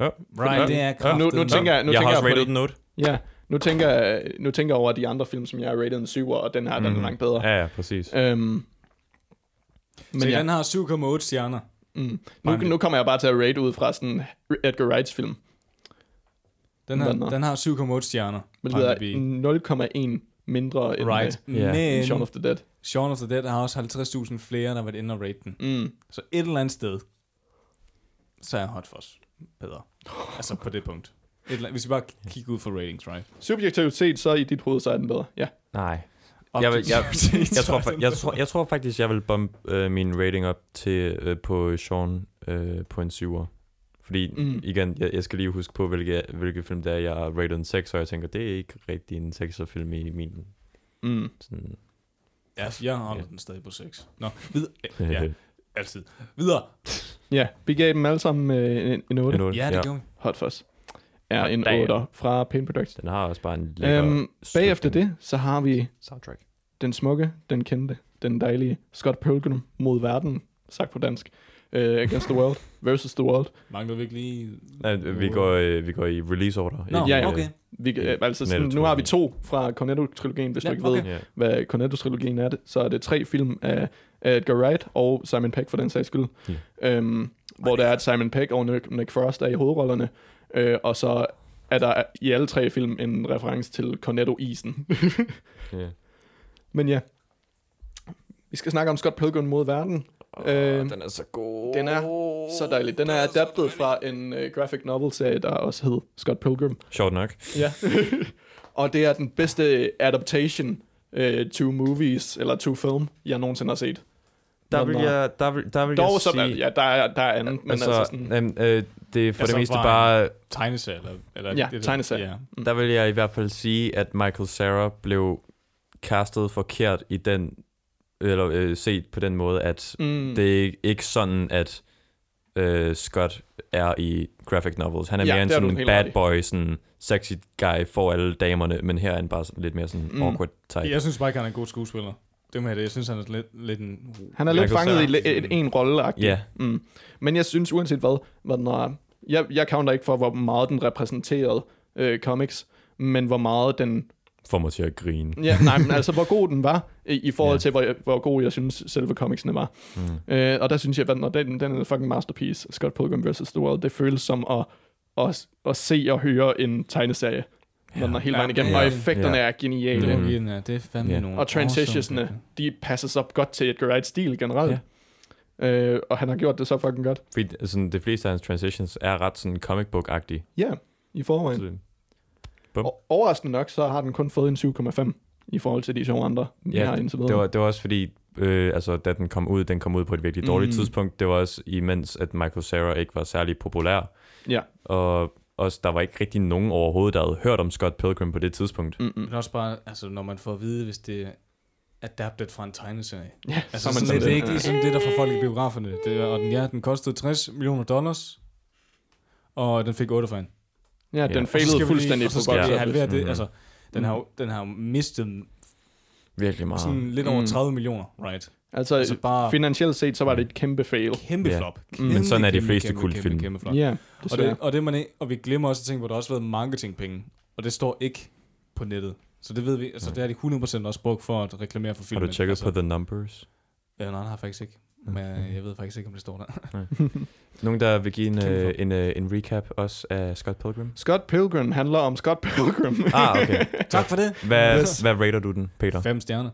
[SPEAKER 3] Ja.
[SPEAKER 1] Right, det er kraften.
[SPEAKER 2] Nu, nu tænker jeg, nu
[SPEAKER 3] jeg
[SPEAKER 2] tænker
[SPEAKER 3] har
[SPEAKER 2] jeg
[SPEAKER 3] også
[SPEAKER 2] på
[SPEAKER 3] rated
[SPEAKER 2] det.
[SPEAKER 3] den 8.
[SPEAKER 2] Ja, nu tænker, jeg- nu tænker jeg over de andre film, som jeg har rated en 7'er, og den her, mm. den er langt bedre.
[SPEAKER 3] Mhm. Ja, ja, præcis.
[SPEAKER 2] Øhm,
[SPEAKER 1] Men
[SPEAKER 2] men
[SPEAKER 1] Se,
[SPEAKER 2] ja,
[SPEAKER 1] den har 7,8 stjerner.
[SPEAKER 2] mm. nu, nu kommer jeg bare til at rate ud fra sådan Edgar Wrights film.
[SPEAKER 1] Den har,
[SPEAKER 2] Hvad er den?
[SPEAKER 1] den har 7,8 stjerner.
[SPEAKER 2] Hvilket
[SPEAKER 1] IMDb.
[SPEAKER 2] er 0,1 mindre end right.
[SPEAKER 1] Right.
[SPEAKER 2] uh,
[SPEAKER 3] Ja.
[SPEAKER 1] Men
[SPEAKER 2] Shaun of the Dead.
[SPEAKER 1] Shaun of the Dead har også 50.000 flere, der har været inde og rate den.
[SPEAKER 2] Mm.
[SPEAKER 1] Så et eller andet sted, så er Hot Fuzz bedre. Altså på det punkt. Et eller andet, hvis vi bare kigger ud for ratings, right?
[SPEAKER 2] Subjektivt set, så i dit hoved, så er den bedre. Ja.
[SPEAKER 3] Nej. Jeg, vil, jeg,
[SPEAKER 1] Objektivt set,
[SPEAKER 3] jeg, tror,
[SPEAKER 1] så er
[SPEAKER 3] fa-
[SPEAKER 1] den
[SPEAKER 3] jeg,
[SPEAKER 1] bedre.
[SPEAKER 3] tror, jeg tror faktisk, jeg vil bump øh, min rating op til øh, på Sean øh, på en 7'er. Fordi,
[SPEAKER 2] Mm.
[SPEAKER 3] mm. igen, jeg, jeg skal lige huske på, hvilke, hvilke film det er, jeg har rated en 6, og jeg tænker, det er ikke rigtig en 6'er film i min...
[SPEAKER 2] Mm.
[SPEAKER 3] Sådan,
[SPEAKER 1] Ja, jeg holder
[SPEAKER 3] Ja.
[SPEAKER 1] den stadig på 6. Nå, vid
[SPEAKER 3] øh,
[SPEAKER 1] ja, altid. Videre.
[SPEAKER 2] Ja, vi gav dem alle sammen øh, en, en 8.
[SPEAKER 3] en otte,
[SPEAKER 1] Ja, det gjorde vi.
[SPEAKER 2] Hot Fuzz er en
[SPEAKER 3] Damn.
[SPEAKER 2] 8 fra Pain Products.
[SPEAKER 3] Den har også bare en lækker
[SPEAKER 2] Øhm, bagefter
[SPEAKER 3] slutning.
[SPEAKER 2] det, så har vi
[SPEAKER 3] soundtrack.
[SPEAKER 2] den smukke, den kendte, den dejlige Scott Pilgrim mod verden, sagt på dansk. Uh, against the World versus the World.
[SPEAKER 1] Mangler vi ikke lige...
[SPEAKER 3] Nej, vi går, øh, vi går i release order.
[SPEAKER 1] Nå,
[SPEAKER 2] ja,
[SPEAKER 1] ja,
[SPEAKER 2] ja.
[SPEAKER 1] okay.
[SPEAKER 2] Vi, øh, altså, sådan, nu
[SPEAKER 3] Cornetto-trilogien.
[SPEAKER 2] har vi to fra Cornetto-trilogien, hvis
[SPEAKER 1] Ja,
[SPEAKER 2] ja, du ikke okay.
[SPEAKER 1] okay.
[SPEAKER 2] ved,
[SPEAKER 3] Ja.
[SPEAKER 2] hvad Cornetto-trilogien er. det, Så er det tre film af, af Edgar Wright og Simon Peck, for den sags skyld. Yeah. Øhm, hvor der er, at Simon Peck og Nick, Nick Frost er i hovedrollerne. Øh, og så er der i alle tre film en reference til Cornetto-isen.
[SPEAKER 3] Ja.
[SPEAKER 2] Men ja, vi skal snakke om Scott Pilgrim mod verden. Øhm,
[SPEAKER 3] den er så god.
[SPEAKER 2] Den er så dejlig. Den er adaptet fra en øh, graphic novel-serie, der også hed Scott Pilgrim.
[SPEAKER 3] Sjovt nok.
[SPEAKER 2] Ja. og det er den bedste adaptation øh, to movies, eller to film, jeg nogensinde har set.
[SPEAKER 3] Der
[SPEAKER 2] Nå,
[SPEAKER 3] vil
[SPEAKER 2] nå.
[SPEAKER 3] jeg, der vil, der vil
[SPEAKER 2] Dog,
[SPEAKER 3] jeg
[SPEAKER 2] som er,
[SPEAKER 3] sige...
[SPEAKER 2] ja, der er, der er andet, men altså, altså sådan,
[SPEAKER 3] øhm, øh, det er for
[SPEAKER 1] Altså,
[SPEAKER 3] det meste
[SPEAKER 1] fra-
[SPEAKER 3] bare...
[SPEAKER 1] Tegneserie, eller... eller
[SPEAKER 2] Ja,
[SPEAKER 1] det, der-
[SPEAKER 2] tegneserie.
[SPEAKER 1] Ja.
[SPEAKER 3] Der vil jeg i hvert fald sige, at Michael Sarah blev castet forkert i den... Eller øh, set på den måde, at
[SPEAKER 2] mm, det,
[SPEAKER 3] det er ikke- ikke sådan, at øh, Scott er i graphic novels. Han er
[SPEAKER 2] Ja,
[SPEAKER 3] mere en
[SPEAKER 2] det har du
[SPEAKER 3] sådan
[SPEAKER 2] helt ret i.
[SPEAKER 3] bad boy, sådan sexy guy for alle damerne, men her er han bare sådan lidt mere sådan
[SPEAKER 2] Mm.
[SPEAKER 3] mm. awkward type.
[SPEAKER 1] Jeg synes bare ikke, han er en god skuespiller. Det må jeg det. Jeg synes, han er lidt, lidt en...
[SPEAKER 2] han er
[SPEAKER 3] Man
[SPEAKER 2] lidt
[SPEAKER 3] kan
[SPEAKER 2] fanget i
[SPEAKER 3] sige-
[SPEAKER 2] le- et, en rolle
[SPEAKER 3] Ja.
[SPEAKER 2] mm. Men jeg synes uanset hvad, hvad den er, jeg, jeg counter ikke for, hvor meget den repræsenterede øh, comics, men hvor meget den
[SPEAKER 3] får mig til at grine.
[SPEAKER 2] Ja, nej, men altså, hvor god den var, i, i forhold
[SPEAKER 3] Ja.
[SPEAKER 2] til, hvor, hvor god jeg synes, selve comicsene var. Mm. Øh, og der synes jeg, at den, den, den er en fucking masterpiece, Scott Pilgrim vs. The World. Det føles som at, at, at se og høre en tegneserie, ja. når den er hele
[SPEAKER 1] Ja,
[SPEAKER 2] vejen igennem.
[SPEAKER 1] ja, Mm-hmm.
[SPEAKER 2] og effekterne
[SPEAKER 3] ja.
[SPEAKER 2] er
[SPEAKER 1] Det
[SPEAKER 2] geniale.
[SPEAKER 1] må
[SPEAKER 3] Mhm.
[SPEAKER 1] vi give den her. Det er fandme
[SPEAKER 3] Ja.
[SPEAKER 1] nogle
[SPEAKER 2] Og transitionene,
[SPEAKER 1] awesome-
[SPEAKER 2] de passer så godt til Edgar Wrights stil generelt. Ja. Øh, og han har gjort det så fucking godt.
[SPEAKER 3] Fordi øh, sådan, de fleste af hans transitions er ret sådan comic book-agtige.
[SPEAKER 2] Ja, i forvejen.
[SPEAKER 3] Så-
[SPEAKER 2] Og overraskende nok, så har den kun fået en 7,5 i forhold til de to andre, vi
[SPEAKER 3] Ja,
[SPEAKER 2] har indtil
[SPEAKER 3] Det
[SPEAKER 2] videre.
[SPEAKER 3] var, det var også fordi, øh, altså, da den kom ud, den kom ud på et virkelig dårligt
[SPEAKER 2] Mm.
[SPEAKER 3] mm. tidspunkt. Det var også imens, at Michael Cera ikke var særlig populær.
[SPEAKER 2] Ja.
[SPEAKER 3] Og også, der var ikke rigtig nogen overhovedet, der havde hørt om Scott Pilgrim på det tidspunkt.
[SPEAKER 2] Mm-mm.
[SPEAKER 1] Men også bare, altså, når man får at vide, hvis det er adapted fra en tegneserie.
[SPEAKER 2] Ja, så
[SPEAKER 1] Altså,
[SPEAKER 2] er
[SPEAKER 1] sådan
[SPEAKER 2] man
[SPEAKER 1] lidt,
[SPEAKER 2] sådan
[SPEAKER 1] det er ikke
[SPEAKER 2] lidt,
[SPEAKER 1] ligesom det, der får folk i biograferne. Det, er- og den, ja, den kostede 60 millioner dollars, og den fik 8 for en.
[SPEAKER 2] ja, ja, den
[SPEAKER 3] Ja.
[SPEAKER 1] Og så skal vi
[SPEAKER 2] failede
[SPEAKER 1] lige-
[SPEAKER 2] fuldstændig
[SPEAKER 1] og
[SPEAKER 2] på
[SPEAKER 1] så skal
[SPEAKER 2] box
[SPEAKER 1] vi
[SPEAKER 2] office.
[SPEAKER 1] halvere det.
[SPEAKER 3] Mhm.
[SPEAKER 1] Altså, den har, jo- den har jo mistet
[SPEAKER 3] Virkelig meget.
[SPEAKER 1] sådan lidt over
[SPEAKER 2] Mm.
[SPEAKER 1] 30 millioner, right? Altså
[SPEAKER 2] Altså, altså
[SPEAKER 1] bare-
[SPEAKER 2] bare... finansielt set, så var det et kæmpe fail.
[SPEAKER 1] Kæmpe
[SPEAKER 3] Ja. Mm.
[SPEAKER 1] flop. Kæmpe,
[SPEAKER 3] Men sådan er de
[SPEAKER 1] kæmpe,
[SPEAKER 3] fleste
[SPEAKER 1] kæmpe,
[SPEAKER 3] kultfilm.
[SPEAKER 1] Kæmpe, kæmpe flop.
[SPEAKER 2] Ja,
[SPEAKER 1] Og, det, og, det man ikke, og vi glemmer også at tænke på, at der også har været marketingpenge, og det står ikke på nettet. Så det ved vi, altså det har de 100% også brugt for at reklamere for
[SPEAKER 3] har
[SPEAKER 1] filmen.
[SPEAKER 3] du tjekket
[SPEAKER 1] altså,
[SPEAKER 3] på The Numbers?
[SPEAKER 1] Ja, nej, det har jeg faktisk ikke. Men øh, jeg ved faktisk ikke, om det står der.
[SPEAKER 3] Nogen, der vil give en,
[SPEAKER 1] Kæmpe
[SPEAKER 3] øh,
[SPEAKER 1] flop.
[SPEAKER 3] en, øh, en recap også af Scott Pilgrim?
[SPEAKER 2] Scott Pilgrim handler om Scott Pilgrim.
[SPEAKER 3] Ah, okay.
[SPEAKER 1] tak for det.
[SPEAKER 3] Hvad, hvad rater du den, Peter?
[SPEAKER 1] Fem stjerner.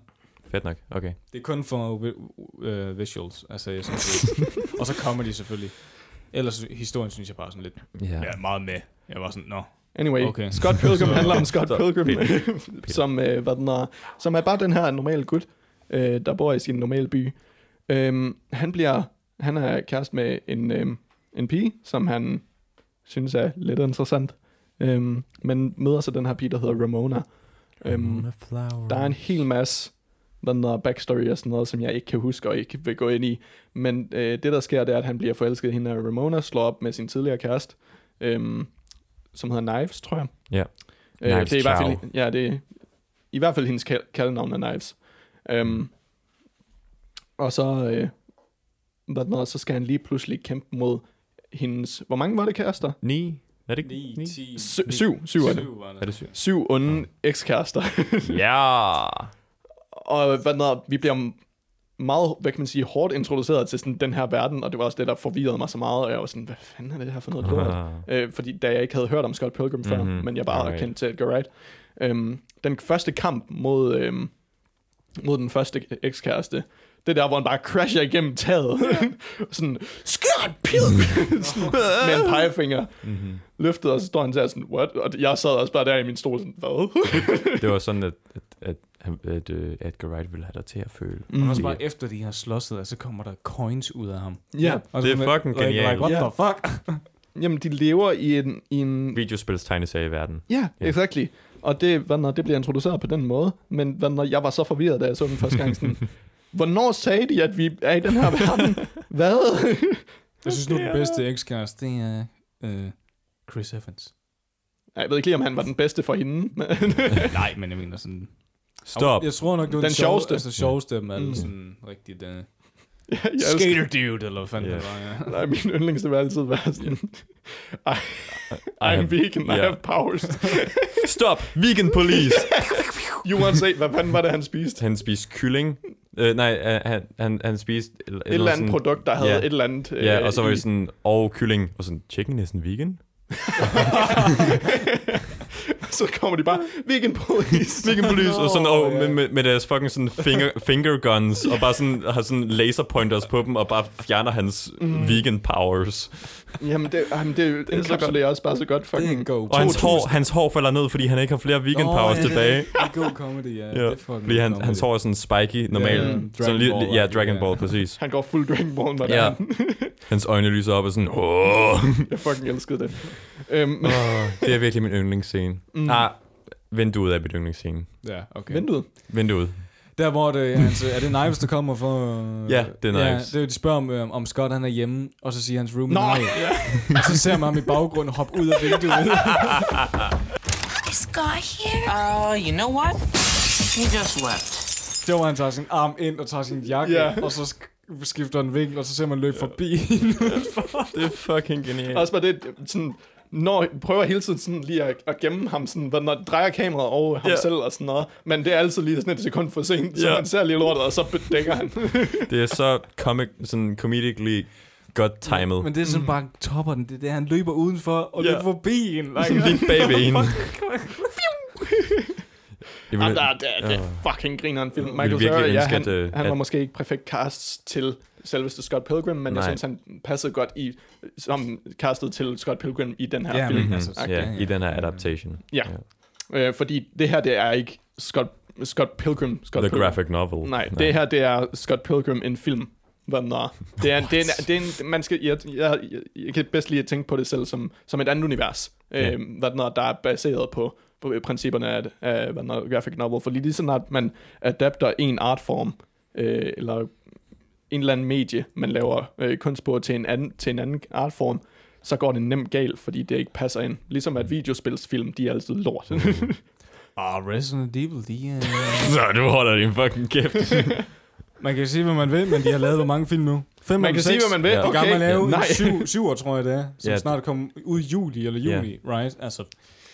[SPEAKER 3] Fedt nok. Okay.
[SPEAKER 1] Det er kun for uh, visuals, altså jeg synes, det- Og så kommer de selvfølgelig. Ellers historien synes jeg bare sådan lidt,
[SPEAKER 3] Ja.
[SPEAKER 1] ja, meget med. Jeg var sådan, nå.
[SPEAKER 2] Anyway,
[SPEAKER 1] Okay.
[SPEAKER 2] okay. Scott Pilgrim
[SPEAKER 1] Så-
[SPEAKER 2] handler om Scott
[SPEAKER 3] så-
[SPEAKER 2] Pilgrim,
[SPEAKER 3] Peter.
[SPEAKER 2] som, øh, hvad den er, som er bare den her normale gut, øh, der bor i sin normale by. Øhm, han bliver, han er kæreste med en, øhm, en pige, som han synes er lidt interessant. Øhm, men møder så den her pige, der hedder Ramona. Øhm, Der er en hel masse hvad den hedder, backstory og sådan noget, som jeg ikke kan huske og ikke vil gå ind i. Men øh, det, der sker, det er, at han bliver forelsket i hende, og Ramona slår op med sin tidligere kæreste, øhm, som hedder Knives, tror jeg.
[SPEAKER 3] Ja.
[SPEAKER 2] Øh,
[SPEAKER 3] Knives
[SPEAKER 2] det er i hvert
[SPEAKER 3] Chow.
[SPEAKER 2] fald, ja, det er, i hvert fald hendes kal- kaldenavn er Knives. Øhm, og så, øh, hvad den hedder, så skal han lige pludselig kæmpe mod hendes... Hvor mange var det kærester?
[SPEAKER 3] 9? Er det ikke
[SPEAKER 1] 9, 10,
[SPEAKER 2] Sy- syv, syv er det.
[SPEAKER 1] var
[SPEAKER 3] Er det syv?
[SPEAKER 2] Syv onde ekskærester.
[SPEAKER 3] Ja!
[SPEAKER 2] Og hvad når, vi bliver meget, hvad kan man sige, hårdt introduceret til sådan den her verden, og det var også det, der forvirrede mig så meget, og jeg var sådan, hvad fanden er det her for noget lort? øh, fordi da jeg ikke havde hørt om Scott Pilgrim før,
[SPEAKER 3] Mhm.
[SPEAKER 2] mm-hmm. men jeg bare
[SPEAKER 3] Alright.
[SPEAKER 2] right. kendte til Edgar Wright. Øhm, den første kamp mod, øhm, mod den første ekskæreste, det er der, hvor han bare crasher igennem taget. sådan, Scott Pilgrim! sådan, med en pegefinger.
[SPEAKER 3] Mm-hmm.
[SPEAKER 2] Løftet, og så står han der sådan, what? Og jeg sad også bare der i min stol, sådan, hvad?
[SPEAKER 3] Det var sådan, at, at, at, han- at øh, Edgar Wright ville have dig til at føle.
[SPEAKER 2] Mm.
[SPEAKER 1] Men også bare efter de har slåsset, og så kommer der coins ud af ham.
[SPEAKER 2] ja,
[SPEAKER 1] Og
[SPEAKER 3] Det er
[SPEAKER 1] så
[SPEAKER 3] fucking
[SPEAKER 1] like,
[SPEAKER 3] genialt.
[SPEAKER 1] Like, what the fuck?
[SPEAKER 2] jamen de lever i en, i en
[SPEAKER 3] Videospils tegneserie i verden.
[SPEAKER 2] Ja,
[SPEAKER 3] Ja.
[SPEAKER 2] yeah, exactly. Og det, hvad når det bliver introduceret på den måde, men hvad når jeg var så forvirret, da jeg så den første gang, sådan, hvornår sagde de, at vi er i den her verden? hvad?
[SPEAKER 1] Jeg synes nu, den bedste ekskæreste, det er øh, Chris Evans.
[SPEAKER 2] Ej, Jeg ved ikke lige, om han var den bedste for hende. men-
[SPEAKER 1] Nej, men jeg mener sådan...
[SPEAKER 3] Stop!
[SPEAKER 1] Jeg tror nok, det var
[SPEAKER 2] Den
[SPEAKER 1] den,
[SPEAKER 2] sjoveste.
[SPEAKER 1] sjoveste. Altså sjoveste, men
[SPEAKER 2] Mm.
[SPEAKER 1] mm. sådan rigtig... Uh,
[SPEAKER 2] jeg elsker-
[SPEAKER 1] skater dude, eller hvad fanden
[SPEAKER 3] Ja.
[SPEAKER 1] yeah. det var, ja.
[SPEAKER 2] Nej, min yndlings, det vil altid være sådan,
[SPEAKER 3] I
[SPEAKER 2] I'm
[SPEAKER 3] have-
[SPEAKER 2] vegan, I
[SPEAKER 3] Ja.
[SPEAKER 2] have powers.
[SPEAKER 3] Stop! Vegan police!
[SPEAKER 2] You want to say, hvad fanden var det, han spiste?
[SPEAKER 3] han spiste kylling. Øh, nej, øh, han, han, han spiste... Et,
[SPEAKER 2] Et eller andet produkt, der havde
[SPEAKER 3] ja.
[SPEAKER 2] et eller andet... øh,
[SPEAKER 3] Ja, og så var
[SPEAKER 2] i.
[SPEAKER 3] det sådan, og kylling. Og sådan, chicken isn't vegan?
[SPEAKER 2] så kommer de bare, vegan police.
[SPEAKER 3] Vegan police, og sådan, og
[SPEAKER 1] ja.
[SPEAKER 3] med, med, med deres fucking sådan finger, finger guns, og bare sådan, har sådan laser pointers på dem, og bare fjerner hans
[SPEAKER 1] Mhm.
[SPEAKER 3] mm. vegan powers.
[SPEAKER 2] jamen, det, jamen, det, det enkapsulerer også bare så godt
[SPEAKER 1] Det er
[SPEAKER 2] fucking
[SPEAKER 1] en god
[SPEAKER 3] Og hans
[SPEAKER 1] 2000.
[SPEAKER 3] hår, hans hår falder ned, fordi han ikke har flere vegan
[SPEAKER 1] Nå,
[SPEAKER 3] powers
[SPEAKER 1] ja, det er
[SPEAKER 3] tilbage.
[SPEAKER 1] Det er god comedy, ja.
[SPEAKER 3] Ja,
[SPEAKER 1] Det er fucking
[SPEAKER 3] Fordi
[SPEAKER 1] god
[SPEAKER 3] han,
[SPEAKER 1] comedy.
[SPEAKER 3] hans hår er sådan spiky, normalt.
[SPEAKER 1] Ja, ja.
[SPEAKER 3] sådan
[SPEAKER 1] Dragon
[SPEAKER 3] lige,
[SPEAKER 1] Ball,
[SPEAKER 3] ja,
[SPEAKER 1] agtigt,
[SPEAKER 3] Dragon
[SPEAKER 1] ja.
[SPEAKER 3] Ball, præcis.
[SPEAKER 2] Han går fuld Dragon Ball, når det
[SPEAKER 3] Ja.
[SPEAKER 2] er
[SPEAKER 3] Hans øjne lyser op og sådan, åh,
[SPEAKER 2] Jeg fucking elskede det. Øhm, men,
[SPEAKER 3] Åh, det er virkelig min yndlingsscene. Mm. Ah, vinduet er min yndlingsscene.
[SPEAKER 1] Ja, okay.
[SPEAKER 2] Vinduet.
[SPEAKER 3] Vinduet.
[SPEAKER 1] Der hvor det, altså, er det Knives, der kommer for...
[SPEAKER 3] Ja, det er Knives.
[SPEAKER 1] det er jo, de spørger om, øh, om Scott han er hjemme, og så siger hans roomie
[SPEAKER 2] Nå!
[SPEAKER 1] nej. Og så ser man ham i baggrunden hoppe ud af vinduet.
[SPEAKER 4] Is Scott here?
[SPEAKER 5] Uh, you know what? He just left.
[SPEAKER 1] Det var, han tager sin arm ind og tager sin jakke,
[SPEAKER 2] Ja.
[SPEAKER 1] yeah. og så sk- skifter han vinkel, og så ser man løbe forbi hende.
[SPEAKER 3] Det er fucking genialt.
[SPEAKER 2] Også bare det, sådan, når prøver hele tiden sådan lige at, at gemme ham, sådan, når når drejer kameraet over ham
[SPEAKER 3] Ja.
[SPEAKER 2] selv og sådan noget. Men det er altid lige sådan et sekund for sent, så
[SPEAKER 3] Ja.
[SPEAKER 2] man ser lige lortet, og så bedækker han.
[SPEAKER 3] Det er så comic, sådan comedically godt timet.
[SPEAKER 1] Men det er sådan bare topper den. Det er det, han løber udenfor og
[SPEAKER 3] Ja.
[SPEAKER 1] yeah. løber forbi hende.
[SPEAKER 3] Sådan
[SPEAKER 1] Like,
[SPEAKER 3] lige bag ved hende. Jeg
[SPEAKER 1] Ah,
[SPEAKER 2] Jamen,
[SPEAKER 3] vil,
[SPEAKER 2] Ah, der, er- der, der, der fucking griner en film. Michael
[SPEAKER 3] virkelig
[SPEAKER 2] Cera, ja,
[SPEAKER 3] ønske,
[SPEAKER 2] han,
[SPEAKER 3] at, øh,
[SPEAKER 2] han var
[SPEAKER 3] at-
[SPEAKER 2] måske ikke perfekt cast til selveste Scott Pilgrim, men
[SPEAKER 3] Nej.
[SPEAKER 2] jeg synes, han passede godt i, som castet til Scott Pilgrim i den her
[SPEAKER 1] Ja,
[SPEAKER 2] film.
[SPEAKER 1] men-
[SPEAKER 3] Mhm,
[SPEAKER 1] altså,
[SPEAKER 3] ja,
[SPEAKER 1] ja, ja.
[SPEAKER 3] i den her adaptation.
[SPEAKER 2] Ja. Øh, fordi det her, det er ikke Scott, Scott Pilgrim. Scott
[SPEAKER 3] The
[SPEAKER 2] Pilgrim.
[SPEAKER 3] graphic novel.
[SPEAKER 2] Nej, det her, det er Scott Pilgrim, en film. Hvad den er. Det er, en, det er, en, det er en, man skal, jeg, jeg, jeg, jeg kan bedst lide at tænke på det selv som, som et andet univers,
[SPEAKER 3] Ja.
[SPEAKER 2] yeah. øh, hvad den er, der er baseret på, på principperne af, af hvad den er, graphic novel. Fordi lige sådan, at man adapter en artform, øh, eller en eller anden medie, man laver øh, kunst på til en, anden, til en anden artform, så går det nemt galt, fordi det ikke passer ind. Ligesom at videospilsfilm, de er altid lort.
[SPEAKER 1] Ah, Resident Evil, de øh. er...
[SPEAKER 3] Så du holder din fucking kæft.
[SPEAKER 1] Man kan sige, hvad man vil, men de har lavet hvor mange film nu? Fem
[SPEAKER 2] man kan sige, hvad man vil.
[SPEAKER 3] Ja.
[SPEAKER 1] Okay. Gammel
[SPEAKER 2] Okay.
[SPEAKER 1] lave
[SPEAKER 2] Nej.
[SPEAKER 1] Nej. Syv, syver, tror jeg det er, som
[SPEAKER 3] Ja.
[SPEAKER 1] ja. snart kommer ud i juli eller juni, right? Altså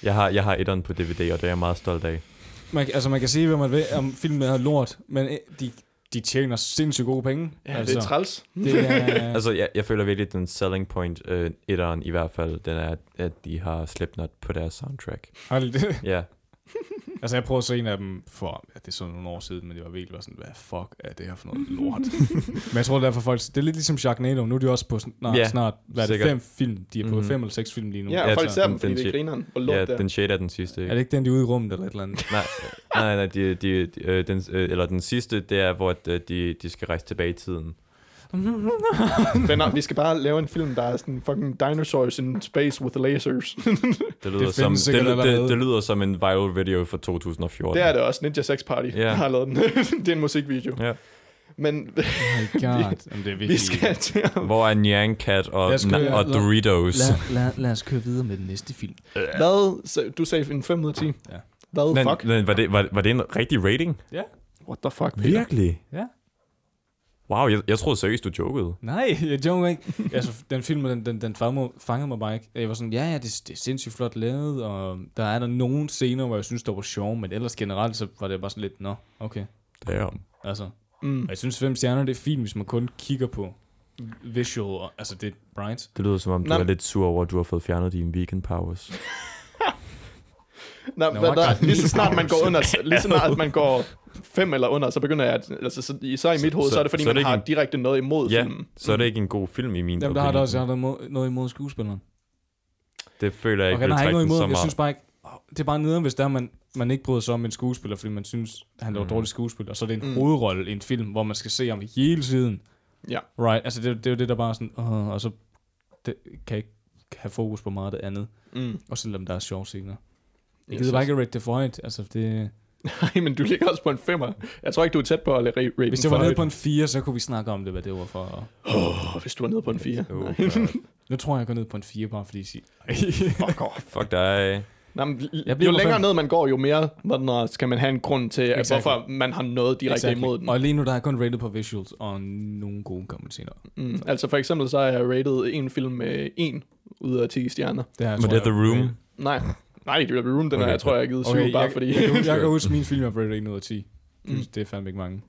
[SPEAKER 3] Jeg har, jeg har etteren på DVD, og det er jeg meget stolt af.
[SPEAKER 1] man, altså, man kan sige, hvad man vil, om filmen er lort, men øh, de, de tjener sindssygt gode penge.
[SPEAKER 2] Ja,
[SPEAKER 1] altså,
[SPEAKER 2] det er træls.
[SPEAKER 1] det er,
[SPEAKER 3] Altså, jeg, jeg føler virkelig, at den selling point, øh, etteren i hvert fald, den er, at de har Slipknot på deres soundtrack.
[SPEAKER 1] Hold det.
[SPEAKER 3] Ja,
[SPEAKER 1] Altså, jeg prøvede at se en af dem for, ja, det er sådan nogle år siden, men det var virkelig bare sådan, hvad fuck er det her for noget lort? men jeg tror, det er for folk, det er lidt ligesom Sharknado, nu er de også på snart,
[SPEAKER 3] Ja,
[SPEAKER 1] yeah, snart hvad er det,
[SPEAKER 3] sikkert.
[SPEAKER 1] fem film, de er på
[SPEAKER 3] Mhm.
[SPEAKER 1] mm-hmm. fem eller seks film lige nu.
[SPEAKER 2] Ja, og
[SPEAKER 3] Ja,
[SPEAKER 2] folk
[SPEAKER 1] altså,
[SPEAKER 2] ser dem,
[SPEAKER 3] den-
[SPEAKER 2] fordi
[SPEAKER 3] den
[SPEAKER 2] det er
[SPEAKER 3] shit.
[SPEAKER 2] grineren, hvor lort
[SPEAKER 3] ja
[SPEAKER 2] det er.
[SPEAKER 3] den shade er den sidste.
[SPEAKER 1] er det ikke den, de er ude i rummet eller et eller andet?
[SPEAKER 3] Nej, nej, nej de, de, de, øh, den, øh, eller den sidste, det er, hvor at, øh, de, de skal rejse tilbage i tiden.
[SPEAKER 2] Venner, vi skal bare lave en film, der er sådan fucking dinosaurs in space with lasers.
[SPEAKER 3] Det lyder,
[SPEAKER 1] findes
[SPEAKER 3] som, det,
[SPEAKER 1] sikkert
[SPEAKER 3] det, det,
[SPEAKER 1] allerede.
[SPEAKER 3] det lyder som en viral video fra 2014.
[SPEAKER 2] det er det også. Ninja Sex Party
[SPEAKER 3] Ja.
[SPEAKER 2] har lavet den. det er en musikvideo.
[SPEAKER 3] Ja.
[SPEAKER 2] Men
[SPEAKER 1] Oh my god, Jamen, det er virkelig...
[SPEAKER 2] vi skal til
[SPEAKER 3] Hvor er Nyan Cat og,
[SPEAKER 1] Jeg skulle-
[SPEAKER 3] na- og
[SPEAKER 1] la-
[SPEAKER 3] Doritos?
[SPEAKER 1] lad, lad os køre videre med den næste film.
[SPEAKER 2] Hvad? Så- Du sagde en 5 ud af 10.
[SPEAKER 1] Ja.
[SPEAKER 2] Hvad?
[SPEAKER 3] Men,
[SPEAKER 2] fuck?
[SPEAKER 3] men var, det, var, var det en rigtig rating?
[SPEAKER 2] What the fuck, Peter?
[SPEAKER 3] Virkelig?
[SPEAKER 1] Ja.
[SPEAKER 3] Wow, jeg, jeg troede seriøst, du jokede.
[SPEAKER 1] Nej, jeg joker ikke. altså, den film, den, den, den fangede, fangede mig bare ikke. Jeg var sådan, ja, ja, det, det er sindssygt flot lavet, og der er der nogle scener, hvor jeg synes, der var sjov, men ellers generelt, så var det bare sådan lidt, nå, okay,
[SPEAKER 3] Damn.
[SPEAKER 1] altså. Og jeg synes, fem stjerner det er fint, hvis man kun kigger på visual, og, altså det er bright.
[SPEAKER 3] Det lyder som om, du
[SPEAKER 2] Nej,
[SPEAKER 3] er
[SPEAKER 2] men-
[SPEAKER 3] lidt sur over, at du har fået fjernet dine weekend powers.
[SPEAKER 2] Nå,
[SPEAKER 1] Nå,
[SPEAKER 2] hvad
[SPEAKER 1] man
[SPEAKER 2] der,
[SPEAKER 1] kan-
[SPEAKER 2] lige så snart man går under, lige så snart man går fem eller under, så begynder jeg, at, altså så, så i mit hoved, så, så, er det fordi,
[SPEAKER 3] så
[SPEAKER 2] man
[SPEAKER 3] er det ikke
[SPEAKER 2] har
[SPEAKER 3] en-
[SPEAKER 2] direkte noget imod
[SPEAKER 3] Ja,
[SPEAKER 2] filmen.
[SPEAKER 3] så er det ikke en god film i min
[SPEAKER 1] Mm. Jamen, der
[SPEAKER 3] opinion.
[SPEAKER 1] har der også jeg har noget, noget imod skuespilleren.
[SPEAKER 3] Det føler jeg ikke,
[SPEAKER 1] Okay, der
[SPEAKER 3] okay,
[SPEAKER 1] har
[SPEAKER 3] vil
[SPEAKER 1] ikke
[SPEAKER 3] trække
[SPEAKER 1] noget
[SPEAKER 3] den så
[SPEAKER 1] imod, jeg
[SPEAKER 3] meget.
[SPEAKER 1] synes bare ikke, Åh, det er bare nederen, hvis der man, man ikke bryder sig om en skuespiller, fordi man synes, han laver mm. dårlig skuespil, og så er det en mm. hovedrolle i en film, hvor man skal se ham hele tiden.
[SPEAKER 2] Ja.
[SPEAKER 1] Right, altså det, det er jo det, der bare er sådan, uh, og så det, kan jeg ikke have fokus på meget af det andet,
[SPEAKER 2] Mm.
[SPEAKER 1] og selvom der er sjove scener. Jeg
[SPEAKER 2] Yes,
[SPEAKER 1] gider bare
[SPEAKER 2] yes.
[SPEAKER 1] ikke at rate det for højt, altså det...
[SPEAKER 2] Nej, men du ligger også på en femmer. Jeg tror ikke, du er tæt på at lade rate den
[SPEAKER 1] Hvis det
[SPEAKER 2] for
[SPEAKER 1] var nede
[SPEAKER 2] højt.
[SPEAKER 1] på en 4, så kunne vi snakke om det, hvad det var for. og
[SPEAKER 2] Åh, hvis du var nede på en fire.
[SPEAKER 3] Oh,
[SPEAKER 2] Nej.
[SPEAKER 3] God.
[SPEAKER 1] Nu tror jeg, jeg går ned på en 4, bare fordi... sig-
[SPEAKER 2] Fuck off.
[SPEAKER 3] Fuck dig.
[SPEAKER 2] Nå, men,
[SPEAKER 1] Jeg
[SPEAKER 2] jo
[SPEAKER 1] bliver på
[SPEAKER 2] længere
[SPEAKER 1] fem.
[SPEAKER 2] ned man går, jo mere hvordan skal man have en grund til, at,
[SPEAKER 1] Exactly.
[SPEAKER 2] hvorfor man har noget direkte
[SPEAKER 1] Exactly.
[SPEAKER 2] imod den.
[SPEAKER 1] Og lige nu, der er jeg kun rated på visuals og nogle gode kommentarer.
[SPEAKER 2] Mm. Altså for eksempel så har jeg rated en film med 1 ud af 10 stjerner.
[SPEAKER 1] Det her,
[SPEAKER 3] Men det er The Room.
[SPEAKER 2] Nej, nej, det er The Room, den okay.
[SPEAKER 3] Okay.
[SPEAKER 2] jeg tror, jeg har givet 7
[SPEAKER 1] Okay,
[SPEAKER 2] bare
[SPEAKER 1] jeg,
[SPEAKER 2] fordi...
[SPEAKER 1] jeg, kan- jeg kan huske, min film er rated 1 ud af 10.
[SPEAKER 2] Mm.
[SPEAKER 1] Mm. Det er fandme ikke mange.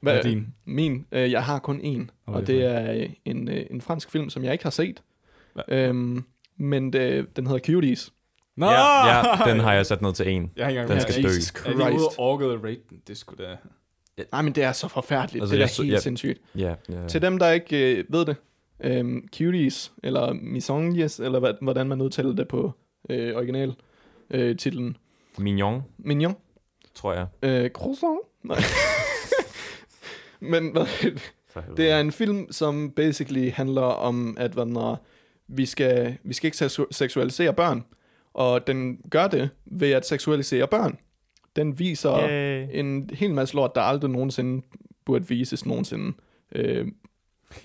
[SPEAKER 2] Hvad
[SPEAKER 1] er din?
[SPEAKER 2] Min? Øh, jeg har kun en,
[SPEAKER 1] Hvad
[SPEAKER 2] og
[SPEAKER 1] er det
[SPEAKER 2] det er øh, en, øh, en fransk film, som jeg ikke har set.
[SPEAKER 1] Hva-
[SPEAKER 2] Øhm, men det, den hedder Cuties.
[SPEAKER 1] Nå!
[SPEAKER 3] Ja, ja, den har jeg sat ned til en.
[SPEAKER 1] Jeg har ikke engang
[SPEAKER 3] Den
[SPEAKER 1] hørt
[SPEAKER 3] skal
[SPEAKER 1] om
[SPEAKER 3] dø.
[SPEAKER 2] Jesus
[SPEAKER 1] Er de ude og
[SPEAKER 2] Christ.
[SPEAKER 1] orket at rate den? Det skulle da...
[SPEAKER 2] Nej, men det er så forfærdeligt. Altså,
[SPEAKER 3] Altså,
[SPEAKER 2] det er
[SPEAKER 3] jeg så-
[SPEAKER 2] helt
[SPEAKER 3] jeg-
[SPEAKER 2] sindssygt.
[SPEAKER 3] Ja, ja.
[SPEAKER 2] Til dem, der ikke øh, ved det, øhm, Cuties, eller Misonges, eller hvad, hvordan man udtaler det på øh, original øh, titlen.
[SPEAKER 3] Mignon,
[SPEAKER 2] Mignon.
[SPEAKER 3] tror jeg.
[SPEAKER 2] Øh, croissant? Nej. men hvad,
[SPEAKER 3] For helvede.
[SPEAKER 2] Det er en film, som basically handler om, at hvad den er, vi, skal, vi skal ikke seksu- seksualisere børn. Og den gør det ved at seksualisere børn. Den viser
[SPEAKER 3] Yay.
[SPEAKER 2] en hel masse lort, der aldrig nogensinde burde vises nogensinde. Øh,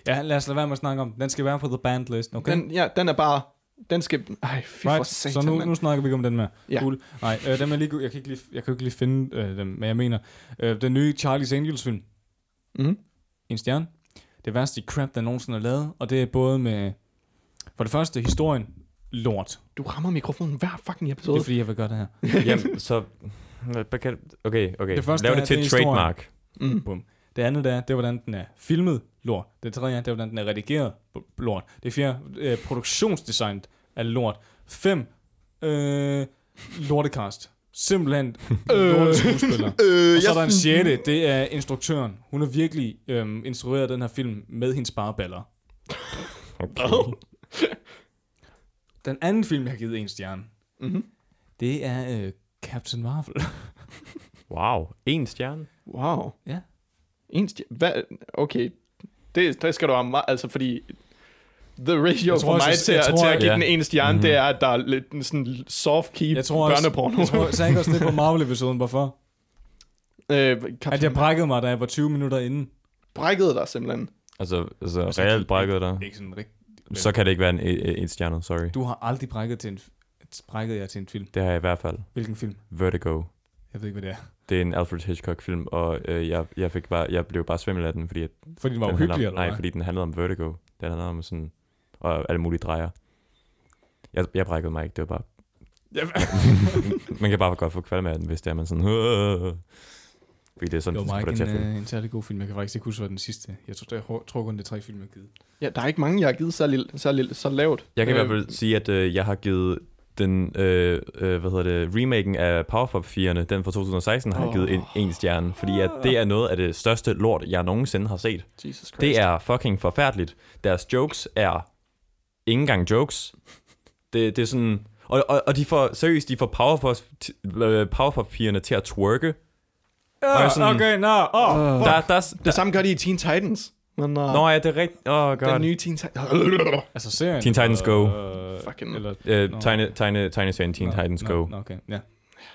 [SPEAKER 1] Ja, lad os lade være med at snakke om den. Den skal være på the band list, okay?
[SPEAKER 2] den, ja, den er bare... Den skal... Ej, fy for
[SPEAKER 1] Right,
[SPEAKER 2] satan,
[SPEAKER 1] så nu,
[SPEAKER 2] mand.
[SPEAKER 1] nu snakker vi ikke om den med.
[SPEAKER 2] Ja.
[SPEAKER 1] Ja. Cool. Nej, øh, dem jeg, lige, jeg, kan ikke lige, jeg kan jo ikke lige finde øh, dem, men jeg mener, øh, den nye Charlie's Angels film,
[SPEAKER 2] Mhm.
[SPEAKER 1] en stjerne, det værste crap, der nogensinde er lavet, og det er både med, for det første, historien, lort.
[SPEAKER 2] Du rammer mikrofonen hver fucking
[SPEAKER 1] Det er
[SPEAKER 2] episode.
[SPEAKER 1] fordi, jeg vil gøre det her.
[SPEAKER 3] Jamen, så... Hvad kan- Okay, okay.
[SPEAKER 1] Det første
[SPEAKER 3] Lav
[SPEAKER 1] er,
[SPEAKER 3] det til
[SPEAKER 1] det
[SPEAKER 3] et
[SPEAKER 1] er
[SPEAKER 3] trademark.
[SPEAKER 2] Mm.
[SPEAKER 1] Bum. Det andet der, det er, hvordan den er filmet, lort. Det tredje, det er, hvordan den er redigeret, b- lort. Det fjerde, øh, produktionsdesign er lort. Fem, øh, lortekast. Simpelthen lorteskuespiller.
[SPEAKER 2] Øh,
[SPEAKER 1] Og så er der en sjette, det er instruktøren. Hun har virkelig øhm, instrueret den her film med hendes spareballer.
[SPEAKER 3] Okay.
[SPEAKER 1] Den anden film, jeg har givet en stjerne,
[SPEAKER 2] Mhm.
[SPEAKER 1] det er øh, Captain Marvel.
[SPEAKER 3] Wow, en stjerne.
[SPEAKER 2] Wow.
[SPEAKER 1] Ja.
[SPEAKER 2] En stj- hvad? Okay, det, det skal du have meget, altså fordi... The ratio
[SPEAKER 1] Jeg
[SPEAKER 2] tror,
[SPEAKER 1] tror
[SPEAKER 2] for
[SPEAKER 1] også,
[SPEAKER 2] mig
[SPEAKER 1] jeg-
[SPEAKER 2] til,
[SPEAKER 1] jeg
[SPEAKER 2] at,
[SPEAKER 1] tror,
[SPEAKER 2] til at
[SPEAKER 1] jeg-
[SPEAKER 2] give
[SPEAKER 3] ja.
[SPEAKER 2] den ene stjerne, mm-hmm. det er, at der er lidt en sådan soft key
[SPEAKER 1] Jeg tror også,
[SPEAKER 2] børneporno.
[SPEAKER 1] jeg tror, sagde jeg ikke også det på Marvel-episoden, hvorfor?
[SPEAKER 2] øh,
[SPEAKER 1] At
[SPEAKER 2] Captain
[SPEAKER 1] jeg brækkede mig, da jeg var 20 minutter inde.
[SPEAKER 2] brækkede dig simpelthen.
[SPEAKER 3] Altså, altså
[SPEAKER 1] Altså,
[SPEAKER 3] reelt
[SPEAKER 1] det-
[SPEAKER 3] brækket dig.
[SPEAKER 1] Det er ikke sådan rigtigt.
[SPEAKER 3] Så kan det ikke være en, en, en stjerne, sorry.
[SPEAKER 1] Du har aldrig brækket, til en, f- brækket jer til en film.
[SPEAKER 3] Det har jeg i hvert fald.
[SPEAKER 1] Hvilken film?
[SPEAKER 3] Vertigo.
[SPEAKER 1] Jeg ved ikke, hvad det er.
[SPEAKER 3] Det er en Alfred Hitchcock-film, og øh, jeg, jeg, fik bare, jeg blev bare svimmel af den, fordi, at
[SPEAKER 1] Fordi den var
[SPEAKER 3] den
[SPEAKER 1] uhyggelig,
[SPEAKER 3] handler om,
[SPEAKER 1] eller
[SPEAKER 3] nej, fordi den handlede om Vertigo. Den handlede om sådan, og alle mulige drejer. Jeg, jeg brækkede mig ikke, det var bare... man kan bare godt få kvalme af den, hvis det er man sådan... "Åh." Fordi det er sådan,
[SPEAKER 1] Det
[SPEAKER 3] det
[SPEAKER 1] var
[SPEAKER 3] får
[SPEAKER 1] mig
[SPEAKER 3] dig til at
[SPEAKER 1] ikke en,
[SPEAKER 3] føle.
[SPEAKER 1] øh, en særlig god film. Jeg kan faktisk ikke huske, hvad den sidste. Jeg tror, jeg tror kun, det er tre film, jeg har givet.
[SPEAKER 2] Ja, der er ikke mange, jeg har givet særlig, særlig, så lavt.
[SPEAKER 3] Jeg kan i
[SPEAKER 2] Øh,
[SPEAKER 3] hvert fald sige, at øh, jeg har givet den, øh, øh, hvad hedder det, remaken af Powerpuff 4'erne, den fra 2016, har jeg
[SPEAKER 2] Åh.
[SPEAKER 3] givet en, en stjerne, fordi at det er noget af det største lort, jeg nogensinde har set.
[SPEAKER 2] Øh, Jesus Christ.
[SPEAKER 3] Det er fucking forfærdeligt. Deres jokes er ikke engang jokes. Det, det er sådan... Og, og, og de får, seriøst, de får Powerpuff- t- øh, Powerpuff-pigerne til at twerke. Og jeg er sådan-
[SPEAKER 1] Okay, nå. Åh,
[SPEAKER 3] Der, der, der,
[SPEAKER 2] Det samme gør de i Teen Titans. Men, uh,
[SPEAKER 3] Nå ja, det er rigtigt. Åh, oh,
[SPEAKER 2] den
[SPEAKER 3] god.
[SPEAKER 2] nye Teen Titans...
[SPEAKER 1] Altså serien?
[SPEAKER 3] Teen Titans Go.
[SPEAKER 1] Øh,
[SPEAKER 2] Fucking-
[SPEAKER 1] Eller,
[SPEAKER 3] Øh, tegne, tegne, tegneserien Teen
[SPEAKER 1] Nå,
[SPEAKER 3] Titans
[SPEAKER 1] nå,
[SPEAKER 3] Go.
[SPEAKER 1] Nå, okay, ja.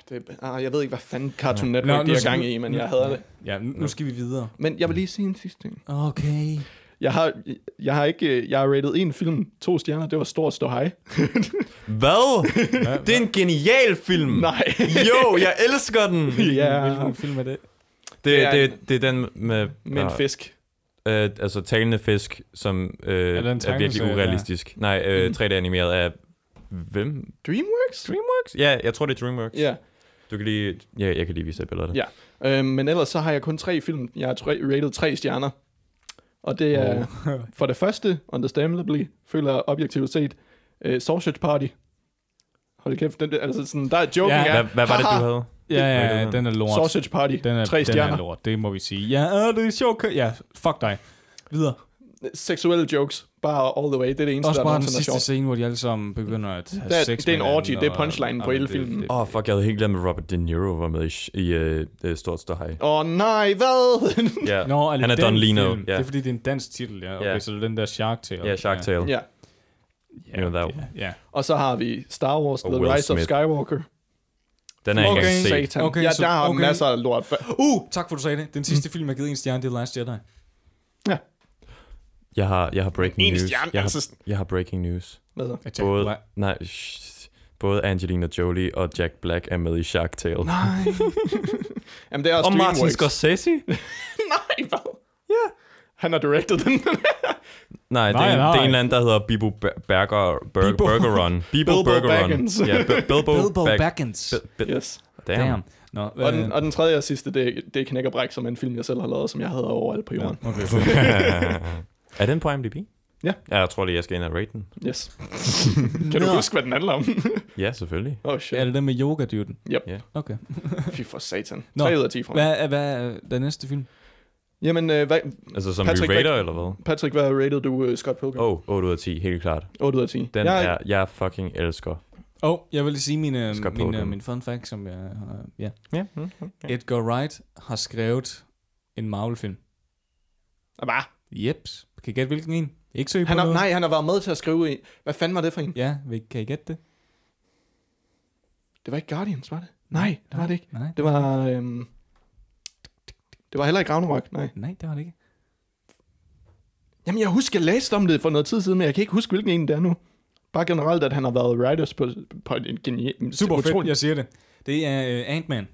[SPEAKER 2] det, ah, jeg ved ikke, hvad fanden Cartoon Network
[SPEAKER 1] Nå,
[SPEAKER 2] no,
[SPEAKER 1] nu
[SPEAKER 2] de er
[SPEAKER 1] skal
[SPEAKER 2] gang
[SPEAKER 1] vi-
[SPEAKER 2] i, men
[SPEAKER 1] nu-
[SPEAKER 2] jeg hader det.
[SPEAKER 1] Ja, nu, nu skal vi videre.
[SPEAKER 2] Men jeg vil lige sige en sidste ting.
[SPEAKER 1] Okay.
[SPEAKER 2] Jeg har, jeg har ikke, jeg har rated en film, to stjerner, det var stor stå hej.
[SPEAKER 3] Hvad? det er en genial
[SPEAKER 1] Hmm.
[SPEAKER 3] film.
[SPEAKER 2] Nej.
[SPEAKER 3] Jo, jeg elsker den.
[SPEAKER 2] ja,
[SPEAKER 1] Hvilken film er det?
[SPEAKER 3] Det,
[SPEAKER 2] Ja.
[SPEAKER 3] det, det er den med...
[SPEAKER 2] med en
[SPEAKER 3] ah,
[SPEAKER 2] fisk.
[SPEAKER 3] Øh, altså talende fisk, som øh,
[SPEAKER 1] Er
[SPEAKER 3] er,
[SPEAKER 1] der en
[SPEAKER 3] er virkelig
[SPEAKER 1] tegneserie,
[SPEAKER 3] urealistisk. Ja. Nej, øh, 3D animeret af... Hvem?
[SPEAKER 2] DreamWorks?
[SPEAKER 3] DreamWorks? Ja, jeg tror det er DreamWorks.
[SPEAKER 2] Ja.
[SPEAKER 3] Du kan lige... Ja, jeg kan lige vise dig billedet.
[SPEAKER 2] Ja. Øh, men ellers så har jeg kun tre film. Jeg har tre, rated tre stjerner. Og det er oh. for det første, understandably, føler jeg objektivt set, øh, Sausage Party. Hold kæft, den, altså sådan, der er joken
[SPEAKER 1] Ja.
[SPEAKER 2] ja.
[SPEAKER 3] Hvad, hvad var det, du
[SPEAKER 2] haha,
[SPEAKER 3] havde?
[SPEAKER 1] Ja,
[SPEAKER 3] Hvad er
[SPEAKER 1] ja,
[SPEAKER 3] det,
[SPEAKER 1] den er lort.
[SPEAKER 2] Sausage Party,
[SPEAKER 1] Den er,
[SPEAKER 2] tre
[SPEAKER 1] den
[SPEAKER 2] stjerner.
[SPEAKER 1] er lort, det må vi sige. Ja, øh, det er sjovt. kø- Ja, fuck dig. Videre.
[SPEAKER 2] Seksuelle jokes, bare all the way. Det er det eneste,
[SPEAKER 1] Også
[SPEAKER 2] der er
[SPEAKER 1] bare den
[SPEAKER 2] nogensinde er
[SPEAKER 1] sidste
[SPEAKER 2] sjovt.
[SPEAKER 1] scene, hvor de alle sammen begynder at have
[SPEAKER 2] Det er-
[SPEAKER 1] sex
[SPEAKER 2] det er en
[SPEAKER 1] med
[SPEAKER 2] orgy,
[SPEAKER 1] hinanden,
[SPEAKER 2] det er punchline
[SPEAKER 1] og-
[SPEAKER 2] på
[SPEAKER 1] Ej,
[SPEAKER 2] hele
[SPEAKER 1] det-
[SPEAKER 2] filmen.
[SPEAKER 1] det-
[SPEAKER 3] Åh, oh, fuck, jeg havde helt glemt, at Robert De Niro var med i, sh- i øh, øh, Stort Ståhej.
[SPEAKER 2] Åh oh, nej, hvad?
[SPEAKER 3] Ja,
[SPEAKER 1] Nå,
[SPEAKER 3] han er Don Lino.
[SPEAKER 1] Film.
[SPEAKER 3] Ja,
[SPEAKER 1] Det er fordi, det er en dansk titel, ja. Okay,
[SPEAKER 3] Ja.
[SPEAKER 1] så det er den der Shark Tale.
[SPEAKER 3] ja Shark Tale.
[SPEAKER 2] ja.
[SPEAKER 1] Ja,
[SPEAKER 3] You know that
[SPEAKER 1] ja,
[SPEAKER 3] one.
[SPEAKER 1] ja.
[SPEAKER 2] Og så har vi Star Wars,
[SPEAKER 3] Og
[SPEAKER 2] The
[SPEAKER 3] Will
[SPEAKER 2] Rise
[SPEAKER 3] Smith.
[SPEAKER 2] of Skywalker.
[SPEAKER 3] Den er jeg
[SPEAKER 2] Fucking
[SPEAKER 3] ikke engang set.
[SPEAKER 2] Satan.
[SPEAKER 1] Okay,
[SPEAKER 2] ja,
[SPEAKER 1] så-
[SPEAKER 2] der har
[SPEAKER 1] okay.
[SPEAKER 2] masser af lort.
[SPEAKER 1] Uh, tak for, du sagde det. Den sidste film, jeg har givet en stjerne, det er Last Jedi.
[SPEAKER 2] Ja.
[SPEAKER 3] Jeg har, jeg har breaking
[SPEAKER 2] En
[SPEAKER 3] news.
[SPEAKER 2] stjerne,
[SPEAKER 3] Jeg har,
[SPEAKER 2] altså.
[SPEAKER 3] jeg har breaking news.
[SPEAKER 2] Hvad så?
[SPEAKER 1] Jeg tænker,
[SPEAKER 3] Både,
[SPEAKER 1] hva-
[SPEAKER 3] nej, shh, både Angelina Jolie og Jack Black er med i Shark Tale. Nej,
[SPEAKER 2] Jamen, det er også
[SPEAKER 3] og Martin
[SPEAKER 2] DreamWorks.
[SPEAKER 3] Scorsese?
[SPEAKER 2] Nej, hvad? Ja. Han har directed den.
[SPEAKER 3] Nej, det
[SPEAKER 1] Nej,
[SPEAKER 3] er, en,
[SPEAKER 1] nej.
[SPEAKER 3] det er en eller anden, der hedder Bibo Ber- Berger, Ber-
[SPEAKER 1] Bibo.
[SPEAKER 3] Burger Run. Bibo
[SPEAKER 2] Bilbo
[SPEAKER 3] Burger
[SPEAKER 2] Baggins.
[SPEAKER 3] Run. Ja, Bi- Bilbo,
[SPEAKER 1] Bilbo
[SPEAKER 3] Bag-
[SPEAKER 1] Baggins.
[SPEAKER 3] Bi- Bi-
[SPEAKER 2] yes.
[SPEAKER 3] Damn.
[SPEAKER 1] Damn. Nå,
[SPEAKER 2] Og
[SPEAKER 1] øh,
[SPEAKER 2] den, og den tredje og sidste, det, det er Knæk og Bræk, som er en film, jeg selv har lavet, som jeg havde overalt på jorden.
[SPEAKER 1] okay.
[SPEAKER 3] er den på IMDb?
[SPEAKER 2] Ja.
[SPEAKER 3] ja. Jeg tror lige, jeg skal ind og rate den.
[SPEAKER 2] Ja. Yes. kan du
[SPEAKER 1] Nå.
[SPEAKER 2] huske, hvad den handler om?
[SPEAKER 3] Ja, selvfølgelig.
[SPEAKER 2] Åh, oh,
[SPEAKER 1] Er
[SPEAKER 2] shit.
[SPEAKER 1] det den med yoga dyden?
[SPEAKER 2] Yep.
[SPEAKER 3] Ja.
[SPEAKER 1] Okay.
[SPEAKER 2] Fy for satan.
[SPEAKER 1] Nå.
[SPEAKER 2] 3 ud af 10 fra mig.
[SPEAKER 1] Hvad er, hvad er den næste film?
[SPEAKER 2] Jamen, øh, hvad,
[SPEAKER 3] Altså, som
[SPEAKER 2] Patrick
[SPEAKER 3] vi rater,
[SPEAKER 2] Beck-
[SPEAKER 3] eller hvad?
[SPEAKER 2] Patrick, hvad rated du uh, Scott Pilgrim?
[SPEAKER 3] Åh, oh, 8 ud af 10, helt klart.
[SPEAKER 2] 8 ud af 10.
[SPEAKER 3] Den
[SPEAKER 2] jeg,
[SPEAKER 3] er, jeg fucking elsker.
[SPEAKER 1] Åh, oh, jeg vil lige sige mine,
[SPEAKER 3] Scott
[SPEAKER 1] mine,
[SPEAKER 3] Pilgrim.
[SPEAKER 1] mine fun fact, som jeg har... Ja.
[SPEAKER 3] Ja. Mm,
[SPEAKER 2] Mhm.
[SPEAKER 1] Edgar Wright har skrevet en Marvel-film.
[SPEAKER 2] Hvad?
[SPEAKER 1] Jeps. Kan I gætte, hvilken en? Ikke søg på
[SPEAKER 2] Han har,
[SPEAKER 1] noget?
[SPEAKER 2] nej, han har været med til at skrive i... Hvad fanden var det for en?
[SPEAKER 1] Ja, vi- kan I gætte det?
[SPEAKER 2] Det var ikke Guardians, var det? Nej, det var det ikke.
[SPEAKER 1] Nej,
[SPEAKER 2] Det var... Øhm, det var heller ikke Ragnarok, nej.
[SPEAKER 1] nej det var det ikke.
[SPEAKER 2] Jamen, jeg husker, jeg læste om det for noget tid siden, men jeg kan ikke huske, hvilken en det er nu. Bare generelt, at han har været writers på, på en genial...
[SPEAKER 1] Super fedt,
[SPEAKER 2] utrolig-
[SPEAKER 1] jeg siger det. Det er uh, Ant-Man.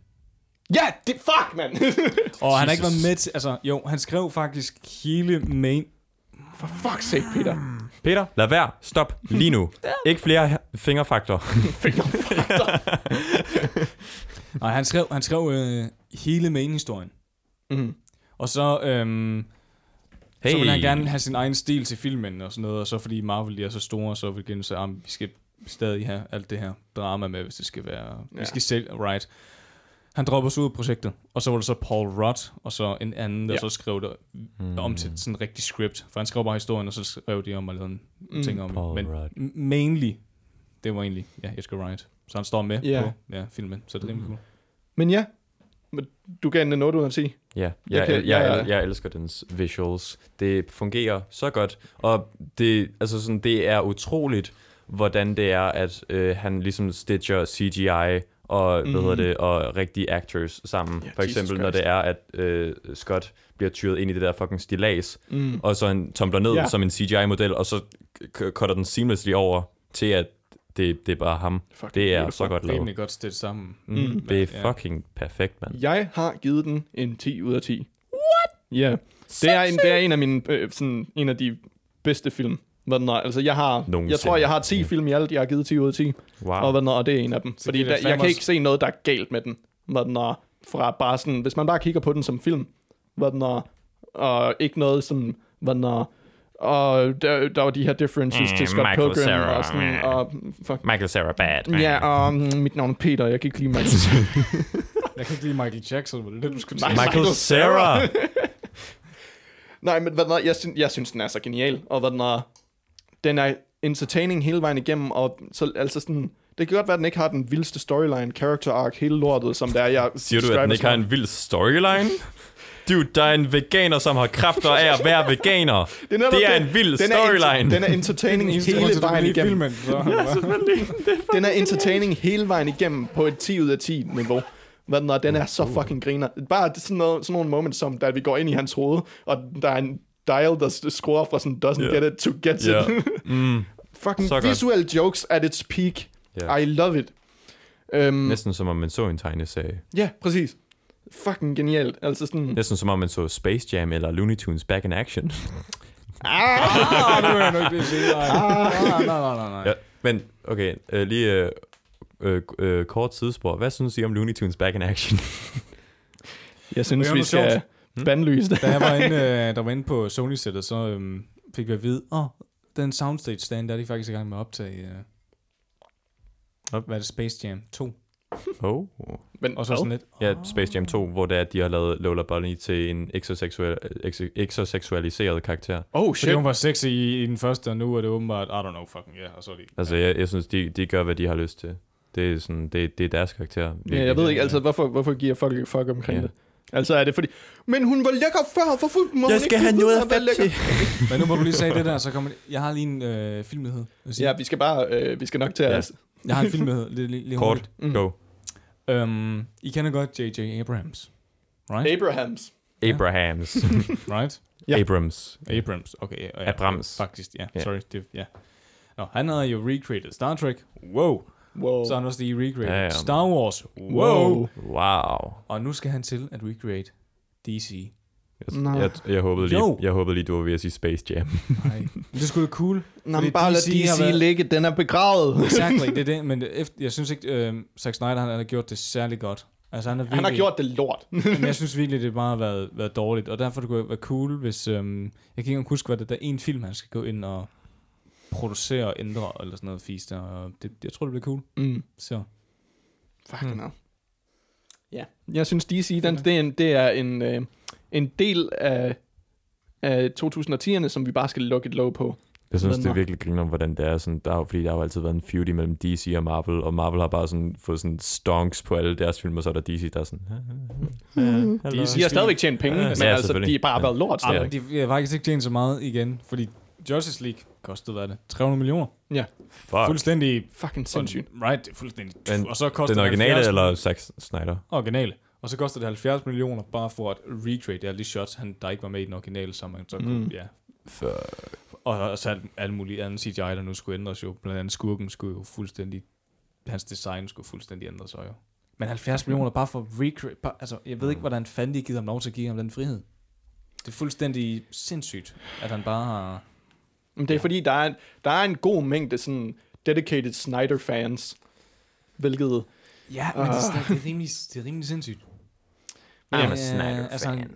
[SPEAKER 2] Ja, det fuck, mand!
[SPEAKER 1] Og han har ikke været med til... Altså, jo, han skrev faktisk hele main...
[SPEAKER 2] For fuck's sake, Peter.
[SPEAKER 1] Mm.
[SPEAKER 3] Peter, lad være. Stop. Lige nu. Ikke flere fingerfaktor.
[SPEAKER 1] Nej, han skrev, han skrev øh, hele main-historien.
[SPEAKER 2] Mm.
[SPEAKER 1] Og så, øhm, hey. så
[SPEAKER 3] Hey.
[SPEAKER 1] ville han gerne have sin egen stil til filmen og sådan noget. Og så fordi Marvel de er så store, så vil de sige, at vi skal stadig have alt det her drama med, hvis det skal være... Ja.
[SPEAKER 2] Ja.
[SPEAKER 1] Vi skal sælge, right. Han dropper sig ud af projektet. Og så var det så Paul Rudd, og så en anden, der
[SPEAKER 2] Ja.
[SPEAKER 1] så skrev det om
[SPEAKER 3] Mm.
[SPEAKER 1] til sådan en rigtig script. For han skrev bare historien, og så skrev de om og lavede en mm. ting om.
[SPEAKER 3] Paul
[SPEAKER 1] Men
[SPEAKER 3] Rudd.
[SPEAKER 1] m- mainly, det var egentlig, ja, Edgar Wright. Så han står med
[SPEAKER 2] Ja.
[SPEAKER 1] yeah. på ja, filmen, så det er
[SPEAKER 3] Mm.
[SPEAKER 1] rimelig cool.
[SPEAKER 2] Men ja, men du gav den en 8 ud af 10.
[SPEAKER 3] Ja,
[SPEAKER 2] Jeg
[SPEAKER 3] jeg,
[SPEAKER 2] kan-
[SPEAKER 3] jeg, jeg,
[SPEAKER 2] jeg-
[SPEAKER 3] jeg elsker dens visuals. Det fungerer så godt, og det, altså sådan, det er utroligt, hvordan det er, at øh, han ligesom stitcher CGI og, mm. hvad hedder det, og rigtige actors sammen.
[SPEAKER 2] Mhm. Ja,
[SPEAKER 3] For
[SPEAKER 2] Jesus
[SPEAKER 3] eksempel, når
[SPEAKER 2] Christ.
[SPEAKER 3] det er, at øh, Scott bliver tyret ind i det der fucking stilas, mm. og så han tumbler ned
[SPEAKER 2] Ja.
[SPEAKER 3] som en CGI-model, og så k- cutter den seamlessly over til, at det, det er bare ham.
[SPEAKER 2] Fucking
[SPEAKER 3] det er
[SPEAKER 2] beautiful.
[SPEAKER 3] så godt lavet.
[SPEAKER 1] Rimelig godt stillet sammen.
[SPEAKER 3] Mm, det er
[SPEAKER 1] Ja.
[SPEAKER 3] fucking perfekt, mand.
[SPEAKER 2] Jeg har givet den en 10 ud af 10. What? Ja. Det er en, det er en af mine, øh, sådan, en af de bedste film. Hvad den er. Altså, jeg har, jeg
[SPEAKER 3] Nogensinde.
[SPEAKER 2] tror, jeg har 10 film i alt, jeg har givet 10 ud af 10.
[SPEAKER 3] Wow.
[SPEAKER 2] Og, hvad den er, og det er en af dem. Fordi
[SPEAKER 1] det er
[SPEAKER 2] der, jeg kan
[SPEAKER 1] fandme-
[SPEAKER 2] ikke se noget, der er galt med den. Hvad den er, fra bare sådan, hvis man bare kigger på den som film, hvad den er, og ikke noget som, hvad den er, og der, der var de her differences
[SPEAKER 3] Mm,
[SPEAKER 2] til Scott
[SPEAKER 3] Michael
[SPEAKER 2] Pilgrim
[SPEAKER 3] Cera,
[SPEAKER 2] og sådan,
[SPEAKER 3] mm.
[SPEAKER 2] og fuck.
[SPEAKER 3] Michael Sarah bad. man.
[SPEAKER 2] Ja, og mm, mit navn er Peter, jeg kan ikke lide Michael
[SPEAKER 1] Jeg kan ikke lide Michael Jackson, var det det, du skulle
[SPEAKER 2] Nej.
[SPEAKER 1] sige?
[SPEAKER 3] Michael
[SPEAKER 2] Michael
[SPEAKER 3] Sarah.
[SPEAKER 2] Nej, men hvad den er, jeg, synes, jeg synes, den er så genial, og hvad den er, den er entertaining hele vejen igennem, og så, altså sådan, det kan godt være, at den ikke har den vildeste storyline, character arc, hele lortet, som det er, jeg
[SPEAKER 3] Siger du, at den ikke har en vild storyline? Dude, der er en veganer, som har kræfter af at være veganer. Det er,
[SPEAKER 2] netop
[SPEAKER 3] det er en vild
[SPEAKER 2] den er enter-
[SPEAKER 3] storyline.
[SPEAKER 2] Den er entertaining hele vejen igennem.
[SPEAKER 1] Filmen, så. ja,
[SPEAKER 2] Den er entertaining hele vejen igennem på et 10 ud af 10 niveau. Hvad den er, den er
[SPEAKER 3] Uh.
[SPEAKER 2] så fucking griner. Bare sådan, noget, sådan nogle moments som, da vi går ind i hans hoved, og der er en dial, der s- scorer fra sådan, doesn't
[SPEAKER 3] Ja.
[SPEAKER 2] get it to get
[SPEAKER 3] Ja.
[SPEAKER 2] it. fucking
[SPEAKER 3] Så godt.
[SPEAKER 2] visual jokes at its peak.
[SPEAKER 3] Ja.
[SPEAKER 2] I love it. Øhm,
[SPEAKER 3] Næsten som om man så en tegneserie.
[SPEAKER 2] ja, præcis. Fucking genialt. Altså sådan,
[SPEAKER 3] Næsten som om man så Space Jam eller Looney Tunes Back in Action.
[SPEAKER 1] nu er jeg nødt til at sige nej. Nej, nej, nej, nej.
[SPEAKER 3] Ja, men okay, øh, lige øh, øh, øh, kort tidsspor. Hvad synes I om Looney Tunes Back in Action?
[SPEAKER 2] Jeg
[SPEAKER 1] Det
[SPEAKER 2] synes,
[SPEAKER 1] er
[SPEAKER 2] vi
[SPEAKER 1] noget
[SPEAKER 2] skal
[SPEAKER 1] sjovt.
[SPEAKER 2] bandlyse det.
[SPEAKER 1] Da jeg var inde, øh, der var inde på Sony-sættet, så øhm, fik vi at vide, åh, oh, den soundstage stand, der er de faktisk i gang med at optage. Øh,
[SPEAKER 3] Op.
[SPEAKER 1] Hvad er det? Space Jam 2.
[SPEAKER 3] oh.
[SPEAKER 2] Men
[SPEAKER 1] Og så sådan
[SPEAKER 2] oh,
[SPEAKER 1] lidt,
[SPEAKER 3] Ja, Space Jam 2, hvor det er, at de har lavet Lola Bunny til en eksoseksuel, ekso- eksoseksualiseret karakter.
[SPEAKER 2] oh
[SPEAKER 1] Fordi
[SPEAKER 2] shit.
[SPEAKER 1] hun var sexy i, i den første, og nu er det åbenbart, I don't know, fucking yeah, og så er det...
[SPEAKER 3] Altså, jeg, jeg synes, de, de gør, hvad de har lyst til. Det er, sådan, det, det er deres karakter.
[SPEAKER 2] Ja, jeg ved ikke, altså, hvorfor, hvorfor giver folk ikke fuck omkring
[SPEAKER 3] Ja.
[SPEAKER 2] det? Altså er det fordi, men hun var lækker før, hvorfor må hun
[SPEAKER 3] Jeg
[SPEAKER 2] ikke
[SPEAKER 3] skal have
[SPEAKER 2] blive ved
[SPEAKER 3] noget
[SPEAKER 2] med
[SPEAKER 3] af
[SPEAKER 2] at være
[SPEAKER 3] fedt
[SPEAKER 2] lækker?
[SPEAKER 3] til.
[SPEAKER 1] Men nu må du lige sige det der, så kommer... Jeg har lige en øh, film, der hedder.
[SPEAKER 2] Ja, vi skal bare, øh, vi skal nok tage
[SPEAKER 3] Ja.
[SPEAKER 2] os.
[SPEAKER 1] Jeg har en film, der hedder. Lige, lige, lige
[SPEAKER 3] Kort, go.
[SPEAKER 1] hurtigt. Øhm, I kender godt J.J. Abrams, right?
[SPEAKER 2] Abrahams.
[SPEAKER 1] Ja.
[SPEAKER 3] Abrahams.
[SPEAKER 1] right?
[SPEAKER 2] Ja.
[SPEAKER 3] Abrams.
[SPEAKER 1] Abrams, okay. Ja, ja,
[SPEAKER 3] Abrams.
[SPEAKER 1] Faktisk, ja.
[SPEAKER 3] Ja.
[SPEAKER 1] Sorry, det, ja. Nå, han havde jo recreated Star Trek. Wow.
[SPEAKER 2] Wow.
[SPEAKER 1] Så har han også lige recreated
[SPEAKER 3] Ja,
[SPEAKER 1] ja,
[SPEAKER 3] ja.
[SPEAKER 1] ja. Star Wars. Wow.
[SPEAKER 2] Wow.
[SPEAKER 1] wow.
[SPEAKER 3] Wow.
[SPEAKER 1] Og nu skal han til at recreate DC.
[SPEAKER 3] Jeg,
[SPEAKER 2] Nå.
[SPEAKER 3] jeg, jeg, håbede lige,
[SPEAKER 1] Jo.
[SPEAKER 3] jeg håbede lige, du var ved at sige Space Jam.
[SPEAKER 1] Nej. Men det skulle da cool.
[SPEAKER 2] Nå,
[SPEAKER 1] fordi
[SPEAKER 2] men bare lad
[SPEAKER 1] har
[SPEAKER 2] DC
[SPEAKER 1] været-
[SPEAKER 2] ligge, den er begravet.
[SPEAKER 1] Exactly, det er det. Men efter, jeg synes ikke, øh, Zack Snyder han, han har gjort det særlig godt. Altså, han, er virkelig,
[SPEAKER 2] Han har gjort det lort.
[SPEAKER 1] men jeg synes virkelig, det bare har været, været dårligt, og derfor det kunne være cool, hvis... Øhm, jeg kan ikke engang huske, hvad det er, der er en film, han skal gå ind og producere og ændre, eller sådan noget fisk der, og det, jeg tror, det bliver cool.
[SPEAKER 2] mm.
[SPEAKER 1] Så
[SPEAKER 2] Fuck hmm. Ja. Jeg synes, DC, den, det er en, det er en, øh, en del af, af 2010'erne, som vi bare skal lukke et låg på.
[SPEAKER 3] Jeg synes,
[SPEAKER 2] Men
[SPEAKER 3] det
[SPEAKER 2] nå.
[SPEAKER 3] er virkelig grineren om, hvordan det er. Sådan, der er jo, fordi der har jo altid været en feud mellem DC og Marvel, og Marvel har bare sådan, fået sådan stonks på alle deres film, og så er der DC, der er sådan... "Ah, ah, ah, hallo."
[SPEAKER 2] De har stadigvæk tjent penge,
[SPEAKER 3] Ja,
[SPEAKER 2] men
[SPEAKER 3] ja,
[SPEAKER 2] altså,
[SPEAKER 3] selvfølgelig.
[SPEAKER 2] de har bare
[SPEAKER 3] Ja.
[SPEAKER 2] været lort.
[SPEAKER 3] Ja.
[SPEAKER 1] ja.
[SPEAKER 2] stadig.
[SPEAKER 1] men de har faktisk ikke tjent så meget igen, fordi Justice League kostede, hvad er det, 300 millioner?
[SPEAKER 2] Ja,
[SPEAKER 3] Fuck.
[SPEAKER 1] Fuldstændig
[SPEAKER 2] fucking sindssygt.
[SPEAKER 1] Right, det er fuldstændig.
[SPEAKER 3] Men
[SPEAKER 1] og så koster
[SPEAKER 3] Den
[SPEAKER 1] det
[SPEAKER 3] originale
[SPEAKER 1] 70
[SPEAKER 3] eller Zack Snyder?
[SPEAKER 1] Originale. Og så koster det 70 millioner bare for at recreate alle de shots, han, der ikke var med i den originale, som man så kunne,
[SPEAKER 2] Mm.
[SPEAKER 1] ja. Og og så alt, alt muligt andet CGI, der nu skulle ændres jo. Blandt andet skurken skulle jo fuldstændig, hans design skulle fuldstændig ændres så jo. Men 70 millioner bare for recreate, bare, altså jeg ved ikke, hvordan fanden de givet ham lov til at give ham den frihed. Det er fuldstændig sindssygt, at han bare har...
[SPEAKER 2] Men det er fordi, der er, en, der er en god mængde sådan dedicated Snyder-fans, hvilket...
[SPEAKER 1] Ja, men det, er, det, er rimelig, det er rimelig sindssygt.
[SPEAKER 3] I'm
[SPEAKER 1] Ja,
[SPEAKER 3] a Snyder
[SPEAKER 1] altså, han-
[SPEAKER 3] fan.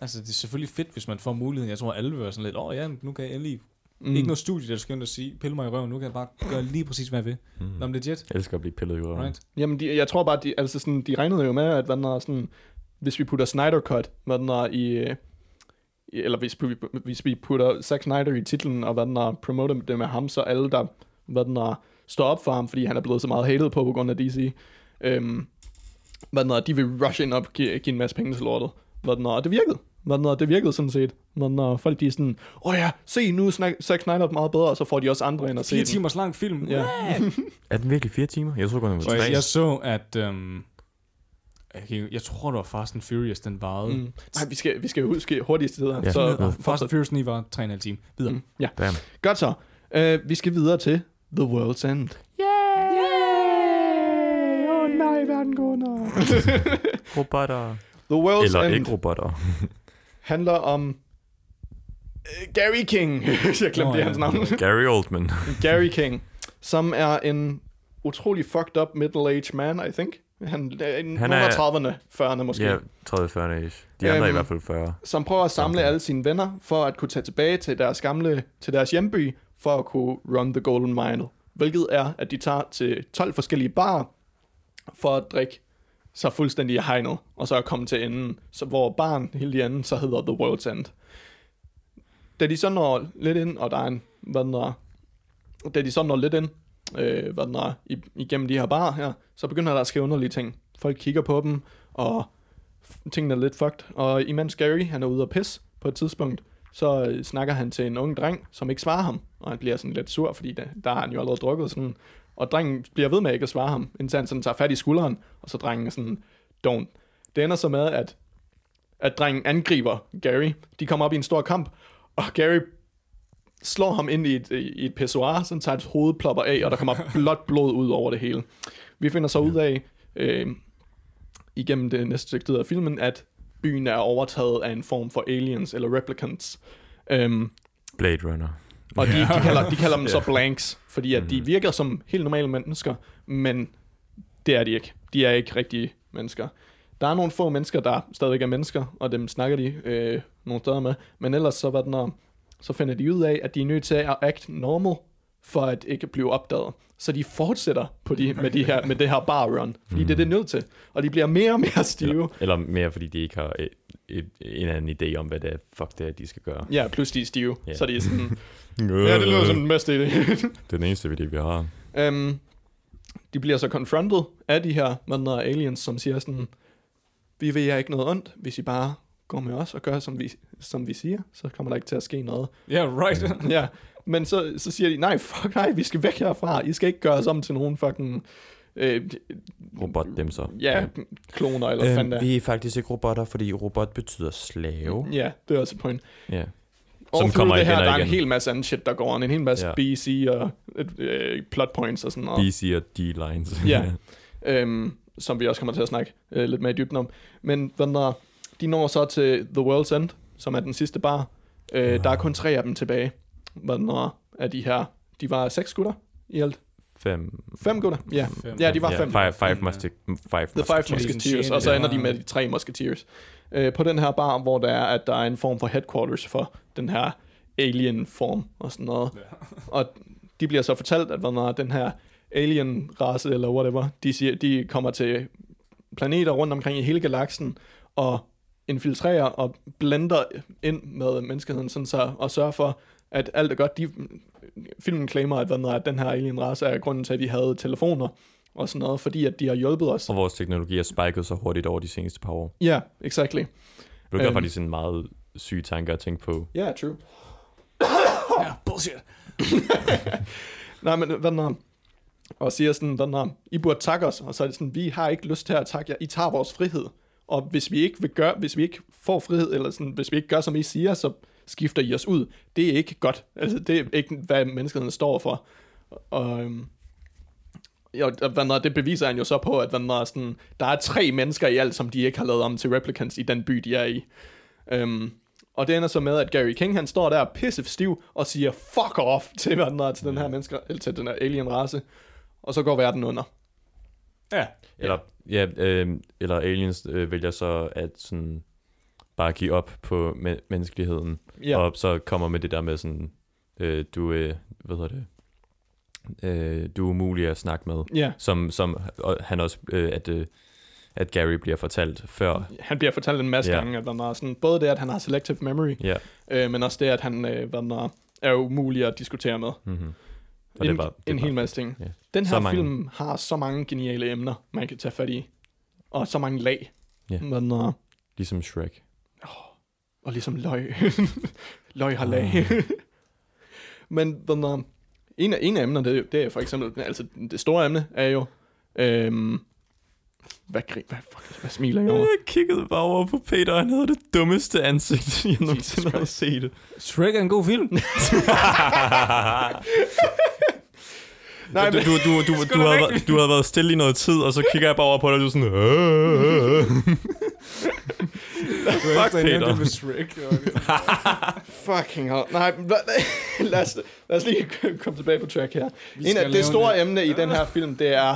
[SPEAKER 1] Altså, det er selvfølgelig fedt, hvis man får muligheden. Jeg tror, alle vil være sådan lidt, åh oh, ja, men nu kan jeg endelig...
[SPEAKER 2] Mm.
[SPEAKER 1] Mm. Ikke noget studie, der skal ind og sige, pille mig i røven, nu kan jeg bare gøre lige præcis, hvad jeg vil. Mm. Nå, men det er jet,
[SPEAKER 3] Jeg elsker at blive pillet i røven.
[SPEAKER 1] right?
[SPEAKER 2] Jamen, de, jeg tror bare, de, altså sådan, de regnede jo med, at hvad den er sådan, hvis vi putter Snyder Cut, hvad den er i, øh, i- eller hvis, vi, hvis vi putter Zack Snyder i titlen, og hvad den er, promoter det med ham, så alle, der hvad den er, står op for ham, fordi han er blevet så meget hated på, på grund af DC, øhm, hvad den er, de vil rush ind og give, give en masse penge til lortet. Hvad den er, og det virkede. Hvad den er, det virkede sådan set. Hvad den er, folk de er sådan, åh ja, se nu er Snak- Zack Snyder meget bedre, og så får de også andre ind og se
[SPEAKER 1] Fire
[SPEAKER 2] den.
[SPEAKER 1] timers lang film.
[SPEAKER 2] Ja.
[SPEAKER 3] Er den virkelig fire timer? Jeg tror kun, den var
[SPEAKER 1] Og jeg,
[SPEAKER 3] tre.
[SPEAKER 1] jeg så, at... Øhm, jeg, kan ikke- jeg tror, det var Fast and Furious, den varede. Mm.
[SPEAKER 2] Mm. Nej, vi skal, vi skal huske hurtigst til det her.
[SPEAKER 3] Ja.
[SPEAKER 2] Så,
[SPEAKER 3] Ja.
[SPEAKER 1] Fast and Furious 9 var 3,5 time. Videre. Mm.
[SPEAKER 2] ja.
[SPEAKER 3] Damn.
[SPEAKER 2] Godt så. Uh, vi skal videre til The World's End. Yay! Åh oh, nej, verden går under.
[SPEAKER 3] Robotter.
[SPEAKER 2] The World's
[SPEAKER 3] Eller
[SPEAKER 2] End
[SPEAKER 3] ikke robotter.
[SPEAKER 2] handler om øh, Gary King. Jeg glemte
[SPEAKER 1] Nå,
[SPEAKER 2] oh,
[SPEAKER 1] ja.
[SPEAKER 2] hans navn.
[SPEAKER 3] Gary Oldman.
[SPEAKER 2] Gary King, som er en utrolig fucked up middle-aged man, I think. Han er en han
[SPEAKER 3] Han er-
[SPEAKER 2] er 30'erne, 40'erne måske.
[SPEAKER 3] ja, 30-40 ish. De andre er i
[SPEAKER 2] Øhm,
[SPEAKER 3] hvert fald 40.
[SPEAKER 2] som prøver at samle alle sine venner for at kunne tage tilbage til deres gamle, til deres hjemby, for at kunne run the golden mile. Hvilket er, at de tager til 12 forskellige barer, for at drikke sig fuldstændig i hegnet, og så at komme til enden, så hvor baren helt i anden, så hedder The World's End. Da de så når lidt ind, og der er en, hvad den er, da de så når lidt ind, øh, hvad den er, i- igennem de her barer her, så begynder der at ske underlige ting. Folk kigger på dem, og tingene er lidt fucked. Og imens Gary, han er ude at pisse på et tidspunkt, så øh, snakker han til en ung dreng, som ikke svarer ham. Og han bliver sådan lidt sur, fordi der, der har han jo allerede drukket sådan. Og drengen bliver ved med ikke at svare ham, indtil han sådan tager fat i skulderen, og så drengen er sådan, don't. Det ender så med, at, at drengen angriber Gary. De kommer op i en stor kamp, og Gary slår ham ind i et, i et pissoir, sådan tager hans hoved plopper af, og der kommer blåt blod ud over det hele. Vi finder så ud af, øh, igennem det næste stykke tid af filmen, at byen er overtaget af en form for aliens eller replicants. Øhm,
[SPEAKER 3] Blade Runner.
[SPEAKER 2] og de, de, kalder, de kalder dem så blanks, fordi at de virker som helt normale mennesker, men Det er de ikke. De er ikke rigtige mennesker. Der er nogle få mennesker, der stadigvæk er mennesker, og dem snakker de øh, nogle steder med. Men ellers så, hvad den er, så finder de ud af, at de er nødt til at act normal, for at ikke blive opdaget. Så de fortsætter på de, med, de her, med det her bar run, fordi det er det nødt til. Og de bliver mere og mere stive.
[SPEAKER 3] Eller mere fordi de ikke har et, et, en eller anden idé om, hvad det er, fuck det er, de skal gøre.
[SPEAKER 2] Ja, plus de er stive.
[SPEAKER 3] Ja.
[SPEAKER 2] Så de er sådan, ja, det lyder som den bedste idé.
[SPEAKER 3] Det er den eneste idé, vi har.
[SPEAKER 2] Øhm, de bliver så confronted af de her mandre aliens, som siger sådan, vi vil jer ikke noget ondt, hvis I bare går med os og gør, som vi, som vi siger, så kommer der ikke til at ske noget.
[SPEAKER 1] Yeah, right.
[SPEAKER 2] ja, men så, så siger de, nej, fuck nej, vi skal væk herfra, I skal ikke gøre os om til nogen fucking, øh,
[SPEAKER 3] Robot dem så.
[SPEAKER 2] ja, kloner eller øhm, fanden der.
[SPEAKER 3] vi er faktisk ikke robotter, fordi robot betyder slave.
[SPEAKER 2] Ja, det er også et point.
[SPEAKER 3] Ja.
[SPEAKER 2] Og
[SPEAKER 3] Øhm, Som
[SPEAKER 2] som
[SPEAKER 3] kommer
[SPEAKER 2] det her,
[SPEAKER 3] igen og
[SPEAKER 2] der er en
[SPEAKER 3] igen.
[SPEAKER 2] hel masse anden shit, der går on. En hel masse
[SPEAKER 3] Ja.
[SPEAKER 2] ja. BC og øh, plot points og sådan noget.
[SPEAKER 3] BC og D-lines.
[SPEAKER 2] Ja. øhm, som vi også kommer til at snakke øh, lidt mere i dybden om. Men hvad den hedder, de når så til The World's End, som er den sidste bar. Øh, Der er kun tre af dem tilbage. Hvad den hedder, af de her, de var seks gutter i alt.
[SPEAKER 3] Fem.
[SPEAKER 2] Fem gutter, ja.
[SPEAKER 1] Fem.
[SPEAKER 2] Ja, de var
[SPEAKER 3] ja,
[SPEAKER 2] fem.
[SPEAKER 3] Five, five,
[SPEAKER 1] Fem,
[SPEAKER 3] must, five
[SPEAKER 2] The Five
[SPEAKER 3] must-
[SPEAKER 1] Musketeers.
[SPEAKER 2] Musketeers, og så
[SPEAKER 1] Ja.
[SPEAKER 2] ender de med de tre Musketeers. Øh, på den her bar, hvor der er, at der er en form for headquarters for den her alien-form og sådan noget. Og de bliver så fortalt, at når den her alien-race eller whatever, de, siger, de kommer til planeter rundt omkring i hele galaksen og infiltrerer og blender ind med menneskeheden, sådan så, og sørger for, at alt er godt. De, filmen claimer, at, hvad den hedder, at den her alien-race er grunden til, at vi havde telefoner og sådan noget, fordi at de har hjulpet os.
[SPEAKER 3] Og vores teknologi har spiket så hurtigt over de seneste par år.
[SPEAKER 2] Ja, yeah, exactly.
[SPEAKER 3] Det gør
[SPEAKER 2] Øhm.
[SPEAKER 3] faktisk en meget syg tanke at tænke på.
[SPEAKER 2] Ja, yeah, true.
[SPEAKER 1] yeah, bullshit.
[SPEAKER 2] Nej, men hvad den er, og siger sådan, hvad den er, I burde takke os, og så er det sådan, vi har ikke lyst til at takke jer, I tager vores frihed, og hvis vi ikke vil gøre, hvis vi ikke får frihed, eller sådan, hvis vi ikke gør, som I siger, så skifter I os ud. Det er ikke godt. Altså, det er ikke, hvad menneskeheden står for. Og, øhm, jo, og hvad den er, det beviser han jo så på, at hvad den er, sådan, der er tre mennesker i alt, som de ikke har lavet om til replicants i den by, de er i. Øhm, og det ender så med, at Gary King, han står der pisse stiv og siger, fuck off til, hvad den er, til den her mennesker, eller til den her alien race. Og så går verden under.
[SPEAKER 1] Ja.
[SPEAKER 3] Eller, ja, øh, eller aliens øh, vælger så at sådan bare give op på me- menneskeligheden.
[SPEAKER 2] Ja.
[SPEAKER 3] Og så kommer med det der med sådan, øh, du, øh, hvad hedder det, øh, du er umulig at snakke med.
[SPEAKER 2] Ja,
[SPEAKER 3] Som, som og han også, øh, at, øh, at Gary bliver fortalt før.
[SPEAKER 2] han bliver fortalt en masse
[SPEAKER 3] Ja.
[SPEAKER 2] yeah. gange, at den er sådan, både det, at han har selective memory,
[SPEAKER 3] Ja,
[SPEAKER 2] øh, men også det, at han øh, hvad den er, er umulig at diskutere med.
[SPEAKER 3] mm-hmm.
[SPEAKER 2] Og en, det var, det en
[SPEAKER 3] var
[SPEAKER 2] hel masse ting.
[SPEAKER 3] Ja.
[SPEAKER 2] Den
[SPEAKER 3] Så
[SPEAKER 2] her
[SPEAKER 3] mange.
[SPEAKER 2] film har så mange geniale emner, man kan tage fat i. Og så mange lag.
[SPEAKER 3] Ja.
[SPEAKER 2] Hvad den er,
[SPEAKER 3] ligesom Shrek.
[SPEAKER 2] og ligesom løg. løg har lag. Men den, er- en, af, en af emnerne, det, er- det er for eksempel, altså det store emne er jo, øhm, hvad, gri- hvad, fuck, hvad smiler jeg over?
[SPEAKER 3] kiggede bare over på Peter, og han havde det dummeste ansigt, jeg nogensinde har set.
[SPEAKER 1] Shrek er en god film.
[SPEAKER 2] Nej,
[SPEAKER 3] Nej, du,
[SPEAKER 2] men-
[SPEAKER 3] du, du, du, du, havde, været- du havde været stille i noget tid, og så kigger jeg bare over på dig, og du er sådan... "Øh." Fuck, Peter.
[SPEAKER 1] Det med Shrek.
[SPEAKER 2] Fucking hell. Nej, men hvad- lad os, lad os lige komme tilbage på track her. En
[SPEAKER 1] skal
[SPEAKER 2] af
[SPEAKER 1] lave
[SPEAKER 2] det store
[SPEAKER 1] en-
[SPEAKER 2] emne i den her film, det er,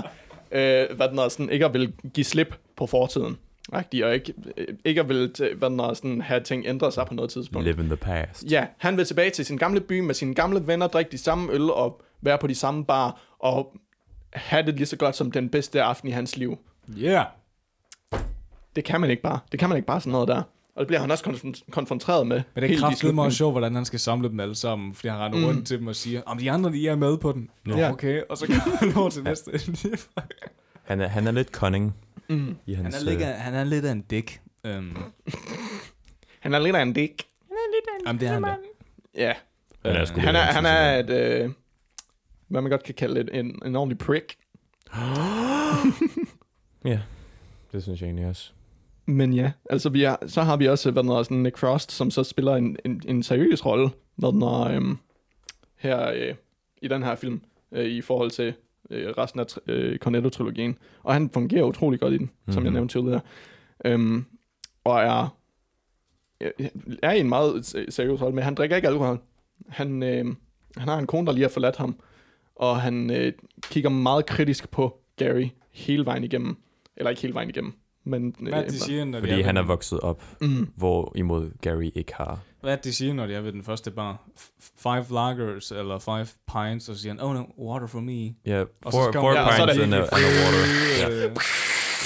[SPEAKER 2] øh, hvad den er sådan, ikke at vil give slip på fortiden. Rigtigt, og ikke, øh, ikke at vil, t- hvad den er sådan, have ting ændret sig på noget tidspunkt.
[SPEAKER 3] Live in the past.
[SPEAKER 2] Ja, han vil tilbage til sin gamle by med sine gamle venner, drikke de samme øl og være på de samme bar, og have det lige så godt som den bedste aften i hans liv.
[SPEAKER 1] Yeah.
[SPEAKER 2] Det kan man ikke bare. Det kan man ikke bare sådan noget der. Og det bliver han også konf- konfronteret med.
[SPEAKER 1] Men det
[SPEAKER 2] helt
[SPEAKER 1] er
[SPEAKER 2] i
[SPEAKER 1] kraftigt
[SPEAKER 2] slutningen.
[SPEAKER 1] meget sjovt, hvordan han skal samle dem alle sammen, fordi han render mm. rundt til dem og siger, om de andre, de er med på den. Nå,
[SPEAKER 2] Ja.
[SPEAKER 1] okay. Og så kommer han over til næste.
[SPEAKER 3] Han er, han er lidt cunning. Mm. I hans,
[SPEAKER 1] han, er lidt,
[SPEAKER 3] øh,
[SPEAKER 1] af- han er lidt af en dæk. Øhm,
[SPEAKER 2] Han er lidt af en dæk.
[SPEAKER 1] jamen, det er han da.
[SPEAKER 2] Ja,
[SPEAKER 3] han er, sgu
[SPEAKER 2] han
[SPEAKER 3] lidt
[SPEAKER 2] er,
[SPEAKER 3] af en
[SPEAKER 2] han er
[SPEAKER 3] sådan-
[SPEAKER 2] et, øh, hvad man godt kan kalde et, en, en ordentlig prick.
[SPEAKER 3] Ja, det synes jeg egentlig også.
[SPEAKER 2] Men ja, altså vi er, så har vi også, hvad den hedder, sådan Nick Frost, som så spiller en, en, en seriøs rolle, hvad den hedder, øhm, her øh, i den her film, øh, i forhold til øh, resten af tr- øh, Cornetto-trilogien. Og han fungerer utrolig godt i den, mm-hmm. som jeg
[SPEAKER 3] Mhm.
[SPEAKER 2] nævnte tidligere. Øhm, og er, øh, er i en meget se- seriøs rolle, men han drikker ikke alkohol. Han, øh, han har en kone, der lige har forladt ham, og han øh, kigger meget kritisk på Gary hele vejen igennem. Eller ikke hele vejen igennem, men... øh,
[SPEAKER 1] Hvad de siger, når de
[SPEAKER 3] Fordi
[SPEAKER 1] er
[SPEAKER 3] han
[SPEAKER 1] ved,
[SPEAKER 3] er vokset op,
[SPEAKER 2] Mm,
[SPEAKER 3] hvor imod Gary ikke har.
[SPEAKER 1] Hvad de siger, når de er ved den første bar? F- Five lagers eller five pints, og så siger han, oh no, water for me.
[SPEAKER 3] Ja,
[SPEAKER 1] Og
[SPEAKER 3] four,
[SPEAKER 1] så skal
[SPEAKER 3] four
[SPEAKER 1] man-
[SPEAKER 2] Ja, og så er
[SPEAKER 3] pints
[SPEAKER 2] det
[SPEAKER 3] and a, and
[SPEAKER 1] virkelig
[SPEAKER 3] a water. Ja.
[SPEAKER 1] Øh,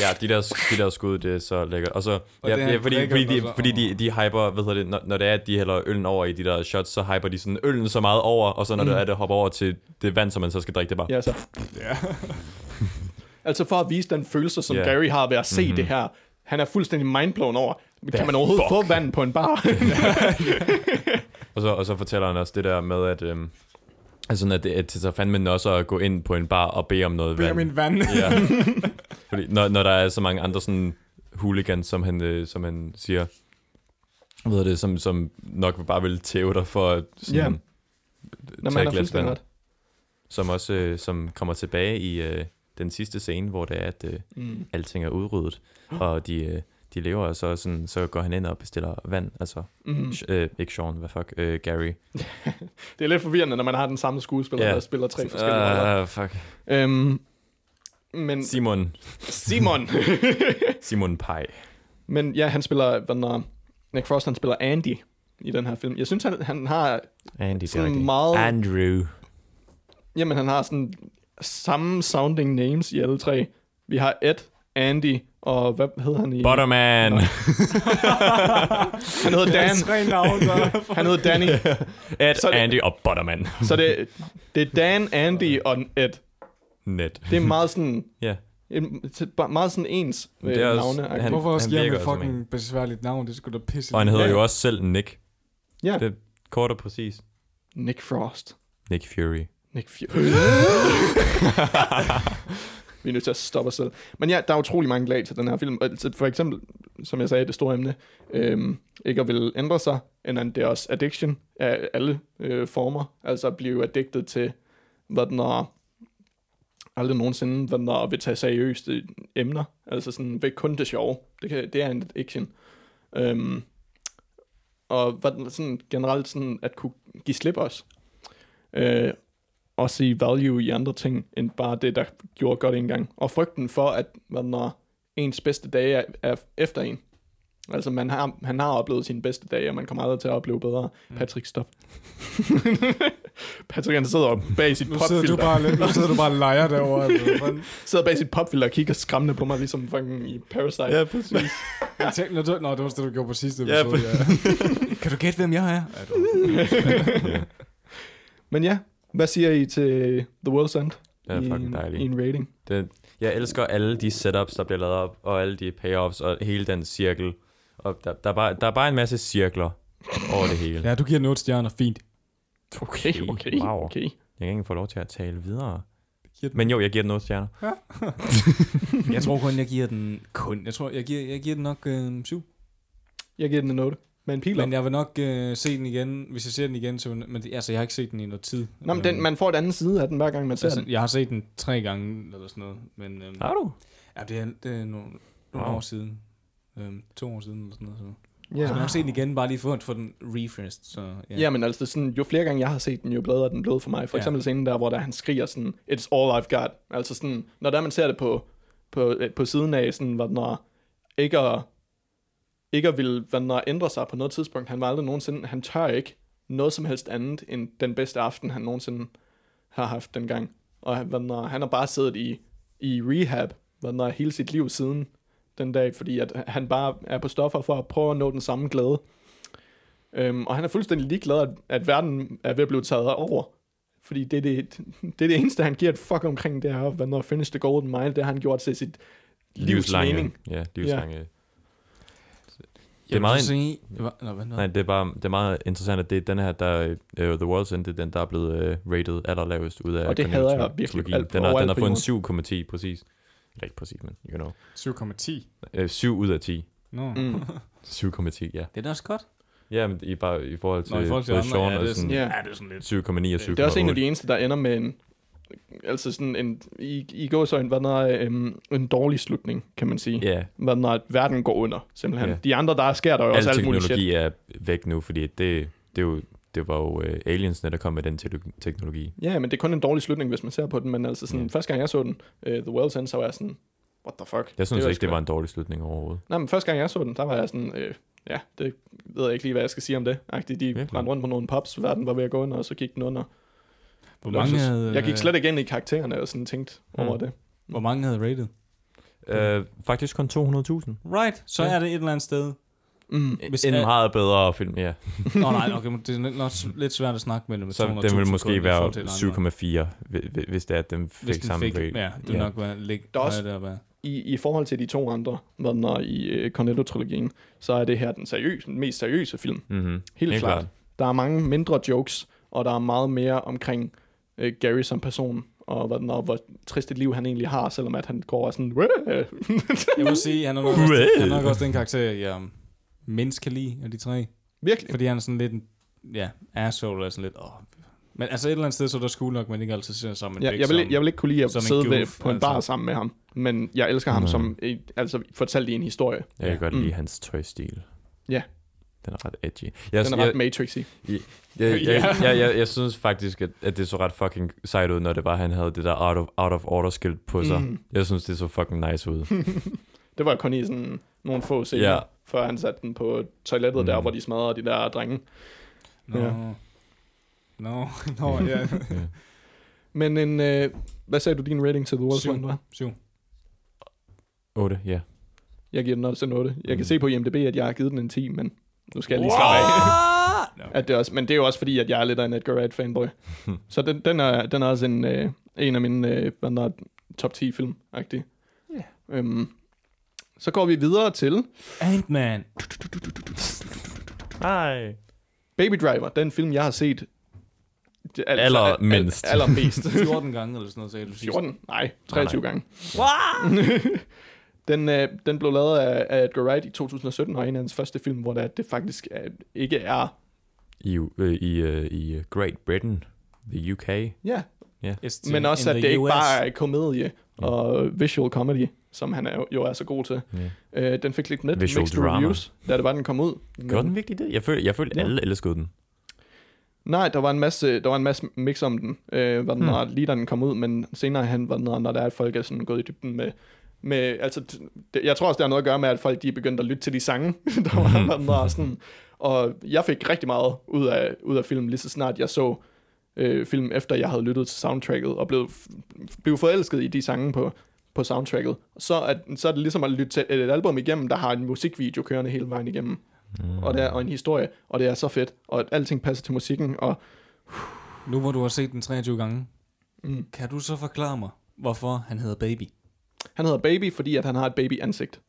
[SPEAKER 3] Ja, de der, de der skud, det er så lækkert. Og så,
[SPEAKER 1] Og
[SPEAKER 3] ja,
[SPEAKER 1] det er
[SPEAKER 3] ja, fordi,
[SPEAKER 1] lækkert,
[SPEAKER 3] fordi, de,
[SPEAKER 1] og så-
[SPEAKER 3] fordi de, de hyper, hvad hedder det, når, når det er, at de hælder øllen over i de der shots, så hyper de sådan øllen så meget over, og så når mm. det er, det hopper over til det vand, som man så skal drikke, det er bare,
[SPEAKER 2] ja, så. altså for at vise den følelse, som
[SPEAKER 3] Ja. Mhm.
[SPEAKER 2] yeah. Gary har ved at se mm-hmm. det her. Han er fuldstændig mindblown over. Kan man overhovedet fuck? få vand på en bar?
[SPEAKER 3] Og så, og så fortæller han også det der med, at, øhm, altså, sådan, at det er til så fandme nosser at gå ind på en bar og bede om noget
[SPEAKER 1] Det er
[SPEAKER 3] vand.
[SPEAKER 1] min vand.
[SPEAKER 3] Ja. Fordi, når, når der er så mange andre sådan hooligans, som han, øh, som han siger, hvad hedder det, som, som nok bare vil tæve dig for at sådan,
[SPEAKER 2] Ja.
[SPEAKER 3] yeah.
[SPEAKER 2] Nå,
[SPEAKER 3] tage
[SPEAKER 2] man er
[SPEAKER 3] et glas
[SPEAKER 2] fuldstændig
[SPEAKER 3] vand.
[SPEAKER 2] ret.
[SPEAKER 3] Som også øh, som kommer tilbage i øh, den sidste scene, hvor det er, at øh,
[SPEAKER 2] Mm.
[SPEAKER 3] alting er udryddet, og de, øh, de lever, og så, sådan, så går han ind og bestiller vand. Altså,
[SPEAKER 2] Mm.
[SPEAKER 3] sh- øh, ikke Sean, hvad fuck, øh, Gary.
[SPEAKER 2] Det er lidt forvirrende, når man har den samme skuespiller,
[SPEAKER 3] Ja.
[SPEAKER 2] yeah. der spiller tre forskellige roller. Mm.
[SPEAKER 3] Ah, fuck.
[SPEAKER 2] Øhm, men
[SPEAKER 3] Simon.
[SPEAKER 2] Simon...
[SPEAKER 3] Simon Pie.
[SPEAKER 2] Men ja, han spiller, hvad den er, Nick Frost, han spiller Andy i den her film. Jeg synes, han, han har,
[SPEAKER 3] Andy det er
[SPEAKER 2] Sådan
[SPEAKER 3] rigtigt.
[SPEAKER 2] meget-
[SPEAKER 3] Andrew.
[SPEAKER 2] jamen han har sådan samme sounding names i alle tre. Vi har Ed, Andy, og hvad hedder han i?
[SPEAKER 3] Butterman.
[SPEAKER 2] Han hedder
[SPEAKER 1] Det
[SPEAKER 2] Dan.
[SPEAKER 1] er tre navne, der er
[SPEAKER 2] Han hedder Danny.
[SPEAKER 3] Ed,
[SPEAKER 2] Så er det-
[SPEAKER 3] Andy og Butterman.
[SPEAKER 2] Så det, det er Dan, Andy og Ed.
[SPEAKER 3] Net.
[SPEAKER 2] Det er meget sådan,
[SPEAKER 3] Ja.
[SPEAKER 2] en, til- bare meget sådan ens øh,
[SPEAKER 3] Det er også-
[SPEAKER 2] navne.
[SPEAKER 3] han-
[SPEAKER 1] Hvorfor skal jeg
[SPEAKER 3] virker
[SPEAKER 1] med
[SPEAKER 3] som en.
[SPEAKER 1] fucking besværligt navn? Det skulle da pisse.
[SPEAKER 3] Og han
[SPEAKER 1] din
[SPEAKER 3] hedder
[SPEAKER 1] mand.
[SPEAKER 3] jo også selv Nick.
[SPEAKER 2] Ja,
[SPEAKER 3] Det er kort og præcis.
[SPEAKER 2] Nick Frost.
[SPEAKER 3] Nick Fury.
[SPEAKER 2] Nick Fury. Vi er nødt til at stoppe os selv. Men ja, der er utrolig mange lag til den her film. Og til- For eksempel, som jeg sagde, det store emne, øhm, ikke at ville ændre sig, end at det er også addiction af alle øh, former. Altså at blive addicted til, hvad den er, aldrig nogensinde, hvad den er, vil tage seriøst øh, emner. Altså sådan, ved kun det sjove. Det, kan, det er en addiction. Øhm, og hvad den, sådan, generelt sådan, at kunne give slip også. Øh, og se value i andre ting, end bare det, der gjorde godt engang. Og frygten for, at hvad når ens bedste dage er, er efter en. Altså, man har, han har oplevet sine bedste dage, og man kommer aldrig til at opleve bedre.
[SPEAKER 1] Mm.
[SPEAKER 2] Patrick, stop. Patrick, han sidder oppe bag sit
[SPEAKER 1] Nu sidder, du
[SPEAKER 2] popfilter.
[SPEAKER 1] bare, nu sidder du bare og leger derovre. Altså. Hvordan-
[SPEAKER 2] Sidder bag sit popfilter og kigger skræmmende på mig, ligesom fucking i Parasite. Ja, præcis.
[SPEAKER 1] Jeg tænkte, når du- Nå, det var også det, du gjorde på sidste
[SPEAKER 3] Ja,
[SPEAKER 1] episode. Ja, kan du gætte, hvem jeg er? Ja, du-
[SPEAKER 2] Men ja, hvad siger I til The World's End?
[SPEAKER 3] Det er
[SPEAKER 2] I
[SPEAKER 3] fucking
[SPEAKER 2] en-
[SPEAKER 3] dejligt.
[SPEAKER 2] I en rating.
[SPEAKER 3] Det, jeg elsker alle de setups, der bliver lavet op, og alle de payoffs, og hele den cirkel. Og der, der, er, bare, der er bare en masse cirkler over det hele.
[SPEAKER 1] ja du giver den 8 stjerner. Fint.
[SPEAKER 2] Okay, okay,
[SPEAKER 3] wow.
[SPEAKER 2] okay.
[SPEAKER 3] Jeg kan ikke få lov til at tale videre.
[SPEAKER 1] Giver den-
[SPEAKER 3] Men jo, jeg giver den 8 stjerner.
[SPEAKER 1] Jeg tror kun, jeg giver den kun. Jeg tror, jeg giver, jeg giver den nok øh, 7.
[SPEAKER 2] Jeg giver den en note. Med en pil op.
[SPEAKER 1] Men jeg vil nok øh, se den igen, hvis jeg ser den igen. Så, vil- men det, altså, jeg har ikke set den i noget tid.
[SPEAKER 2] Nå, men den,
[SPEAKER 1] Øhm,
[SPEAKER 2] man får et andet side af den, hver gang man ser
[SPEAKER 1] altså,
[SPEAKER 2] den.
[SPEAKER 1] jeg har set den tre gange, eller sådan noget. Men øhm,
[SPEAKER 3] Har du?
[SPEAKER 1] ja, det er, det er nogle, nogle
[SPEAKER 3] Wow.
[SPEAKER 1] år siden. Øhm, to år siden, eller sådan noget. Så. Jeg skal
[SPEAKER 2] Ja.
[SPEAKER 1] nok se den igen, bare lige for at få den refreshed. Så, ja.
[SPEAKER 2] ja, men altså, det er sådan, jo flere gange jeg har set den, jo bedre er den blevet for mig. For
[SPEAKER 1] Ja.
[SPEAKER 2] eksempel scenen der, hvor der, han skriger sådan, it's all I've got. Altså sådan, når der man ser det på, på, øh, på siden af, sådan, hvor den er, ikke at, ikke at ville hvad den er, ændre sig på noget tidspunkt. Han var aldrig nogensinde, han tør ikke noget som helst andet, end den bedste aften, han nogensinde har haft dengang. Og han, hvad den er, han har bare siddet i, i rehab, hvad den er, hele sit liv siden den dag, fordi at han bare er på stoffer for at prøve at nå den samme glæde. Øhm, og han er fuldstændig ligeglad, at, at verden er ved at blive taget over. Fordi det er det, det, er det eneste, han giver et fuck omkring, det er, hvad når finish the golden mile, det har han gjort til sit livs mening.
[SPEAKER 3] Ja, livslange. Ja.
[SPEAKER 1] Jeg
[SPEAKER 3] Det er
[SPEAKER 1] vil
[SPEAKER 3] meget...
[SPEAKER 1] så
[SPEAKER 3] en-
[SPEAKER 1] sige, Hva- Nå, hvad,
[SPEAKER 3] Nej, det er bare det er meget interessant, at det er den her, der uh, The World's End, det er den, der er blevet uh, rated allerlavest ud af
[SPEAKER 2] Og det
[SPEAKER 3] Cornell
[SPEAKER 2] hader jeg
[SPEAKER 3] Trilogien.
[SPEAKER 2] virkelig alt-
[SPEAKER 3] Den har, den
[SPEAKER 2] overalt
[SPEAKER 3] har
[SPEAKER 2] på
[SPEAKER 3] fået en
[SPEAKER 2] jorden.
[SPEAKER 3] 7, præcis. Eller ikke præcis, men you know.
[SPEAKER 1] 7,10.
[SPEAKER 3] Uh, 7 ud af 10.
[SPEAKER 1] Nå.
[SPEAKER 2] Mm.
[SPEAKER 3] 7,10, ja.
[SPEAKER 1] Det er da også godt.
[SPEAKER 3] Ja, men i, bare i forhold til,
[SPEAKER 1] Nå, i forhold til
[SPEAKER 3] både
[SPEAKER 1] andre,
[SPEAKER 3] Sean
[SPEAKER 1] ja,
[SPEAKER 3] og
[SPEAKER 1] det er
[SPEAKER 3] sådan,
[SPEAKER 1] sådan,
[SPEAKER 2] Ja.
[SPEAKER 1] ja, det er sådan lidt
[SPEAKER 3] 7,9 og 7,8.
[SPEAKER 2] Det er også en af de eneste, der ender med en, altså sådan en, i, i går så en, hvad den er, øhm, en dårlig slutning, kan man sige.
[SPEAKER 3] Ja,
[SPEAKER 2] Hvad den er, at verden går under, simpelthen.
[SPEAKER 3] Ja.
[SPEAKER 2] De andre, der sker der jo
[SPEAKER 3] al
[SPEAKER 2] også alt muligt shit.
[SPEAKER 3] teknologi er væk nu, fordi det, det er jo det var jo øh, aliensene, der kom med den te- teknologi.
[SPEAKER 2] Ja, men det er kun en dårlig slutning, hvis man ser på den, men altså sådan,
[SPEAKER 3] Ja.
[SPEAKER 2] første gang jeg så den, uh, The World's End, så var jeg sådan, what the fuck?
[SPEAKER 3] Jeg synes
[SPEAKER 2] var
[SPEAKER 3] det ikke,
[SPEAKER 2] sgu-
[SPEAKER 3] det var en dårlig slutning overhovedet.
[SPEAKER 2] Nej, men første gang jeg så den, der var jeg sådan, øh, ja, det ved jeg ikke lige, hvad jeg skal sige om det. Agtigt, de
[SPEAKER 3] Virkelig.
[SPEAKER 2] rendte rundt på nogle pops, verden var ved at gå under, og så gik den under.
[SPEAKER 1] Hvor
[SPEAKER 2] Luksus.
[SPEAKER 1] mange, havde,
[SPEAKER 2] Jeg gik
[SPEAKER 1] øh,
[SPEAKER 2] slet ikke ind i karaktererne og sådan tænkte
[SPEAKER 3] Mm.
[SPEAKER 2] over det.
[SPEAKER 1] hvor mange havde rated?
[SPEAKER 3] Øh, faktisk kun 200.000.
[SPEAKER 1] Right, så
[SPEAKER 3] Ja.
[SPEAKER 1] er det et eller andet sted.
[SPEAKER 2] Mm.
[SPEAKER 1] Hvis
[SPEAKER 3] en
[SPEAKER 1] al-
[SPEAKER 3] meget bedre film, ja.
[SPEAKER 1] Nå nej, okay, men det er lidt- nok lidt svært at snakke med det med
[SPEAKER 3] Så den
[SPEAKER 1] 200.000
[SPEAKER 3] ville
[SPEAKER 1] kun i
[SPEAKER 3] måske
[SPEAKER 1] forhold til andre.
[SPEAKER 3] være 7,4, hvi- hvi- hvis det er, at den fik
[SPEAKER 1] Hvis den
[SPEAKER 3] samme
[SPEAKER 1] fik,
[SPEAKER 3] rate.
[SPEAKER 1] ja, det vil
[SPEAKER 3] Ja.
[SPEAKER 1] nok være ligge
[SPEAKER 2] Der er også-
[SPEAKER 1] højere deroppe.
[SPEAKER 2] I, I forhold til de to andre, hvad den er i øh, Cornetto-trilogien, så er det her den, seriøse, den mest seriøse film.
[SPEAKER 3] Mm-hmm.
[SPEAKER 2] Helt klart. Der er mange mindre jokes, og der er meget mere omkring øh, Gary som person, og hvad den er, hvor trist et liv han egentlig har, selvom at han går og er sådan... "Wah!"
[SPEAKER 1] Jeg må sige, han er nok, også, han er nok også den karakter, jeg um, mindst kan lide af de tre.
[SPEAKER 2] Virkelig.
[SPEAKER 1] Fordi han er sådan lidt en ja, asshole, og sådan lidt, åh. Men altså et eller andet sted, så er der skole nok, man ikke altid ser sammen.
[SPEAKER 2] Ja, jeg, vil, ikke- jeg vil ikke kunne lide at
[SPEAKER 1] som en
[SPEAKER 2] sidde ved,
[SPEAKER 1] goof,
[SPEAKER 2] på en
[SPEAKER 1] altså.
[SPEAKER 2] bar sammen med ham, men jeg elsker ham
[SPEAKER 3] Mm.
[SPEAKER 2] som et, altså fortalt i en historie.
[SPEAKER 3] Jeg kan
[SPEAKER 1] Ja.
[SPEAKER 3] godt
[SPEAKER 2] Mm.
[SPEAKER 3] lide hans tøjstil.
[SPEAKER 2] Ja.
[SPEAKER 3] Den er ret edgy. Altså, Jeg,
[SPEAKER 2] Den er ret matrixy.
[SPEAKER 3] Jeg,
[SPEAKER 1] Ja.
[SPEAKER 3] jeg, jeg, jeg, jeg synes faktisk, at, at det så ret fucking sejt ud, når det var, at han havde det der out of, out of order skilt på sig.
[SPEAKER 2] Mm.
[SPEAKER 3] Mm. Jeg synes, det så fucking nice ud.
[SPEAKER 2] Det var kun i sådan nogle få scener,
[SPEAKER 3] Ja.
[SPEAKER 2] før han satte den på toilettet der,
[SPEAKER 3] Mm.
[SPEAKER 2] hvor de smadrede de der drenge.
[SPEAKER 1] Nå,
[SPEAKER 2] Ja.
[SPEAKER 1] nå, nå, ja.
[SPEAKER 3] ja.
[SPEAKER 2] Men en, øh, hvad sagde du din rating til The World's
[SPEAKER 1] Syv.
[SPEAKER 2] One var?
[SPEAKER 1] Syv.
[SPEAKER 3] 8, ja.
[SPEAKER 2] Jeg giver den også en 8. Jeg kan
[SPEAKER 3] Mm.
[SPEAKER 2] se på IMDb, at jeg har givet den en 10, men nu skal jeg lige slappe af. at det er også, men det er jo også fordi, at jeg er lidt af en Edgar Wright fanboy. Så den, den, er, den er også en, øh, en af mine øh, hvad den er, top 10 film -agtig. Yeah. Øhm, så går vi videre til
[SPEAKER 1] Ant-Man.
[SPEAKER 3] Hej.
[SPEAKER 2] Baby Driver, den film, jeg har set det- altså,
[SPEAKER 3] Allermindst.
[SPEAKER 2] Al, al, allermest.
[SPEAKER 1] 14 gange eller sådan noget, sagde du sidst.
[SPEAKER 2] 14? Nej, 23 gange. den, øh, den blev lavet af, af Edgar Wright i 2017, og er en af hans første film, hvor det, det faktisk er, ikke er...
[SPEAKER 3] I, øh, i, øh, i øh, Great Britain, the UK.
[SPEAKER 2] Ja,
[SPEAKER 1] Yes,
[SPEAKER 2] men
[SPEAKER 1] in-
[SPEAKER 2] også,
[SPEAKER 1] in the
[SPEAKER 2] at det ikke
[SPEAKER 1] US.
[SPEAKER 2] bare er komedie og visual comedy, som han er, jo er så god til.
[SPEAKER 3] Ja.
[SPEAKER 2] Øh, den fik lidt net
[SPEAKER 3] Visual
[SPEAKER 2] mixed
[SPEAKER 3] drama.
[SPEAKER 2] reviews, da det var, den kom ud.
[SPEAKER 3] Gjorde den virkelig det? Jeg følte, jeg følte
[SPEAKER 2] Ja.
[SPEAKER 3] ja. alle elskede den.
[SPEAKER 2] Nej, der var en masse, der var en masse mix om den, øh, hvad den hmm. var, lige da den kom ud, men senere hen, var den, når der er, at folk er sådan gået i dybden med, med altså, t- det, jeg tror også, det har noget at gøre med, at folk de er begyndt at lytte til de sange, der var, hvad den var sådan, og jeg fik rigtig meget ud af, ud af filmen, lige så snart jeg så øh, film, efter jeg havde lyttet til soundtracket, og blev, blev forelsket i de sange på, på soundtracket. Så, at, så er det ligesom at lytte til et album igennem, der har en musikvideo kørende hele vejen igennem. Mm. Og, der, og en historie, og det er så fedt, og at alting passer til musikken, og
[SPEAKER 1] Nu hvor du har set den 23 gange, mm. kan du så forklare mig, hvorfor han hedder Baby?
[SPEAKER 2] Han hedder Baby, fordi at han har et babyansigt.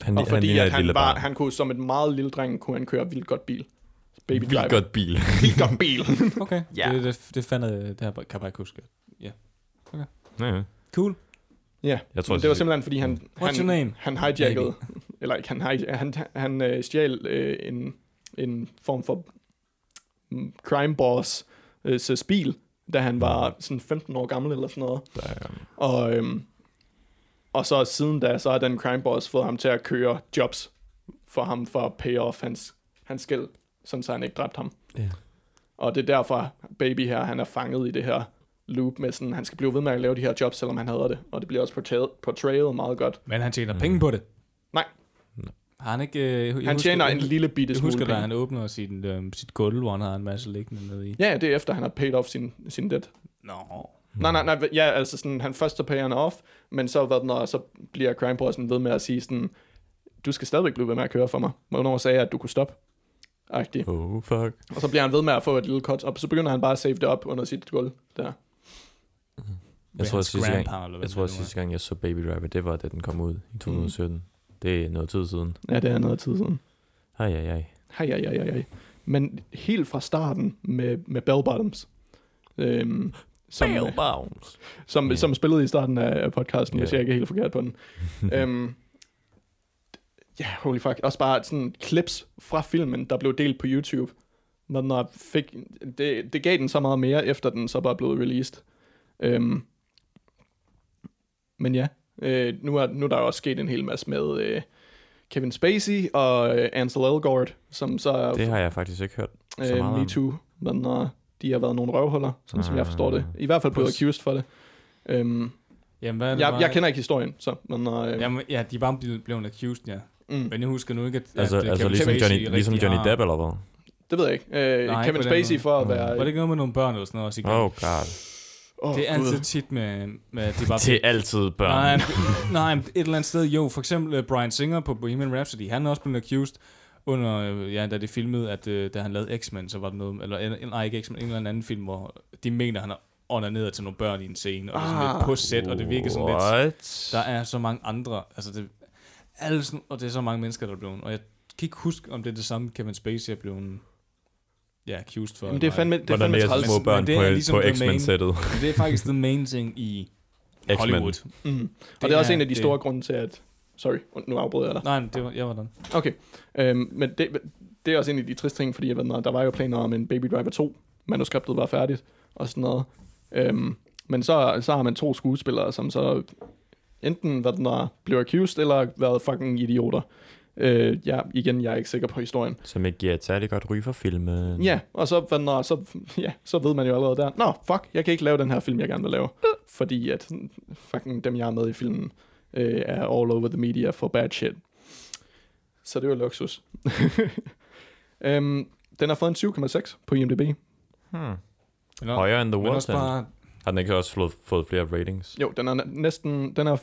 [SPEAKER 3] Han,
[SPEAKER 2] Og fordi
[SPEAKER 3] ligner
[SPEAKER 2] han,
[SPEAKER 3] et
[SPEAKER 2] at han,
[SPEAKER 3] lille
[SPEAKER 2] var,
[SPEAKER 3] barn.
[SPEAKER 2] han kunne som et meget lille dreng, kunne han køre vildt godt bil. Baby
[SPEAKER 3] Vildt
[SPEAKER 2] driver.
[SPEAKER 3] godt bil.
[SPEAKER 2] Vildt godt bil.
[SPEAKER 1] Okay,
[SPEAKER 3] Ja.
[SPEAKER 1] det, det, det, fandt, jeg- det her kan jeg bare ikke huske.
[SPEAKER 3] ja. ja.
[SPEAKER 1] Cool.
[SPEAKER 2] ja,
[SPEAKER 3] Jeg tror,
[SPEAKER 2] Men det var simpelthen, fordi han,
[SPEAKER 1] What's your
[SPEAKER 2] han,
[SPEAKER 1] name?
[SPEAKER 2] han hijackede, eller ikke, han, hij- han, han øh, stjal øh, en, en form for mm, crime boss øh, så bil, da han var sådan 15 år gammel eller sådan noget.
[SPEAKER 3] Der er, um,
[SPEAKER 2] Og, øhm, og så siden da, så har den crime boss fået ham til at køre jobs for ham for at pay off hans, hans gæld, sådan så han ikke dræbte ham.
[SPEAKER 3] Ja.
[SPEAKER 2] Og det er derfor, baby her, han er fanget i det her loop med sådan, han skal blive ved med at lave de her jobs, selvom han hader det. Og det bliver også portrayet, portrayet meget godt.
[SPEAKER 1] Men han tjener penge på det.
[SPEAKER 2] Nej.
[SPEAKER 1] Har han ikke... Øh, jeg
[SPEAKER 2] Han
[SPEAKER 1] husker-
[SPEAKER 2] tjener en lille bitte
[SPEAKER 1] Jeg
[SPEAKER 2] smule
[SPEAKER 1] husker, da
[SPEAKER 2] penge.
[SPEAKER 1] han åbner sin, øh, sit gulv, hvor han har en masse liggende nede i.
[SPEAKER 2] Ja, det er efter, han har paid off sin, sin debt.
[SPEAKER 1] Nå.
[SPEAKER 2] Nej, nej, nej, ja, altså sådan, han først så payer han off, men så, hvad, når, så bliver crime bossen ved med at sige sådan, du skal stadigvæk blive ved med at køre for mig. Hvornår sagde jeg, at du kunne stoppe? Agtigt.
[SPEAKER 3] oh, fuck.
[SPEAKER 2] Og så bliver han ved med at få et lille cut, og så begynder han bare at save det op under sit gulv der.
[SPEAKER 3] Jeg tror,
[SPEAKER 1] hans
[SPEAKER 3] sidste gang,
[SPEAKER 1] grandpa, eller hvad
[SPEAKER 3] jeg, tror,
[SPEAKER 1] det nu er.
[SPEAKER 3] sidste gang, jeg så Baby Driver, det var, da den kom ud
[SPEAKER 2] Mm.
[SPEAKER 3] i 2017. Det er noget tid siden.
[SPEAKER 2] Ja, det er noget tid siden.
[SPEAKER 3] Hej, hej, hej.
[SPEAKER 2] Hej, hej, hej, hej. Men helt fra starten med, med Bell Bottoms, øhm, som,
[SPEAKER 3] Bounce.
[SPEAKER 2] som, yeah. som spillede i starten af af podcasten, yeah. hvis
[SPEAKER 3] Ja.
[SPEAKER 2] jeg ikke er helt forkert på den. øhm, ja, holy fuck. Også bare sådan clips fra filmen, der blev delt på YouTube. Når den er- fik, det, det gav den så meget mere, efter den så bare blev released. Øhm, men ja, øh, nu, er, nu er der jo også sket en hel masse med øh, Kevin Spacey og øh, Ansel Elgort, som så er
[SPEAKER 3] Det har jeg faktisk ikke hørt så meget
[SPEAKER 2] øh,
[SPEAKER 3] om.
[SPEAKER 2] MeToo men når de har været nogle røvhuller, sådan som jeg forstår det.
[SPEAKER 3] Ah,
[SPEAKER 2] I hvert fald blevet accused for det. Øhm,
[SPEAKER 1] Jamen, hvad er det
[SPEAKER 2] jeg,
[SPEAKER 1] bare-
[SPEAKER 2] jeg kender ikke historien, så, men når, øh,
[SPEAKER 1] Jamen, øh, ja, de er bare blevet, blevet accused, ja.
[SPEAKER 2] mm,
[SPEAKER 1] Men jeg husker nu ikke, at...
[SPEAKER 3] Altså,
[SPEAKER 1] at øh,
[SPEAKER 3] altså
[SPEAKER 1] Kevin
[SPEAKER 3] ligesom,
[SPEAKER 1] Spacey
[SPEAKER 3] Johnny,
[SPEAKER 1] rigtig
[SPEAKER 3] ligesom Johnny
[SPEAKER 1] har-
[SPEAKER 3] Depp, eller hvad?
[SPEAKER 2] det ved jeg ikke. Øh,
[SPEAKER 1] Nej,
[SPEAKER 2] Nej,
[SPEAKER 1] ikke på
[SPEAKER 2] Kevin
[SPEAKER 1] den
[SPEAKER 2] Spacey
[SPEAKER 1] måde.
[SPEAKER 2] for at
[SPEAKER 3] Nej.
[SPEAKER 2] være...
[SPEAKER 1] Var det ikke noget med nogle børn eller sådan noget også?
[SPEAKER 3] Oh god.
[SPEAKER 2] Åh,
[SPEAKER 1] det er altid
[SPEAKER 2] Gud.
[SPEAKER 1] tit med, med at de bare...
[SPEAKER 3] Det er altid børn.
[SPEAKER 1] nej, men- nej, men et eller andet sted, jo. For eksempel øh, Brian Singer på Bohemian Rhapsody, han er også blevet accused under, øh, ja, da det filmede, at øh, da han lavede X-Men, så var der noget, eller en- nej, ikke X-Men, en eller anden film, hvor de mener, han har onaneret til nogle børn i en scene, og det er sådan
[SPEAKER 2] Ah.
[SPEAKER 1] lidt på set, og det virker sådan lidt...
[SPEAKER 3] What?
[SPEAKER 1] Der er så mange andre, altså det, alle sådan, og det er så mange mennesker, der er blevet, og jeg kan ikke huske, om det er det samme, Kevin Spacey er blevet, ja, accused for.
[SPEAKER 2] Jamen, det er
[SPEAKER 1] eller
[SPEAKER 2] fandme, det er
[SPEAKER 3] Hvordan
[SPEAKER 2] fandme
[SPEAKER 3] læser
[SPEAKER 2] træls.
[SPEAKER 3] små
[SPEAKER 1] Men-
[SPEAKER 3] børn
[SPEAKER 1] men det
[SPEAKER 3] på,
[SPEAKER 1] er ligesom
[SPEAKER 3] på
[SPEAKER 1] the main-
[SPEAKER 3] X-Men-sættet?
[SPEAKER 1] ej. Men Det er faktisk the main ting i
[SPEAKER 3] X-Men.
[SPEAKER 1] Hollywood.
[SPEAKER 2] Mm. Og det er også en af de
[SPEAKER 1] det-
[SPEAKER 2] store grunde til, at... Sorry, nu afbryder jeg dig.
[SPEAKER 1] Nej, men det var, jeg var den.
[SPEAKER 2] Okay, øhm, men det, det er også en af de triste ting, fordi jeg ved, når der var jo planer om en Baby Driver 2. Manuskriptet var færdigt og sådan noget. Øhm, men så, så har man to skuespillere, som så enten hvad den er, blev accused, eller været fucking idioter. Øh, ja, igen, jeg er ikke sikker på historien.
[SPEAKER 3] Som ikke giver et særligt godt ry for filmen.
[SPEAKER 2] Ja, og så, hvad den er, så, ja, så ved man jo allerede der, nå, fuck, jeg kan ikke lave den her film, jeg gerne vil lave. Fordi at fucking dem, jeg er med i filmen, øh, er all over the media for bad shit. Så det var luksus. øhm, den har fået en 7,6 på IMDb.
[SPEAKER 3] Hmm.
[SPEAKER 1] Eller,
[SPEAKER 3] Højere end The
[SPEAKER 1] men
[SPEAKER 3] World
[SPEAKER 1] også bare,
[SPEAKER 3] Har den ikke også fået, fået flere ratings?
[SPEAKER 2] Jo, den er næ- næsten, den er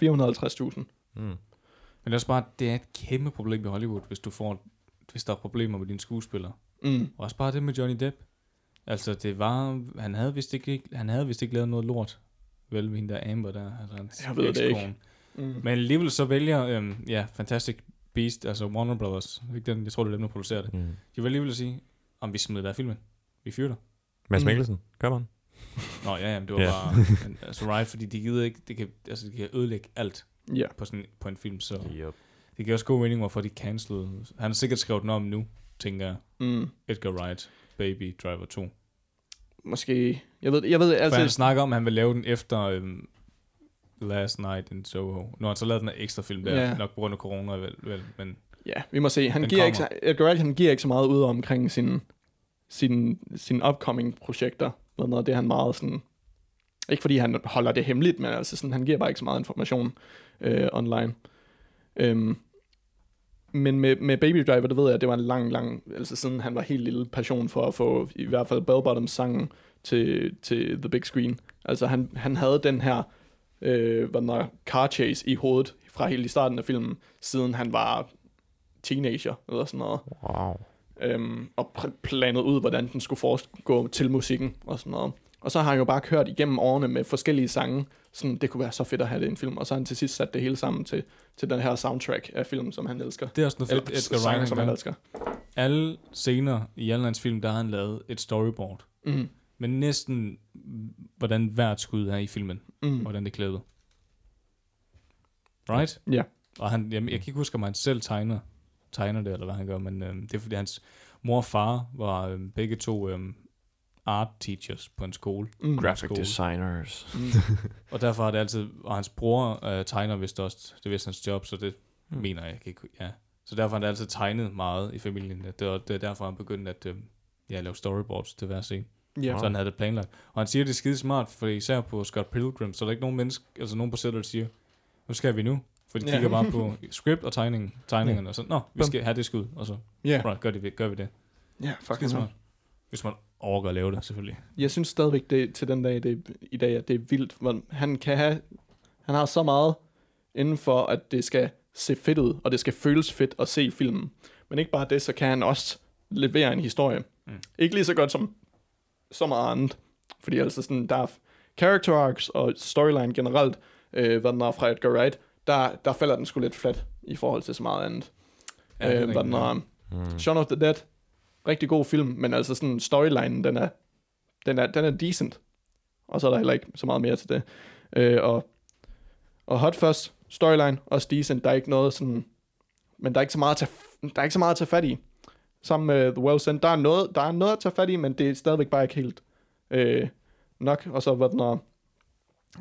[SPEAKER 2] 450.000.
[SPEAKER 3] Mm.
[SPEAKER 1] men også bare, det er et kæmpe problem i Hollywood, hvis du får, hvis der er problemer med dine skuespillere.
[SPEAKER 2] Mm.
[SPEAKER 1] Og også bare det med Johnny Depp. Altså, det var, han havde vist ikke, han havde vist ikke lavet noget lort. Vel, med hende der Amber der. Altså, hans
[SPEAKER 2] Jeg ved det ikke.
[SPEAKER 1] ekskone.
[SPEAKER 2] Mm.
[SPEAKER 1] Men alligevel så vælger, øhm, ja, Fantastic Beast, altså Warner Brothers, ikke den, jeg tror, det er dem, der producerer det.
[SPEAKER 3] Mm.
[SPEAKER 1] De vil alligevel sige, om vi smider dig af filmen. Vi fyrer dig.
[SPEAKER 3] Mads
[SPEAKER 2] Mm.
[SPEAKER 3] Mikkelsen, kom on.
[SPEAKER 1] Nå ja, jamen, det var
[SPEAKER 3] Ja.
[SPEAKER 1] bare, men, altså right, fordi de gider ikke, det kan, altså, de kan ødelægge alt
[SPEAKER 2] Ja,
[SPEAKER 1] på, sådan, på en film, så
[SPEAKER 3] Yep.
[SPEAKER 1] det giver også god mening, hvorfor de cancelede. Han har sikkert skrevet den om nu, tænker jeg.
[SPEAKER 2] mm.
[SPEAKER 1] Edgar Wright, Baby Driver 2. For
[SPEAKER 2] måske, jeg ved, jeg ved
[SPEAKER 1] altså, han
[SPEAKER 2] altid,
[SPEAKER 1] snakker om, at han vil lave den efter øhm, Last Night in Soho. Når han så lavede den her ekstra film der,
[SPEAKER 2] Ja.
[SPEAKER 1] nok på grund af corona, vel, vel men
[SPEAKER 2] ja, vi må se, han
[SPEAKER 1] Den
[SPEAKER 2] giver, ikke, så- Edgar Wright, han giver ikke så meget ud omkring sine, sine, sine upcoming projekter, Hvad noget, det er han meget sådan, ikke fordi han holder det hemmeligt, men altså sådan, han giver bare ikke så meget information øh, online. Øhm, men med, med Baby Driver, det ved jeg, det var en lang, lang, altså siden han var helt lille passion for at få i hvert fald Bell Bottoms sangen til, til The Big Screen. Altså han, han havde den her øh, hvad den er, car chase i hovedet fra helt i starten af filmen, siden han var teenager eller sådan noget.
[SPEAKER 3] Wow.
[SPEAKER 2] Øhm, og pr- planet ud, hvordan den skulle foregå til musikken og sådan noget. Og så har han jo bare kørt igennem årene med forskellige sange, sådan, det kunne være så fedt at have det i en film, og så har han til sidst sat det hele sammen til, til den her soundtrack af filmen, som han elsker.
[SPEAKER 1] det er også noget
[SPEAKER 2] Eller
[SPEAKER 1] fedt,
[SPEAKER 2] Edgar
[SPEAKER 1] Edgar
[SPEAKER 2] sange,
[SPEAKER 1] Wright
[SPEAKER 2] som
[SPEAKER 1] han
[SPEAKER 2] han
[SPEAKER 1] gør.
[SPEAKER 2] elsker.
[SPEAKER 1] Alle scener i alle hans film, der har han lavet et storyboard.
[SPEAKER 2] Mm.
[SPEAKER 1] Men næsten, hvordan hvert skud er i filmen,
[SPEAKER 2] Mm.
[SPEAKER 1] hvordan det klæder. Right?
[SPEAKER 2] Ja.
[SPEAKER 1] Og han, jamen, jeg kan ikke huske, om han selv tegner, tegner det, eller hvad han gør, men øhm, det er fordi hans mor og far var øhm, begge to øhm, art teachers på en skole.
[SPEAKER 2] Mm.
[SPEAKER 3] Graphic
[SPEAKER 1] Skole.
[SPEAKER 3] designers.
[SPEAKER 1] Og derfor har det altid, og hans bror øh, tegner vist også, det er vist hans job, så det
[SPEAKER 3] Hmm.
[SPEAKER 1] hmm. mener jeg, jeg kan ikke, ja. Så derfor har han altid tegnet meget i familien. Det er, det er derfor, han begyndte at øhm, ja, lave storyboards til hver scene.
[SPEAKER 2] Ja.
[SPEAKER 1] Så han havde det planlagt. Og han siger, det er skide smart, for især på Scott Pilgrim, så er der ikke nogen menneske, altså nogen på sættet, der siger, nu skal vi nu. For de
[SPEAKER 2] Ja.
[SPEAKER 1] kigger bare på script og tegningen, tegningerne, og så, nå, vi skal have det skud, og så,
[SPEAKER 2] Ja,
[SPEAKER 1] right, gør, det, gør vi det.
[SPEAKER 2] ja,
[SPEAKER 1] Skide
[SPEAKER 2] fucking
[SPEAKER 1] smart. Hvis man overgår at lave det, selvfølgelig.
[SPEAKER 2] Jeg synes stadigvæk det, til den dag det, i dag, at det er vildt. Hvor han, kan have, han har så meget inden for, at det skal se fedt ud, og det skal føles fedt at se filmen. Men ikke bare det, så kan han også levere en historie. Mm. Ikke lige så godt som så meget andet. Fordi altså sådan, der er character arcs og storyline generelt, øh, hvad den er fra Edgar Wright, der, der falder den sgu lidt flat i forhold til så meget andet.
[SPEAKER 1] Ja, det er
[SPEAKER 2] Ja, øh, hvad den
[SPEAKER 1] rigtigt.
[SPEAKER 2] er, Shaun of the Dead, rigtig god film, men altså sådan storylinen, den er, den er, den er decent. Og så er der heller ikke så meget mere til det. Øh, og, og Hot Fuzz, storyline, også decent. Der er ikke noget sådan... Men der er ikke så meget at tage, der er ikke så meget at tage fat i. Sammen med The Well Sent, der er, noget, der er noget at tage fat i, men det er stadigvæk bare ikke helt øh, nok. Og så var den er,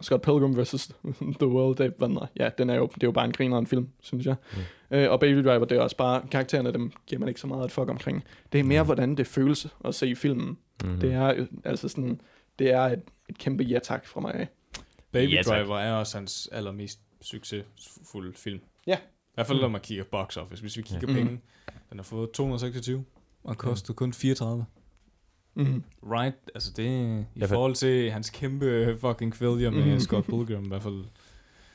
[SPEAKER 2] Scott Pilgrim vs. The World, det, hvad den er. ja, den er jo, det er jo bare en griner en film, synes jeg. Mm. Øh, og Baby Driver, det er også bare, karaktererne, dem giver man ikke så meget at fuck omkring. Det er mere, mm. hvordan det føles at se filmen.
[SPEAKER 3] Mhm.
[SPEAKER 2] Mm. Det er øh, altså sådan, det er et, et kæmpe ja-tak fra mig af.
[SPEAKER 1] Baby
[SPEAKER 3] Ja,
[SPEAKER 1] ja,
[SPEAKER 3] tak.
[SPEAKER 1] Driver er også hans allermest succesfulde film.
[SPEAKER 2] Ja.
[SPEAKER 1] I hvert fald, når man kigger box office. Hvis vi kigger Mm. ja. penge, den har fået 226 og kostede kun 34.
[SPEAKER 2] Mm.
[SPEAKER 1] Right, altså det i
[SPEAKER 3] for-
[SPEAKER 1] forhold til hans kæmpe fucking failure med mm. Scott Pilgrim, i hvert fald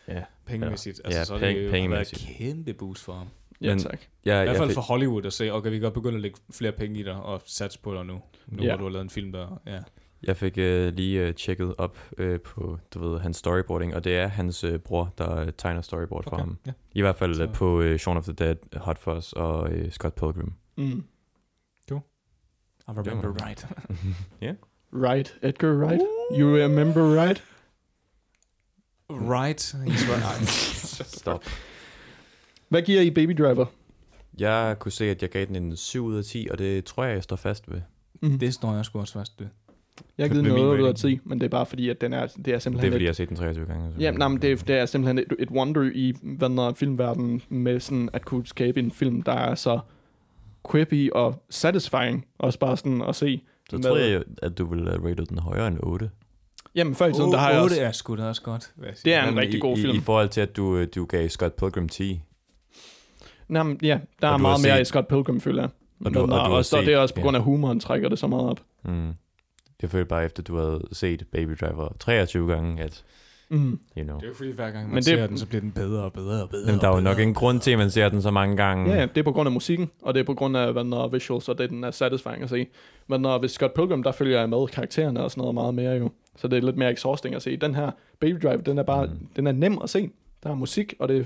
[SPEAKER 3] Ja.
[SPEAKER 1] pengemæssigt,
[SPEAKER 3] Ja,
[SPEAKER 1] altså så er
[SPEAKER 3] penge-
[SPEAKER 1] det jo været et
[SPEAKER 3] pengemæssigt.
[SPEAKER 1] kæmpe boost for ham.
[SPEAKER 2] Ja,
[SPEAKER 3] Men-
[SPEAKER 2] tak.
[SPEAKER 3] Ja,
[SPEAKER 1] I hvert
[SPEAKER 3] jeg,
[SPEAKER 1] fald
[SPEAKER 3] fik,
[SPEAKER 1] for Hollywood at se, okay, vi kan godt begynde at lægge flere penge i dig og satse på dig nu, nu
[SPEAKER 2] Ja.
[SPEAKER 1] ja. hvor du har lavet en film, der... Ja.
[SPEAKER 3] jeg fik øh, lige øh, tjekket op øh, på, du ved, hans storyboarding, og det er hans øh, bror, der øh, tegner storyboard okay. for
[SPEAKER 1] Okay,
[SPEAKER 3] ham.
[SPEAKER 1] ja.
[SPEAKER 3] I hvert fald
[SPEAKER 1] Så-
[SPEAKER 3] øh, på øh, Shaun of the Dead, Hot Fuzz og øh, Scott Pilgrim.
[SPEAKER 2] Mm.
[SPEAKER 1] I remember
[SPEAKER 3] Det var-
[SPEAKER 1] right.
[SPEAKER 2] Right, Edgar Wright. You remember right?
[SPEAKER 1] right, he's right.
[SPEAKER 3] Stop.
[SPEAKER 2] Hvad giver I Baby Driver?
[SPEAKER 3] Jeg kunne se, at jeg gav den en 7 ud af 10, og det tror jeg, jeg står fast ved.
[SPEAKER 2] Mm.
[SPEAKER 1] det står jeg sgu også fast ved.
[SPEAKER 2] jeg har
[SPEAKER 3] Med
[SPEAKER 2] givet
[SPEAKER 3] min
[SPEAKER 2] noget ud af 10,
[SPEAKER 3] rating.
[SPEAKER 2] men det er bare fordi, at den er, det er
[SPEAKER 3] Det er,
[SPEAKER 2] simpelthen
[SPEAKER 3] fordi
[SPEAKER 2] et,
[SPEAKER 3] jeg har set den 23 gange. så-
[SPEAKER 2] Jamen, nej, men det, er, det er simpelthen et, et wonder i hvad den er, filmverdenen med sådan at kunne skabe en film, der er så quippy og satisfying, også bare sådan at se.
[SPEAKER 3] Så
[SPEAKER 2] med-
[SPEAKER 3] tror jeg, at du ville have rated den højere end 8.
[SPEAKER 2] Jamen, før i tiden, der har jeg
[SPEAKER 1] Åh,
[SPEAKER 2] også...
[SPEAKER 1] det er sgu da også godt. vil jeg sige.
[SPEAKER 2] Det er en
[SPEAKER 3] Jamen,
[SPEAKER 2] rigtig
[SPEAKER 3] i,
[SPEAKER 2] god
[SPEAKER 3] i,
[SPEAKER 2] film.
[SPEAKER 3] I forhold til, at du, øh, du gav Scott Pilgrim 10.
[SPEAKER 2] Nej, men, ja, der
[SPEAKER 3] Og
[SPEAKER 2] er
[SPEAKER 3] du har
[SPEAKER 2] meget mere
[SPEAKER 3] set-
[SPEAKER 2] i Scott Pilgrim, føler jeg.
[SPEAKER 3] Og
[SPEAKER 2] Og,
[SPEAKER 3] du-
[SPEAKER 2] du,
[SPEAKER 3] og
[SPEAKER 2] og,
[SPEAKER 3] du har
[SPEAKER 2] også, og
[SPEAKER 3] set-
[SPEAKER 2] det er også på
[SPEAKER 3] ja.
[SPEAKER 2] grund af humoren, trækker det så meget op.
[SPEAKER 3] Mm. Jeg følte bare, efter du havde set Baby Driver 23 gange, at,
[SPEAKER 2] Mm.
[SPEAKER 3] you know...
[SPEAKER 1] Det er jo fordi, hver gang man
[SPEAKER 2] Men det-
[SPEAKER 1] ser den, så bliver den bedre og bedre og bedre.
[SPEAKER 3] Jamen, der er
[SPEAKER 1] og
[SPEAKER 3] jo
[SPEAKER 1] bedre.
[SPEAKER 3] nok ingen grund til, at man ser den så mange gange.
[SPEAKER 2] Ja, ja, det er på grund af musikken, og det er på grund af, hvad den er visuals, og det den er satisfying at se. Men når ved Scott Pilgrim, der følger jeg med karaktererne og sådan noget meget mere jo. Så det er lidt mere exhausting at se. Den her Baby Drive, den er bare, mm. den er nem at se. Der er musik, og det er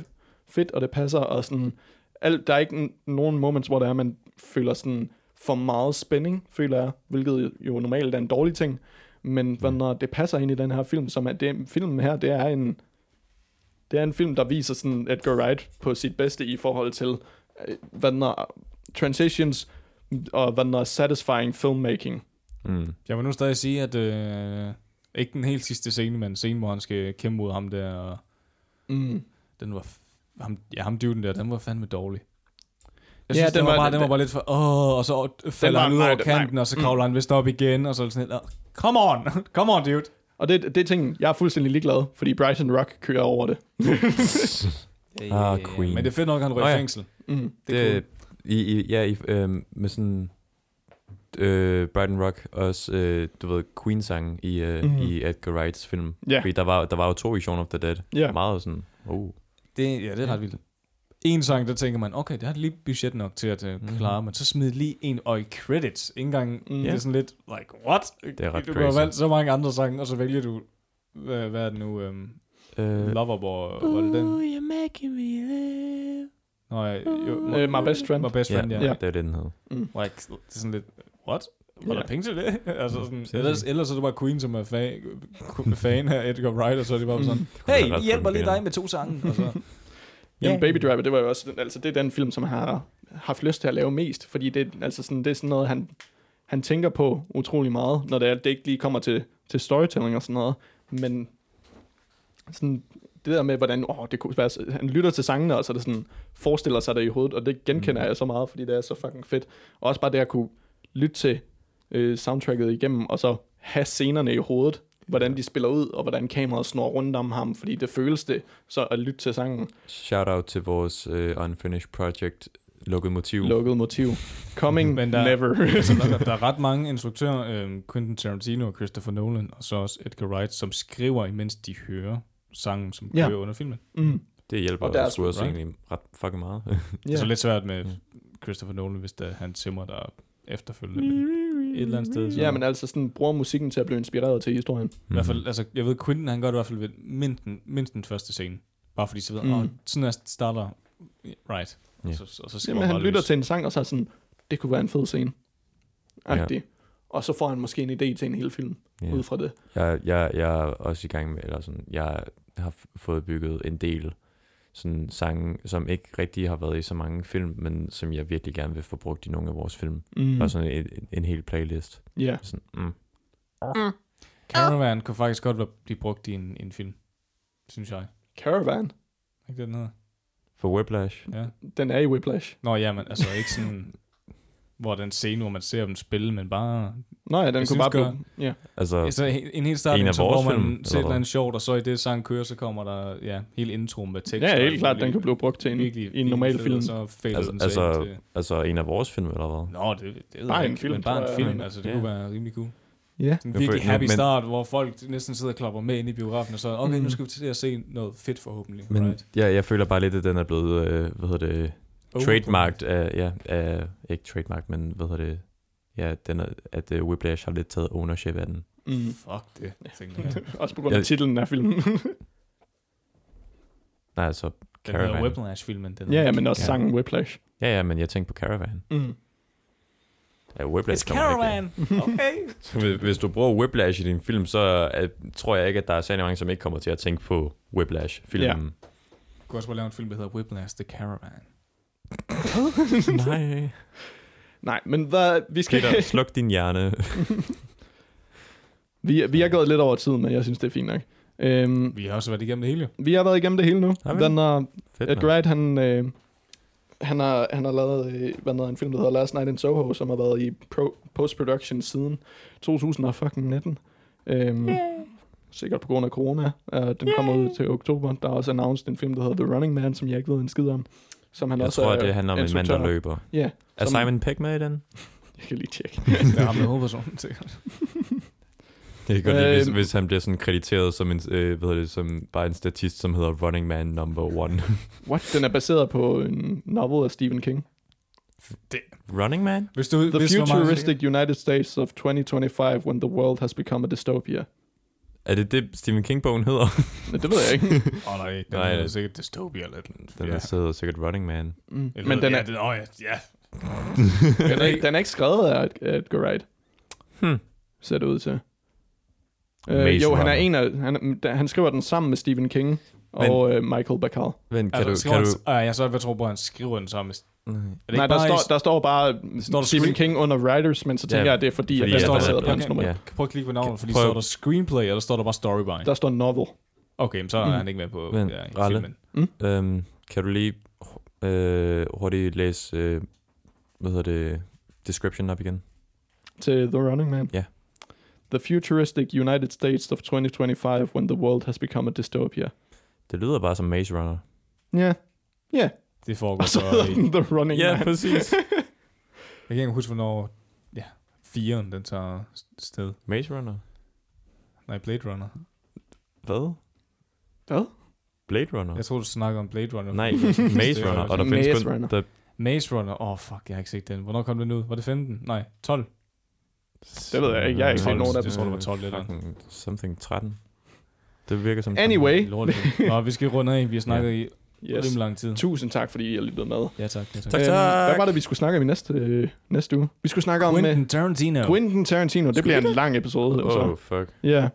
[SPEAKER 2] fedt, og det passer, og sådan, alt, der er ikke n- nogen moments, hvor der er, man føler sådan for meget spænding, føler jeg, hvilket jo normalt er en dårlig ting. Men mm. når det passer ind i den her film, som er, det, filmen her, det er en, det er en film, der viser sådan Edgar Wright på sit bedste i forhold til, øh, hvad den er, transitions og hvad den er, satisfying filmmaking.
[SPEAKER 3] Mm.
[SPEAKER 1] Jeg vil nu stadig sige, at øh, ikke den helt sidste scene, men scenen, hvor han skal kæmpe mod ham der, og
[SPEAKER 2] Mm.
[SPEAKER 1] den var, f- ham, ja, ham dyven der, den var fandme dårlig. Jeg
[SPEAKER 2] Ja,
[SPEAKER 1] synes, ja, den,
[SPEAKER 2] den
[SPEAKER 1] var,
[SPEAKER 2] var-
[SPEAKER 1] bare, den var
[SPEAKER 2] den-
[SPEAKER 1] bare lidt for, åh, og så øh, falder
[SPEAKER 2] var-
[SPEAKER 1] han ud
[SPEAKER 2] nej,
[SPEAKER 1] over
[SPEAKER 2] det- nej.
[SPEAKER 1] kanten, og så kravler han vist op igen, og så er det sådan lidt, "Åh, come on, come on, dude.
[SPEAKER 2] Og det, det er ting, jeg er fuldstændig ligeglad, fordi Bryson Rock kører over det.
[SPEAKER 3] Ah, Queen.
[SPEAKER 1] Men det er fedt nok, at han ryger
[SPEAKER 3] Nå
[SPEAKER 1] i
[SPEAKER 3] ja.
[SPEAKER 1] fængsel.
[SPEAKER 2] Mm.
[SPEAKER 1] Det er
[SPEAKER 3] Det, i, i, ja, i, øhm, med sådan... Øh, Brighton Rock, også, øh, du ved, Queen-sangen i, øh,
[SPEAKER 2] Mhm.
[SPEAKER 3] mm. i Edgar Wrights film.
[SPEAKER 2] Ja.
[SPEAKER 3] Fordi der var, der var jo to i Shaun of the Dead.
[SPEAKER 2] Ja.
[SPEAKER 3] Meget sådan, oh.
[SPEAKER 1] Det, ja, det er ret vildt. En sang, der tænker man, okay, det har de lige budget nok til at
[SPEAKER 3] Mhm.
[SPEAKER 1] uh, klare, men så smid lige en, og i credits, ikke engang,
[SPEAKER 2] Mm.
[SPEAKER 1] mm. det er sådan lidt, like, what? Det
[SPEAKER 3] er ret
[SPEAKER 1] du kunne have
[SPEAKER 3] crazy.
[SPEAKER 1] valgt så mange andre sange, og så vælger du, hvad, hvad er det nu, um,
[SPEAKER 3] Øh,
[SPEAKER 1] Loverboy, var det den?
[SPEAKER 3] you're making me live.
[SPEAKER 1] Nå, ja, jo,
[SPEAKER 2] Øh, my best friend.
[SPEAKER 1] My best friend, ja.
[SPEAKER 3] Ja,
[SPEAKER 1] ja.
[SPEAKER 3] ja, det er det, den hed.
[SPEAKER 1] Like, det er sådan lidt, what? Var
[SPEAKER 2] Ja.
[SPEAKER 1] der penge til det? altså sådan,
[SPEAKER 3] sindssygt.
[SPEAKER 1] ellers, ellers er det bare Queen, som er fan, fan af Edgar Wright, og så er det bare sådan,
[SPEAKER 3] være
[SPEAKER 1] hey,
[SPEAKER 3] Mm. ret
[SPEAKER 1] vi hjælper lige
[SPEAKER 3] fungerende.
[SPEAKER 1] dig med to sange. Og så,
[SPEAKER 2] Jamen, Baby Driver, det var jo også, den- altså det er den film, som han har haft lyst til at lave mest, fordi det, er- altså sådan, det er sådan noget, han, han tænker på utrolig meget, når det, er, det ikke lige kommer til, til storytelling og sådan noget, men sådan, det der med, hvordan åh, det kunne være, så- han lytter til sangene, og så er det sådan, forestiller sig det i hovedet, og det genkender jeg så meget, fordi det er så fucking fedt. Og også bare det at kunne lytte til øh, soundtracket igennem, og så have scenerne i hovedet, hvordan de spiller ud, og hvordan kameraet snor rundt om ham, fordi det føles det, så at lytte til sangen.
[SPEAKER 3] Shout out til vores uh, Unfinished Project lukket motiv.
[SPEAKER 2] lukket motiv. Coming
[SPEAKER 1] Men
[SPEAKER 2] Men
[SPEAKER 1] der-
[SPEAKER 2] der... never.
[SPEAKER 1] der, der er ret mange instruktører, øh, Quentin Tarantino og Christopher Nolan, og så også Edgar Wright, som skriver, imens de hører sangen, som
[SPEAKER 2] Ja.
[SPEAKER 1] kører under filmen.
[SPEAKER 2] mm.
[SPEAKER 3] det hjælper
[SPEAKER 2] Og der er
[SPEAKER 3] os sgu
[SPEAKER 2] sgu-
[SPEAKER 3] også
[SPEAKER 1] right?
[SPEAKER 3] egentlig ret fucking meget.
[SPEAKER 1] Det er så
[SPEAKER 2] yeah.
[SPEAKER 1] lidt svært
[SPEAKER 2] Mm.
[SPEAKER 1] med Christopher Nolan, hvis det er han simmer, der er efterfølgende. Men et eller andet sted. Så.
[SPEAKER 2] Ja, men Mm. altså sådan, bruger musikken til at blive inspireret til historien.
[SPEAKER 1] I hvert fald, altså, jeg ved, Quentin, han gør det i hvert fald ved mindst den, mindst den første scene. Bare fordi så ved, mm.
[SPEAKER 2] Mm.
[SPEAKER 1] oh, sådan er starter, right.
[SPEAKER 3] Ja.
[SPEAKER 1] Og så, og så skriver
[SPEAKER 2] Jamen, han
[SPEAKER 1] bare
[SPEAKER 2] lytter
[SPEAKER 1] løs.
[SPEAKER 2] til en sang, og så er sådan, det kunne være en fed scene. Agtig. Og så får han måske en idé til en hel film,
[SPEAKER 3] Ja.
[SPEAKER 2] ud fra det.
[SPEAKER 3] Jeg, jeg, jeg er også i gang med, eller sådan, jeg har f- fået bygget en del sådan sange, som ikke rigtig har været i så mange film, men som jeg virkelig gerne vil få brugt i
[SPEAKER 1] Altså-
[SPEAKER 3] nogle af vores film. Mm.
[SPEAKER 2] Mm.
[SPEAKER 3] Bare sådan en, en, en hel playlist.
[SPEAKER 2] Ja.
[SPEAKER 3] Sådan, mm.
[SPEAKER 1] Caravan kunne faktisk godt være- blive brugt i en, en film, synes jeg. Er
[SPEAKER 2] Caravan,
[SPEAKER 1] Ikke det, den hedder?
[SPEAKER 3] For Whiplash.
[SPEAKER 1] Ja.
[SPEAKER 2] den er i Whiplash.
[SPEAKER 1] Nå ja, men altså ikke sådan, hvor den scene, hvor man ser dem spille, men bare...
[SPEAKER 2] Nå ja, den
[SPEAKER 1] Jeg
[SPEAKER 2] kunne
[SPEAKER 1] synes
[SPEAKER 2] bare
[SPEAKER 1] godt-
[SPEAKER 2] blive... Ja.
[SPEAKER 3] Altså,
[SPEAKER 1] Altså he- en helt
[SPEAKER 3] En
[SPEAKER 1] start,
[SPEAKER 3] af
[SPEAKER 1] så,
[SPEAKER 3] vores
[SPEAKER 1] hvor man
[SPEAKER 3] film,
[SPEAKER 1] ser et
[SPEAKER 3] eller
[SPEAKER 1] eller
[SPEAKER 3] hvad?
[SPEAKER 1] andet sjovt, og så i det sang kører, så kommer der ja, hele introen med tekster.
[SPEAKER 2] ja,
[SPEAKER 1] og
[SPEAKER 2] helt klart,
[SPEAKER 1] virkelig-
[SPEAKER 2] den kunne blive brugt til en,
[SPEAKER 1] virkelig-
[SPEAKER 2] i en
[SPEAKER 1] virkelig
[SPEAKER 2] normal
[SPEAKER 1] fed,
[SPEAKER 2] film.
[SPEAKER 1] og Så fader
[SPEAKER 3] altså,
[SPEAKER 1] den så
[SPEAKER 3] altså,
[SPEAKER 1] ind til...
[SPEAKER 3] altså en af vores film, eller hvad?
[SPEAKER 1] Nå, det, det er
[SPEAKER 2] Bare en film,
[SPEAKER 1] men bare
[SPEAKER 2] tror
[SPEAKER 1] en
[SPEAKER 2] jeg.
[SPEAKER 1] film, altså det
[SPEAKER 3] Ja.
[SPEAKER 1] kunne være rimelig cool.
[SPEAKER 2] Ja.
[SPEAKER 1] Sådan en
[SPEAKER 3] Jeg
[SPEAKER 1] virkelig
[SPEAKER 3] føler-
[SPEAKER 1] happy
[SPEAKER 3] men- Mm.
[SPEAKER 1] start, hvor folk næsten sidder og klapper med ind i biografen, og så, okay, nu skal vi til at se noget fedt forhåbentlig.
[SPEAKER 3] Men
[SPEAKER 1] right?
[SPEAKER 3] ja, jeg føler bare lidt, at den er blevet, øh, hvad hedder det,
[SPEAKER 1] Oh,
[SPEAKER 3] trademarked af, ja, af, ikke trademarked, men hvad hedder det, ja, den er, at øh, Whiplash har lidt taget ownership af den.
[SPEAKER 2] Mm.
[SPEAKER 1] Fuck det, tænkte jeg.
[SPEAKER 2] Også på grund af
[SPEAKER 3] Jeg-
[SPEAKER 2] titlen af filmen.
[SPEAKER 3] Nej, altså
[SPEAKER 1] Den hedder
[SPEAKER 3] Caravan.
[SPEAKER 1] Whiplash-filmen. Den
[SPEAKER 2] ja, ja, men også
[SPEAKER 3] Ja.
[SPEAKER 2] sangen Whiplash.
[SPEAKER 3] Ja, ja, men jeg tænkte på Caravan.
[SPEAKER 2] Mm.
[SPEAKER 3] Ja, Whiplash
[SPEAKER 1] It's
[SPEAKER 3] kommer ikke.
[SPEAKER 1] Caravan! Okay.
[SPEAKER 3] Så hvis- Hvis du bruger Whiplash i din film, så øh, tror jeg ikke, at der er særlig mange, som ikke kommer til at tænke på Whiplash-filmen.
[SPEAKER 1] Du kan også bare lave en film, der hedder Whiplash The Caravan.
[SPEAKER 3] Nej.
[SPEAKER 2] Nej, men hvad, vi skal
[SPEAKER 3] Peter, sluk din hjerne.
[SPEAKER 2] vi, vi er gået lidt over tid, men jeg synes, det er fint nok. Øhm,
[SPEAKER 1] Vi har også været igennem det hele.
[SPEAKER 2] vi har været igennem det hele nu.
[SPEAKER 3] Har vi?
[SPEAKER 2] Den er,
[SPEAKER 3] Fedt,
[SPEAKER 2] Edgar Wright, han, øh, han, har, han har lavet øh, hvad hedder, en film, der hedder Last Night in Soho, som har været i pro, post-production siden 2019. Øhm, sikkert på grund af corona. Uh, den kommer ud til oktober. Der er også announced en film, der hedder The Running Man, som jeg ikke ved en skid om. Som han
[SPEAKER 3] Jeg
[SPEAKER 2] også
[SPEAKER 3] tror,
[SPEAKER 2] er
[SPEAKER 3] at det handler om en mand, der
[SPEAKER 2] instruktør.
[SPEAKER 3] løber.
[SPEAKER 2] Ja,
[SPEAKER 3] Er
[SPEAKER 2] Som-
[SPEAKER 3] Simon Pegg med i den?
[SPEAKER 2] jeg kan lige tjekke.
[SPEAKER 1] Det har med hovedpersonen sikkert.
[SPEAKER 3] Det kan godt lide, hvis,
[SPEAKER 2] Øhm.
[SPEAKER 3] hvis han bliver sådan krediteret som, en, øh, hvad hedder det, som bare en statist, som hedder Running Man Number One.
[SPEAKER 2] What? Den er baseret på en novel af Stephen King.
[SPEAKER 3] Running Man?
[SPEAKER 1] Hvis du,
[SPEAKER 2] The
[SPEAKER 1] hvis du var meget-
[SPEAKER 2] futuristic United States of 2025, when the world has become a dystopia.
[SPEAKER 3] Er det det, Stephen King-bogen hedder?
[SPEAKER 2] Men det ved jeg ikke. Mm.
[SPEAKER 1] Åh oh, nej, den
[SPEAKER 3] Nej,
[SPEAKER 1] nej, er
[SPEAKER 3] det-
[SPEAKER 1] sikkert dystopia eller lidt.
[SPEAKER 3] Den ja. så hedder sikkert Running Man.
[SPEAKER 2] Mm.
[SPEAKER 1] Eller,
[SPEAKER 2] Men den
[SPEAKER 1] ja,
[SPEAKER 2] er,
[SPEAKER 1] Åh oh, ja, ja.
[SPEAKER 2] den, er, den er ikke skrevet af Ed- Edgar Wright,
[SPEAKER 3] Hmm.
[SPEAKER 2] ser det ud til.
[SPEAKER 3] Maze
[SPEAKER 2] Øh, jo, han er
[SPEAKER 3] Runner.
[SPEAKER 2] en af... Han, han skriver den sammen med Stephen King og øh, Michael Bacall.
[SPEAKER 3] Vent, kan
[SPEAKER 1] Altså,
[SPEAKER 3] du...
[SPEAKER 1] skriver
[SPEAKER 3] Kan
[SPEAKER 1] han,
[SPEAKER 3] du
[SPEAKER 1] Øh, jeg så, hvad tror på, han skriver den samme. Er det ikke
[SPEAKER 2] Nej, der
[SPEAKER 1] bare i-
[SPEAKER 2] står, der står bare
[SPEAKER 1] Står
[SPEAKER 2] står
[SPEAKER 1] der
[SPEAKER 2] Stephen
[SPEAKER 1] screen-
[SPEAKER 2] King under writers, men så tænker
[SPEAKER 3] Ja,
[SPEAKER 2] jeg, at det er fordi,
[SPEAKER 3] fordi
[SPEAKER 2] at
[SPEAKER 1] at
[SPEAKER 2] det er
[SPEAKER 1] der
[SPEAKER 2] baseret
[SPEAKER 1] er-
[SPEAKER 2] på hans
[SPEAKER 1] okay.
[SPEAKER 2] nummer.
[SPEAKER 3] ja.
[SPEAKER 1] Prøv at klikke på navnet, fordi
[SPEAKER 3] Prøv-
[SPEAKER 1] står der screenplay, eller står der bare storyline?
[SPEAKER 2] Der Mm. står novel.
[SPEAKER 1] Okay, men så er han ikke med på
[SPEAKER 3] Vent,
[SPEAKER 1] ja, i
[SPEAKER 3] Ralle.
[SPEAKER 1] filmen.
[SPEAKER 3] Øhm, kan du lige øh, hurtigt læse, øh, hvad hedder det, description op igen?
[SPEAKER 2] To The Running Man?
[SPEAKER 3] Yeah.
[SPEAKER 2] The futuristic United States of 2025 when the world has become a dystopia.
[SPEAKER 3] Det lyder bare som Maze Runner.
[SPEAKER 2] Ja. Ja.
[SPEAKER 1] Det foregår
[SPEAKER 2] Og
[SPEAKER 1] så
[SPEAKER 2] så
[SPEAKER 1] i...
[SPEAKER 2] hedder den The Running Man.
[SPEAKER 3] præcis.
[SPEAKER 1] Jeg kan ikke huske, hvornår... Ja, firen, den tager sted.
[SPEAKER 3] Maze Runner?
[SPEAKER 1] Nej, Blade Runner.
[SPEAKER 3] Hvad?
[SPEAKER 2] Hvad?
[SPEAKER 3] Blade Runner?
[SPEAKER 1] Jeg tror, du snakker om Blade Runner.
[SPEAKER 3] Nej, Maze Runner. Og der
[SPEAKER 2] Maze
[SPEAKER 3] findes kun...
[SPEAKER 2] Runner.
[SPEAKER 3] Der,
[SPEAKER 1] Maze Runner. Åh, oh, fuck, jeg har ikke set den. Hvornår kom den ud? Var det 15? Nej, 12.
[SPEAKER 2] Det ved jeg ikke. Jeg har ikke set
[SPEAKER 3] Hold-
[SPEAKER 2] nogen af dem.
[SPEAKER 1] Jeg tror, det var 12 eller.
[SPEAKER 3] Fucking Something 13. Det virker som...
[SPEAKER 2] Anyway.
[SPEAKER 1] Lortefilm. Nå, vi skal runde af. Vi har snakket i yes.
[SPEAKER 2] Yes.
[SPEAKER 1] rimelig lang tid.
[SPEAKER 2] Tusind tak, fordi I har lyttet med.
[SPEAKER 1] Ja, tak. Ja, tak.
[SPEAKER 3] Tak,
[SPEAKER 2] Øhm,
[SPEAKER 3] tak.
[SPEAKER 2] Hvad var det, vi skulle snakke om i næste, øh, næste uge? Vi skulle snakke om
[SPEAKER 1] Quentin
[SPEAKER 2] Quentin,
[SPEAKER 1] Tarantino.
[SPEAKER 2] uh, Quentin Tarantino. Det bliver en lang episode.
[SPEAKER 3] Åh,
[SPEAKER 2] Oh.
[SPEAKER 3] oh, fuck.
[SPEAKER 2] Ja.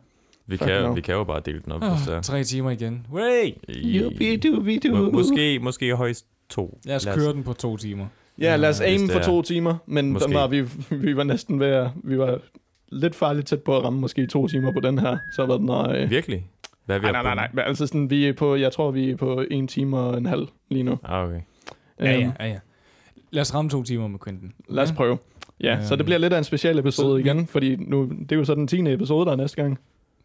[SPEAKER 3] Vi
[SPEAKER 2] Fuck no.
[SPEAKER 3] kan, vi kan jo bare dele den op, hvis det
[SPEAKER 1] Oh,
[SPEAKER 3] er.
[SPEAKER 1] tre timer igen. Way!
[SPEAKER 3] Må-
[SPEAKER 2] Yuppie-doobie-doo.
[SPEAKER 3] Måske, måske højst to.
[SPEAKER 1] Lad os køre den på to timer.
[SPEAKER 2] Ja, lad os
[SPEAKER 3] Ja, hvis
[SPEAKER 2] aim
[SPEAKER 3] det
[SPEAKER 2] for
[SPEAKER 3] er-
[SPEAKER 2] to timer, men
[SPEAKER 3] Måske.
[SPEAKER 2] den var, vi, vi var næsten ved at, vi var lidt farligt tæt på at ramme måske to timer på den her. Så var den nej.
[SPEAKER 3] Virkelig? Hvad er vi
[SPEAKER 2] Nej, nej,
[SPEAKER 3] oppe
[SPEAKER 2] nej,
[SPEAKER 3] på
[SPEAKER 2] nej.
[SPEAKER 3] nu?
[SPEAKER 2] Men Altså sådan, vi er på, jeg tror, vi er på en time og en halv lige nu.
[SPEAKER 3] Ah, okay.
[SPEAKER 1] Ja,
[SPEAKER 2] Øhm,
[SPEAKER 1] ja, ja, ja. Lad os ramme to timer med Quentin.
[SPEAKER 2] Lad os prøve. Ja, så
[SPEAKER 1] Øhm,
[SPEAKER 2] det bliver lidt af en speciel
[SPEAKER 1] så
[SPEAKER 2] episode
[SPEAKER 1] vi-
[SPEAKER 2] igen, fordi nu, det er jo så den 10. episode, der er næste gang.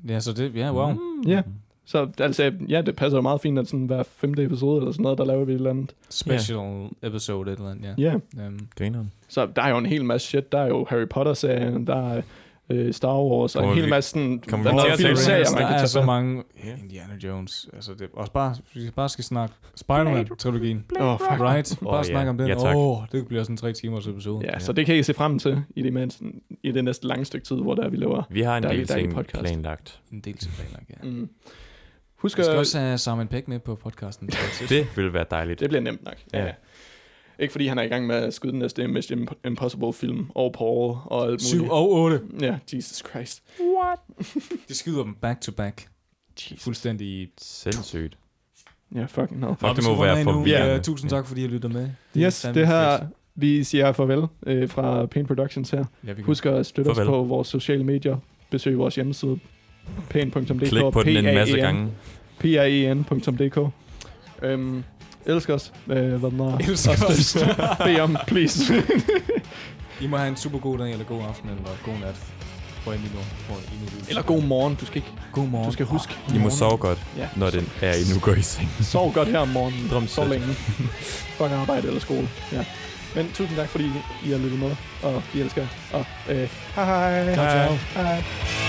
[SPEAKER 1] Ja, så det... Ja, wow.
[SPEAKER 2] Ja. Så altså, ja, det passer jo meget fint, at sådan hver femte episode eller sådan noget, der laver vi et eller andet.
[SPEAKER 1] Special episode et eller andet, ja.
[SPEAKER 2] Ja,
[SPEAKER 1] Um,
[SPEAKER 3] Grineren.
[SPEAKER 2] så der er jo en hel masse shit. Der er jo Harry Potter-serien, der er øh, Star Wars, og
[SPEAKER 3] Kommer
[SPEAKER 2] en hel
[SPEAKER 3] vi-
[SPEAKER 2] masse sådan...
[SPEAKER 3] kommer vi
[SPEAKER 2] der er
[SPEAKER 3] til
[SPEAKER 2] noget
[SPEAKER 3] at tale om
[SPEAKER 2] filmserier,
[SPEAKER 3] det?
[SPEAKER 2] man
[SPEAKER 1] der
[SPEAKER 2] kan
[SPEAKER 1] er
[SPEAKER 2] tage
[SPEAKER 1] så
[SPEAKER 2] fat.
[SPEAKER 1] mange
[SPEAKER 3] Ja.
[SPEAKER 1] Indiana Jones. Altså, det, også bare, vi bare skal snakke Spider-Man-trilogien.
[SPEAKER 2] Åh, oh, fuck.
[SPEAKER 1] Right? Bare
[SPEAKER 3] Åh, ja.
[SPEAKER 1] snakke om den.
[SPEAKER 3] Ja, tak.
[SPEAKER 1] Åh, det bliver sådan en tre timers episode.
[SPEAKER 2] Ja, så det kan I se frem til i det, mindste, i det næste lange stykke tid, hvor der vi laver.
[SPEAKER 3] Vi har en
[SPEAKER 2] Der er
[SPEAKER 3] del
[SPEAKER 2] lidt dejlig
[SPEAKER 3] ting
[SPEAKER 2] podcast.
[SPEAKER 3] planlagt.
[SPEAKER 1] En del til planlagt, ja.
[SPEAKER 2] Mm.
[SPEAKER 1] Vi
[SPEAKER 2] Husk
[SPEAKER 1] skal
[SPEAKER 2] at...
[SPEAKER 1] også have Simon Peck med på podcasten.
[SPEAKER 3] Det vil være dejligt.
[SPEAKER 2] Det bliver nemt nok. Ja.
[SPEAKER 3] Ja.
[SPEAKER 2] ja. Ikke fordi han er i gang med at skyde den næste Mission Imp- Impossible-film, og Paul og alt
[SPEAKER 1] 7
[SPEAKER 2] muligt.
[SPEAKER 1] og 8.
[SPEAKER 2] Ja, Jesus Christ.
[SPEAKER 1] De skyder dem back to back.
[SPEAKER 2] Jesus.
[SPEAKER 1] Fuldstændig i...
[SPEAKER 3] Sindssygt.
[SPEAKER 2] Ja, fucking hell.
[SPEAKER 3] Fuck, det må være for
[SPEAKER 1] ja.
[SPEAKER 3] virkelig.
[SPEAKER 1] Tusind tak, fordi I lytter med. er
[SPEAKER 2] Yes,
[SPEAKER 1] fandme
[SPEAKER 2] det her,
[SPEAKER 1] fedt.
[SPEAKER 2] vi siger farvel øh, fra Pain Productions her.
[SPEAKER 1] Ja, vi kan.
[SPEAKER 2] Husk at støtte
[SPEAKER 3] Farvel.
[SPEAKER 2] os på vores sociale medier. Besøg vores hjemmeside Pan.dk.
[SPEAKER 3] Klik på den en masse
[SPEAKER 2] P-A-E-N.
[SPEAKER 3] gange.
[SPEAKER 2] E P-R-E-N.dk. Øhm, elsk os. Øh, hvad den er.
[SPEAKER 1] Elsker os.
[SPEAKER 2] Bed om, please.
[SPEAKER 1] I må have en super god dag, eller god aften, eller god nat. Hvor I nu, hvor I nu lytter.
[SPEAKER 2] Eller god morgen. Du skal ikke.
[SPEAKER 1] god morgen.
[SPEAKER 2] Du skal huske.
[SPEAKER 3] I må sove godt,
[SPEAKER 2] Ja.
[SPEAKER 3] når den er, I nu går i seng.
[SPEAKER 2] Sov godt her om morgenen.
[SPEAKER 3] Drøm
[SPEAKER 2] Sov
[SPEAKER 3] selv.
[SPEAKER 2] længe. Fuck arbejde eller skole. Ja. Men tusind tak, fordi I har lyttet med. Og vi elsker jer. Og øh, hej hej.
[SPEAKER 1] Ciao, ciao.
[SPEAKER 2] Hej.